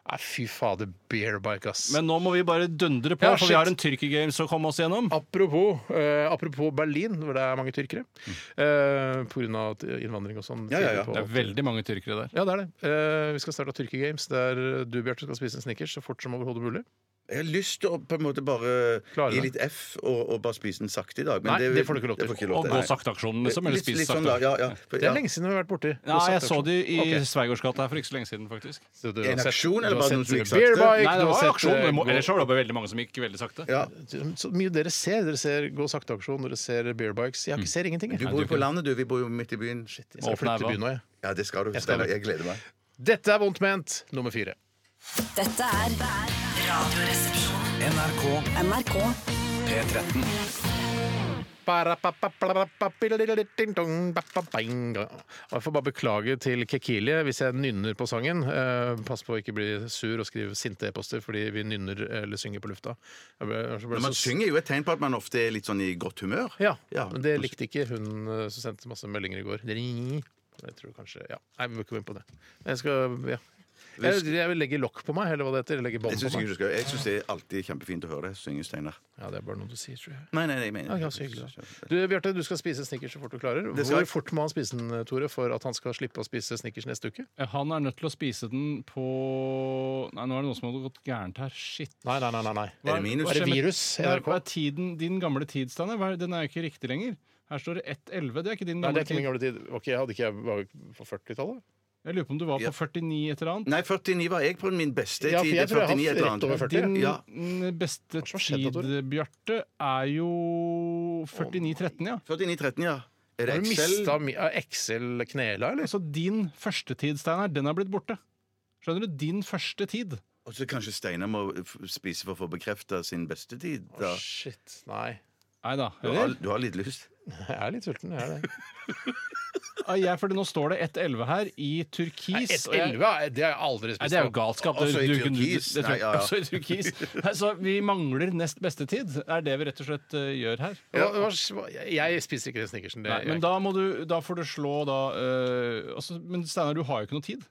S1: Nei, fy fader. Beerbike, ass.
S3: Men nå må vi bare dundre på,
S1: Ja,
S3: for
S1: shit.
S3: vi har en Tyrkia Games å komme oss gjennom.
S1: Apropos, eh, apropos Berlin, hvor det er mange tyrkere. Eh, på grunn av at innvandring og sånn.
S2: Ja, ja, ja.
S1: tidlig på-
S3: Det er veldig mange tyrkere der.
S1: Ja, det er det. Eh, vi skal starte Tyrkia Games, der du, Bjarte, skal spise en Snickers så fort som overhodet mulig.
S2: Jeg har lyst til å på en måte bare
S1: Klare
S2: gi
S1: det.
S2: litt F og, og bare spise den sakte i dag. Men
S3: Nei,
S2: det,
S1: det får du ikke lov til.
S2: det får ikke
S3: Og gå
S2: Nei.
S3: sakteaksjonen, liksom? Eller
S2: Litt,
S3: spise
S2: litt sånn, da.
S3: sakte?
S2: Ja, ja. For-
S1: Det er
S2: ja.
S1: lenge siden vi har vært borti.
S3: Ja, jeg så de i
S1: Ok.
S3: Sveigårdsgata her for ikke så lenge siden, faktisk.
S1: Så du har
S2: En
S1: sett-
S2: aksjon, eller
S1: du har
S2: bare noen
S1: sett
S2: som gikk
S1: beer bike,
S2: sakte?
S3: Nei,
S1: du
S3: det
S1: har
S3: var
S1: sett,
S3: aksjon.
S1: eh,
S3: men må-
S1: gå-
S3: Ellers var det bare veldig mange som gikk veldig sakte.
S2: Ja.
S1: Så mye dere ser. Dere ser gå sakte-aksjon, dere ser beer bikes. Jeg har ikke ser ingenting. Jeg.
S2: Du bor jo på landet, du. Vi bor jo midt i byen. Shit, jeg
S1: Jeg skal
S3: Åpne
S1: flytte til
S3: her,
S1: byen nå, jeg.
S2: Ja, det skal du.
S1: skal
S2: Steinar.
S1: det.
S2: Jeg gleder meg.
S1: Dette er vondt ment, nummer fire.
S5: Dette er Radioresepsjonen.
S4: NRK
S5: NRK
S4: P13.
S1: Og jeg får bare beklage til Kekilie hvis jeg nynner på sangen. Eh, pass på å ikke bli sur og skrive sinte e-poster fordi vi nynner eller synger på lufta. Jeg ble, jeg ble
S2: Men man
S1: så-
S2: synger jo et tegn på at man ofte er litt sånn i godt humør.
S1: Ja,
S2: Ja.
S1: men det likte ikke hun eh, som sendte masse meldinger i går. Jeg tror kanskje Ja, nei, vi må ikke gå inn på det. Jeg skal Ja. Jeg, jeg vil legge lokk på meg, eller hva det heter. Legge bånd
S2: Jeg syns
S1: på meg.
S2: det er alltid kjempefint å høre deg synge, Steinar.
S1: Ja, det er bare noe du sier, tror jeg.
S2: Nei, nei, nei, jeg mener
S1: Ja, ja, så hyggelig. da. Du, Bjarte, du skal spise Snickers så fort du klarer.
S2: Det skal
S1: Hvor
S2: jeg.
S1: fort må han spise den, Tore, for at han skal slippe å spise Snickers neste uke?
S3: Eh, Han er nødt til å spise den på Nei, nå er det noen som har gått gærent her. Shit.
S1: Nei, nei, nei. nei, nei.
S2: Er det minus?
S1: Hva er det virus i
S3: Hva er-
S1: NRK?
S3: hva er tiden, din gamle tid, Steinar? Hva er- Den er jo ikke riktig lenger. Her står det 1.11. Det er ikke din
S1: Nei, det
S3: gamle
S1: er ikke min
S3: tid.
S1: gamle tid. Ok, Hadde ikke jeg var på 40-tallet?
S3: Jeg lurer på om du var
S2: Ja.
S3: på 49 et eller annet.
S2: Nei, 49 var jeg på min beste
S1: Ja, for
S2: tid.
S1: jeg
S2: Det
S1: tror
S2: er
S1: jeg har
S2: 49 et eller
S1: rett over
S2: annet.
S1: 40.
S3: Din mm,
S2: Ja.
S3: beste
S1: som har skjedd da,
S3: tid,
S1: Tore?
S3: Bjarte, er jo 49-13, ja.
S2: 49-13, ja. Er det
S1: Har du
S2: Excel?
S1: mista Excel-knela, eller?
S3: Så din første tid, Steinar, den er blitt borte. Skjønner du? Din første tid.
S2: Og så kanskje Steinar må f- spise for å få bekrefta sin beste tid? Da.
S1: Shit. Nei.
S3: Nei da.
S2: Du, har, du har litt lyst?
S1: Jeg er litt sulten, jeg er det.
S3: Jeg, fordi nå står det 1.11 her i turkis. og jeg-
S1: 1,11? eh, Det har jeg aldri
S3: Nei,
S1: spist.
S3: det er jo galskap.
S2: Også
S3: Du-
S2: i
S3: du- du-
S2: turkis.
S3: det tror jeg-
S2: Nei, ja, ja.
S3: Også i turkis. Nei, så vi mangler nest beste tid, er det vi rett og slett eh, gjør her.
S1: Ja, hva- jeg spiser ikke den Snickersen. Det,
S3: Nei, men da, må du, da får du slå da eh, altså, Men Steinar, du har jo ikke noe tid.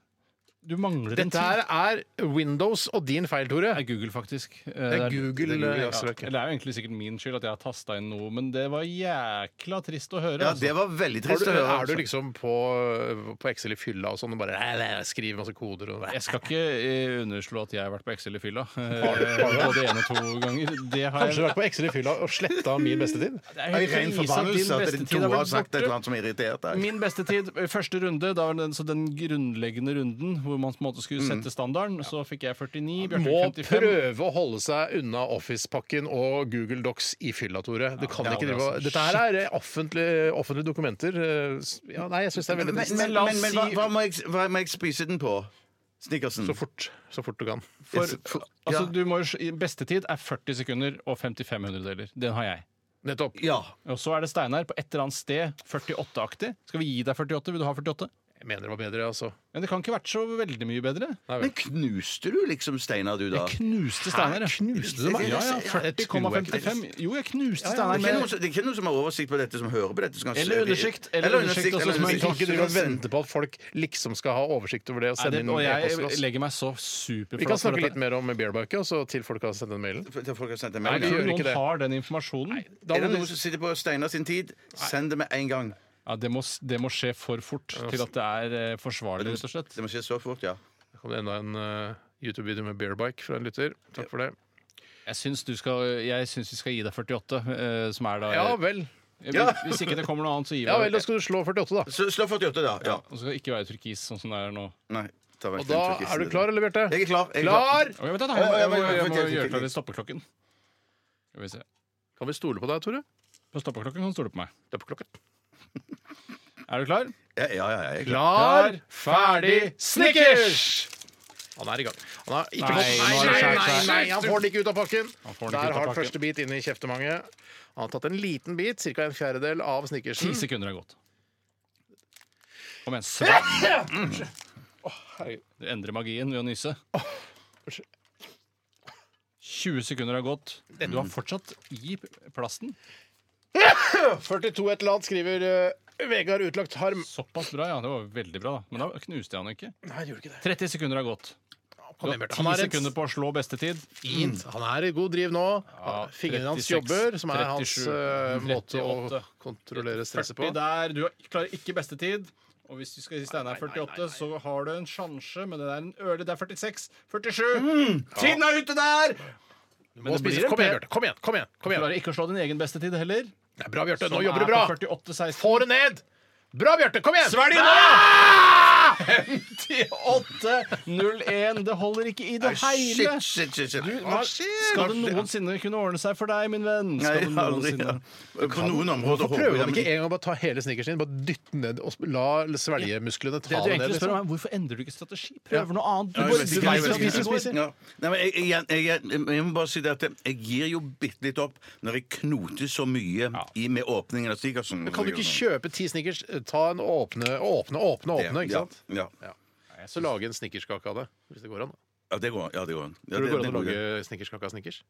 S3: Du mangler
S1: Dette
S3: en tid.
S1: her er Windows og din feil, Tore.
S3: Det er Google, faktisk. Eh,
S1: Det er Google.
S2: Google,
S1: eh,
S2: ja.
S1: Excel, ok.
S3: Eller det er jo egentlig sikkert min skyld at jeg har tasta inn noe, men det var jækla trist å høre.
S2: Ja,
S3: altså.
S2: det var veldig
S1: Har
S2: trist
S1: du,
S2: å høre.
S1: er du
S2: altså.
S1: liksom på, på Excel i fylla og sånn og bare "Nei, nei, skriver masse koder og
S3: Jeg skal ikke eh, underslå at jeg har vært på Excel i fylla. Eh, Både én og to ganger. Det har
S1: Kanskje
S3: jeg.
S1: vært på Excel i fylla og sletta min beste tid?
S3: Det er helt
S2: I ren
S3: krise at din
S2: forbannelse at
S3: beste
S2: det-
S3: tid har
S2: Tore har
S3: vært
S2: sagt et
S3: borte.
S2: eller annet som har irritert deg.
S3: Min beste tid, eh, første runde, da var den, så den grunnleggende runden hvor man på en måte skulle sette standarden, så fikk jeg 49, Bjarte
S1: Mm. Må
S3: fikk 55.
S1: prøve å holde seg unna Office-pakken og Google Docs i fylla, Tore. Du kan
S3: Ja,
S1: ikke
S3: det er
S1: drive og-
S3: altså-
S1: Dette her er offentlige, offentlige dokumenter. eh, s- Ja, nei, jeg syns det er
S2: Men,
S1: veldig
S2: men,
S1: trist.
S2: men,
S3: la oss
S2: men, hva,
S3: si-
S2: hva, må jeg, hva må jeg spise den på? Snickersen.
S1: Så fort, så fort du kan.
S3: For,
S2: Jeg- for-
S3: altså,
S2: ja.
S3: du må, jo s- i beste tid er 40 sekunder og 55 hundredeler. Den har jeg.
S1: Nettopp.
S2: Ja.
S3: Og så er det Steinar på et eller annet sted 48-aktig. Skal vi gi deg 48? Vil du ha 48?
S1: Jeg mener det var bedre, altså.
S3: Men det kan ikke vært så veldig mye bedre.
S2: Men knuste du liksom Steinar, du, da?
S3: Jeg knuste Steinar.
S1: knuste du meg?
S3: Ja, ja.
S1: Jeg tror ikke det.
S3: 40,55. Jo, jeg knuste
S2: Det er,
S3: Steinar
S2: ikke
S3: med
S2: noen, som- det er ikke noen som har oversikt på dette, som hører på dette. Som kan,
S3: Eller undersikt, eller undersikt, altså, som
S1: Men
S3: Men
S1: kan ikke drive og
S2: Så-
S1: vente på at folk liksom skal ha oversikt over det og
S3: Nei,
S1: sende
S3: det,
S1: inn
S3: og
S1: noen e-poster til
S3: jeg
S1: oss?
S3: legger meg så
S1: Vi kan
S3: superflat
S1: snakke litt mer om Beerbucket og så til folk har sendt den mailen.
S2: Til folk har sendt en
S3: Nei,
S2: melding.
S1: vi gjør
S3: tror du
S1: ikke det.
S3: noen har den informasjonen?
S1: Da
S2: Er det
S1: må
S2: noen
S1: du-
S2: som sitter på Steinar sin tid, send det med en gang.
S3: Ja, det må, det må skje for fort til at det er eh, forsvarlig, rett og slett.
S2: Det må skje så fort, ja.
S1: Da kom det enda en eh, YouTube-video med Beerbike fra en lytter. Takk for det.
S3: Jeg syns, du skal, jeg syns vi skal gi deg 48, eh, som er da
S1: Ja vel.
S3: Ja, Hvis ikke det kommer noe annet, så gir vi
S1: Ja vel, da
S3: det.
S1: skal du slå 48, da.
S2: Så slå 48, da. Ja.
S3: Og så skal det ikke være turkis, sånn som det er nå.
S2: Nei, ta vekk
S1: Og da
S2: den turkisen.
S1: er du klar, eller, Bjarte?
S2: Jeg er klar. Jeg er
S1: Klar!
S3: Oi, vent, da,
S2: Oi,
S3: jeg, må- jeg,
S2: oi, oi,
S3: må- jeg må
S2: vent, vent,
S3: gjøre
S2: vent.
S3: klar til stoppeklokken. Skal vi se.
S1: Kan vi stole på deg, Tore?
S3: På stoppeklokken kan du stole på meg.
S1: Det er på klokka.
S3: Er du klar?
S2: Ja, ja, ja, jeg er klar.
S1: Klar,
S3: ferdig,
S1: snickers! Han er i gang. Han har ikke fått
S3: Nei, nå er det skjært, skjært.
S1: han får det ikke ut av pakken.
S3: får det ikke ut
S1: Der
S3: av
S1: har
S3: pakken.
S1: første bit inn i kjeftemanget. Han har tatt en liten bit, ca. en fjerdedel av
S3: Ti
S1: snickersen.
S3: sekunder er gått. Kom igjen. Svelg! Du endrer magien ved å nyse. 20 sekunder har gått. Du har fortsatt i plasten.
S1: 42 et eller annet, skriver eh, Vegard utlagt harm.
S3: Såpass bra, ja. Det var veldig bra. da. Men da knuste jeg han ikke.
S1: Nei, det gjorde ikke det.
S3: 30 sekunder har gått. Du
S1: Kom
S3: har
S1: igjen, Bjarte.
S3: 10
S1: Han er
S3: sekunder
S1: et
S3: på å slå beste tid.
S1: fint. Han er i god driv nå.
S3: Ja,
S1: Fingrene hans
S3: 36,
S1: jobber, som er hans
S3: 37,
S1: eh, måte å
S3: 38.
S1: kontrollere stresset på.
S3: 40 der. Du klarer ikke beste tid. Og hvis du skal si Steinar 48, så har du en sjanse, men det er en øle. Det er 46. 47. Tiden er ute der!
S1: Må
S3: det
S1: spise-
S3: blir en
S1: Kom igjen,
S3: P.
S1: Bjarte. Kom igjen. kom igjen, kom
S3: Du
S1: igjen.
S3: klarer ikke å slå din egen beste tid heller.
S1: Det er bra, Bjarte. Nå
S3: Som
S1: jobber
S3: er
S1: du bra.
S3: på 48-16.
S1: Få det ned! Bra, Bjarte. Kom igjen!
S3: Svelg nå!
S1: Ah!
S3: 58-01. Det holder ikke i det hele.
S2: Shit, shit, shit. shit.
S3: Du, hva- skal det noensinne kunne ordne seg for deg, min venn? Skal det
S2: Nei, aldri.
S3: noensinne-
S2: Ja. På noen områder håper
S1: Prøver han
S2: jeg, men
S1: ikke en gang å bare ta hele snickersen din, bare dytte den ned og sp- la svelgemusklene ta det
S3: Det du
S1: ned?
S3: egentlig spør
S1: Liksom.
S3: om er, Hvorfor endrer du ikke strategi? Prøver noe annet. Du
S2: Ja,
S3: bare
S2: men-
S1: spiser,
S2: Nei, men-
S1: spiser, spiser.
S2: Ja. Nei, men jeg, jeg, jeg, jeg, jeg må bare si det at jeg gir jo bitte litt opp når jeg knoter så mye i med åpningen av Stigersen.
S1: Kan du ikke kjøpe ti snickers, ta en åpne, åpne, åpne, åpne, ikke sant?
S2: Ja, ja.
S1: Ja. Så lage en snickerskake av det, hvis det går an.
S2: ja det går an. Ja, det går an. Ja,
S1: Tror du det går an å
S2: må jo-
S1: lage snickerskake av snickers?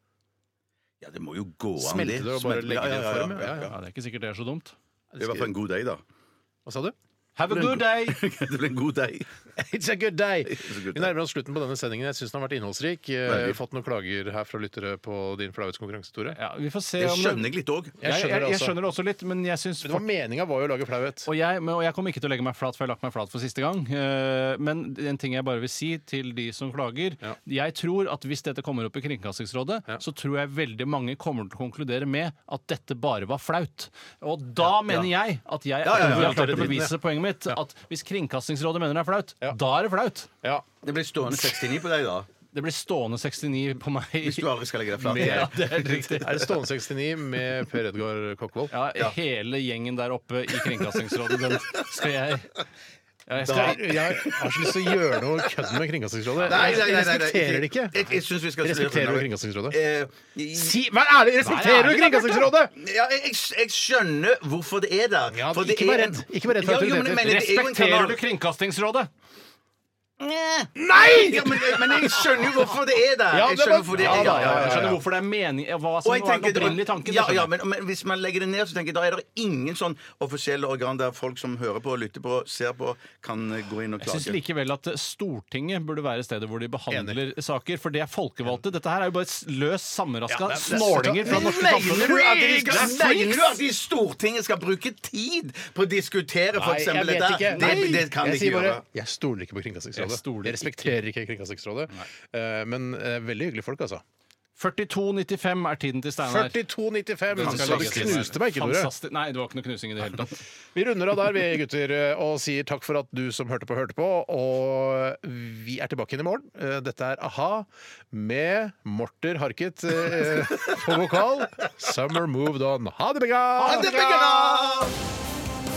S2: Ja, det må jo gå an,
S1: Smelte det og bare
S2: Smelte-
S1: legge det i en form, ja,
S2: Ja,
S1: ja,
S2: ja,
S1: ja.
S2: ja.
S3: Ja, det er ikke sikkert det er så dumt.
S2: Det er i hvert fall en god deig, da.
S1: Hva sa du?
S3: Have a good day!
S2: det blir en god deig.
S1: It's a good day!
S2: a good
S1: Vi nærmer oss slutten på denne sendingen. Jeg syns den har vært innholdsrik. Eh, Vi har fått noen klager her fra lyttere på din flauhetskonkurranse, Tore.
S3: Ja, vi får se
S2: Det
S3: om
S2: skjønner jeg litt òg.
S1: Jeg
S3: Jeg,
S1: skjønner
S3: jeg,
S1: det
S3: jeg
S1: også.
S3: skjønner det også litt, men jeg syns
S1: Men det var meninga var jo å lage flauhet.
S3: og jeg, men- og jeg kommer ikke til å legge meg flat, for jeg har lagt meg flat for siste gang. Eh, Men en ting jeg bare vil si til de som klager Jeg tror at hvis dette kommer opp i Kringkastingsrådet, så tror jeg veldig mange kommer til å konkludere med at dette bare var flaut. Og da mener jeg at jeg,
S2: ja, ja,
S3: jeg har
S1: det
S3: klart å
S1: er det,
S3: bevise poenget mitt. At hvis Kringkastingsrådet mener det er flaut, da er det flaut.
S1: Ja.
S2: Det blir stående 69 på deg, da.
S3: Det blir stående 69 på meg.
S2: Hvis du aldri skal legge deg flat.
S3: ja, det er helt riktig.
S1: Er det Stående 69 med Per Edgar Kokkvold?
S3: Ja, hele gjengen der oppe i Kringkastingsrådet, den skal jeg ja, jeg skal,
S1: Jeg, jeg har så lyst til å gjøre noe kødd med Kringkastingsrådet.
S2: Nei, nei,
S1: Jeg
S2: nei, nei, nei.
S1: respekterer det ikke.
S2: Jeg, jeg synes vi skal
S1: Respekterer du Kringkastingsrådet?
S2: Eh,
S1: Si, vær ærlig! Respekterer du Kringkastingsrådet?!
S2: Ja, jeg, jeg, jeg skjønner hvorfor det er der.
S1: Ja,
S2: For
S1: ikke
S2: det
S1: vær
S2: er
S1: redd.
S2: en-
S1: Ikke vær redd for
S2: Ja, jo, men
S1: autoriteter.
S2: jeg mener, det er jo en
S3: Respekterer
S2: kanal-
S3: du Kringkastingsrådet?
S2: Nei! Ja, men, men jeg skjønner jo hvorfor det er der.
S1: Ja,
S2: Jeg
S1: det
S2: skjønner
S1: var-
S2: hvorfor det
S1: ja,
S2: er
S1: da,
S2: der.
S1: ja,
S3: Jeg skjønner hvorfor det er mening Hva som
S2: Og
S3: var
S2: jeg
S3: den
S2: tenker,
S3: opprinnelige tanken.
S2: ja,
S3: det skjønner
S2: ja,
S3: jeg.
S2: men, men hvis man legger det ned, så tenker jeg da er det ingen sånn offisielle organ der folk som hører på, lytter på, ser på, kan eh, gå inn og
S3: jeg syns
S2: klage.
S3: likevel at eh, Stortinget burde være stedet hvor de behandler saker, for de er folkevalgte. Dette her er jo bare s- løs sammenraska snålinger fra det norske
S2: Mener du
S3: samfunnet.
S2: at de skal- mener du at de i Stortinget skal bruke tid på å diskutere
S1: Nei,
S2: f.eks.
S1: jeg vet
S2: dette?
S1: ikke.
S2: Det, det kan de
S1: jeg
S2: ikke
S1: sier bare
S2: gjøre.
S1: jeg stoler ikke på Kringkastingsrådet.
S3: Jeg stoler
S1: Jeg, respekterer ikke Kringkastingsrådet. Eh, men eh, veldig hyggelige folk, altså.
S3: 42,95 er tiden til Steinar.
S1: 42,95!
S3: Den skal
S1: Så Du
S3: lages.
S1: knuste meg ikke, Tore.
S3: Fantastisk. Nei, det var ikke noe knusing i det hele tatt.
S1: Vi runder av der, vi gutter, og sier takk for at du som hørte på, hørte på. Og vi er tilbake igjen i morgen. Eh, Dette er A-ha med Morter Harket eh, på vokal. 'Summer Moved On'. Ha det bra!
S2: Ha det bra!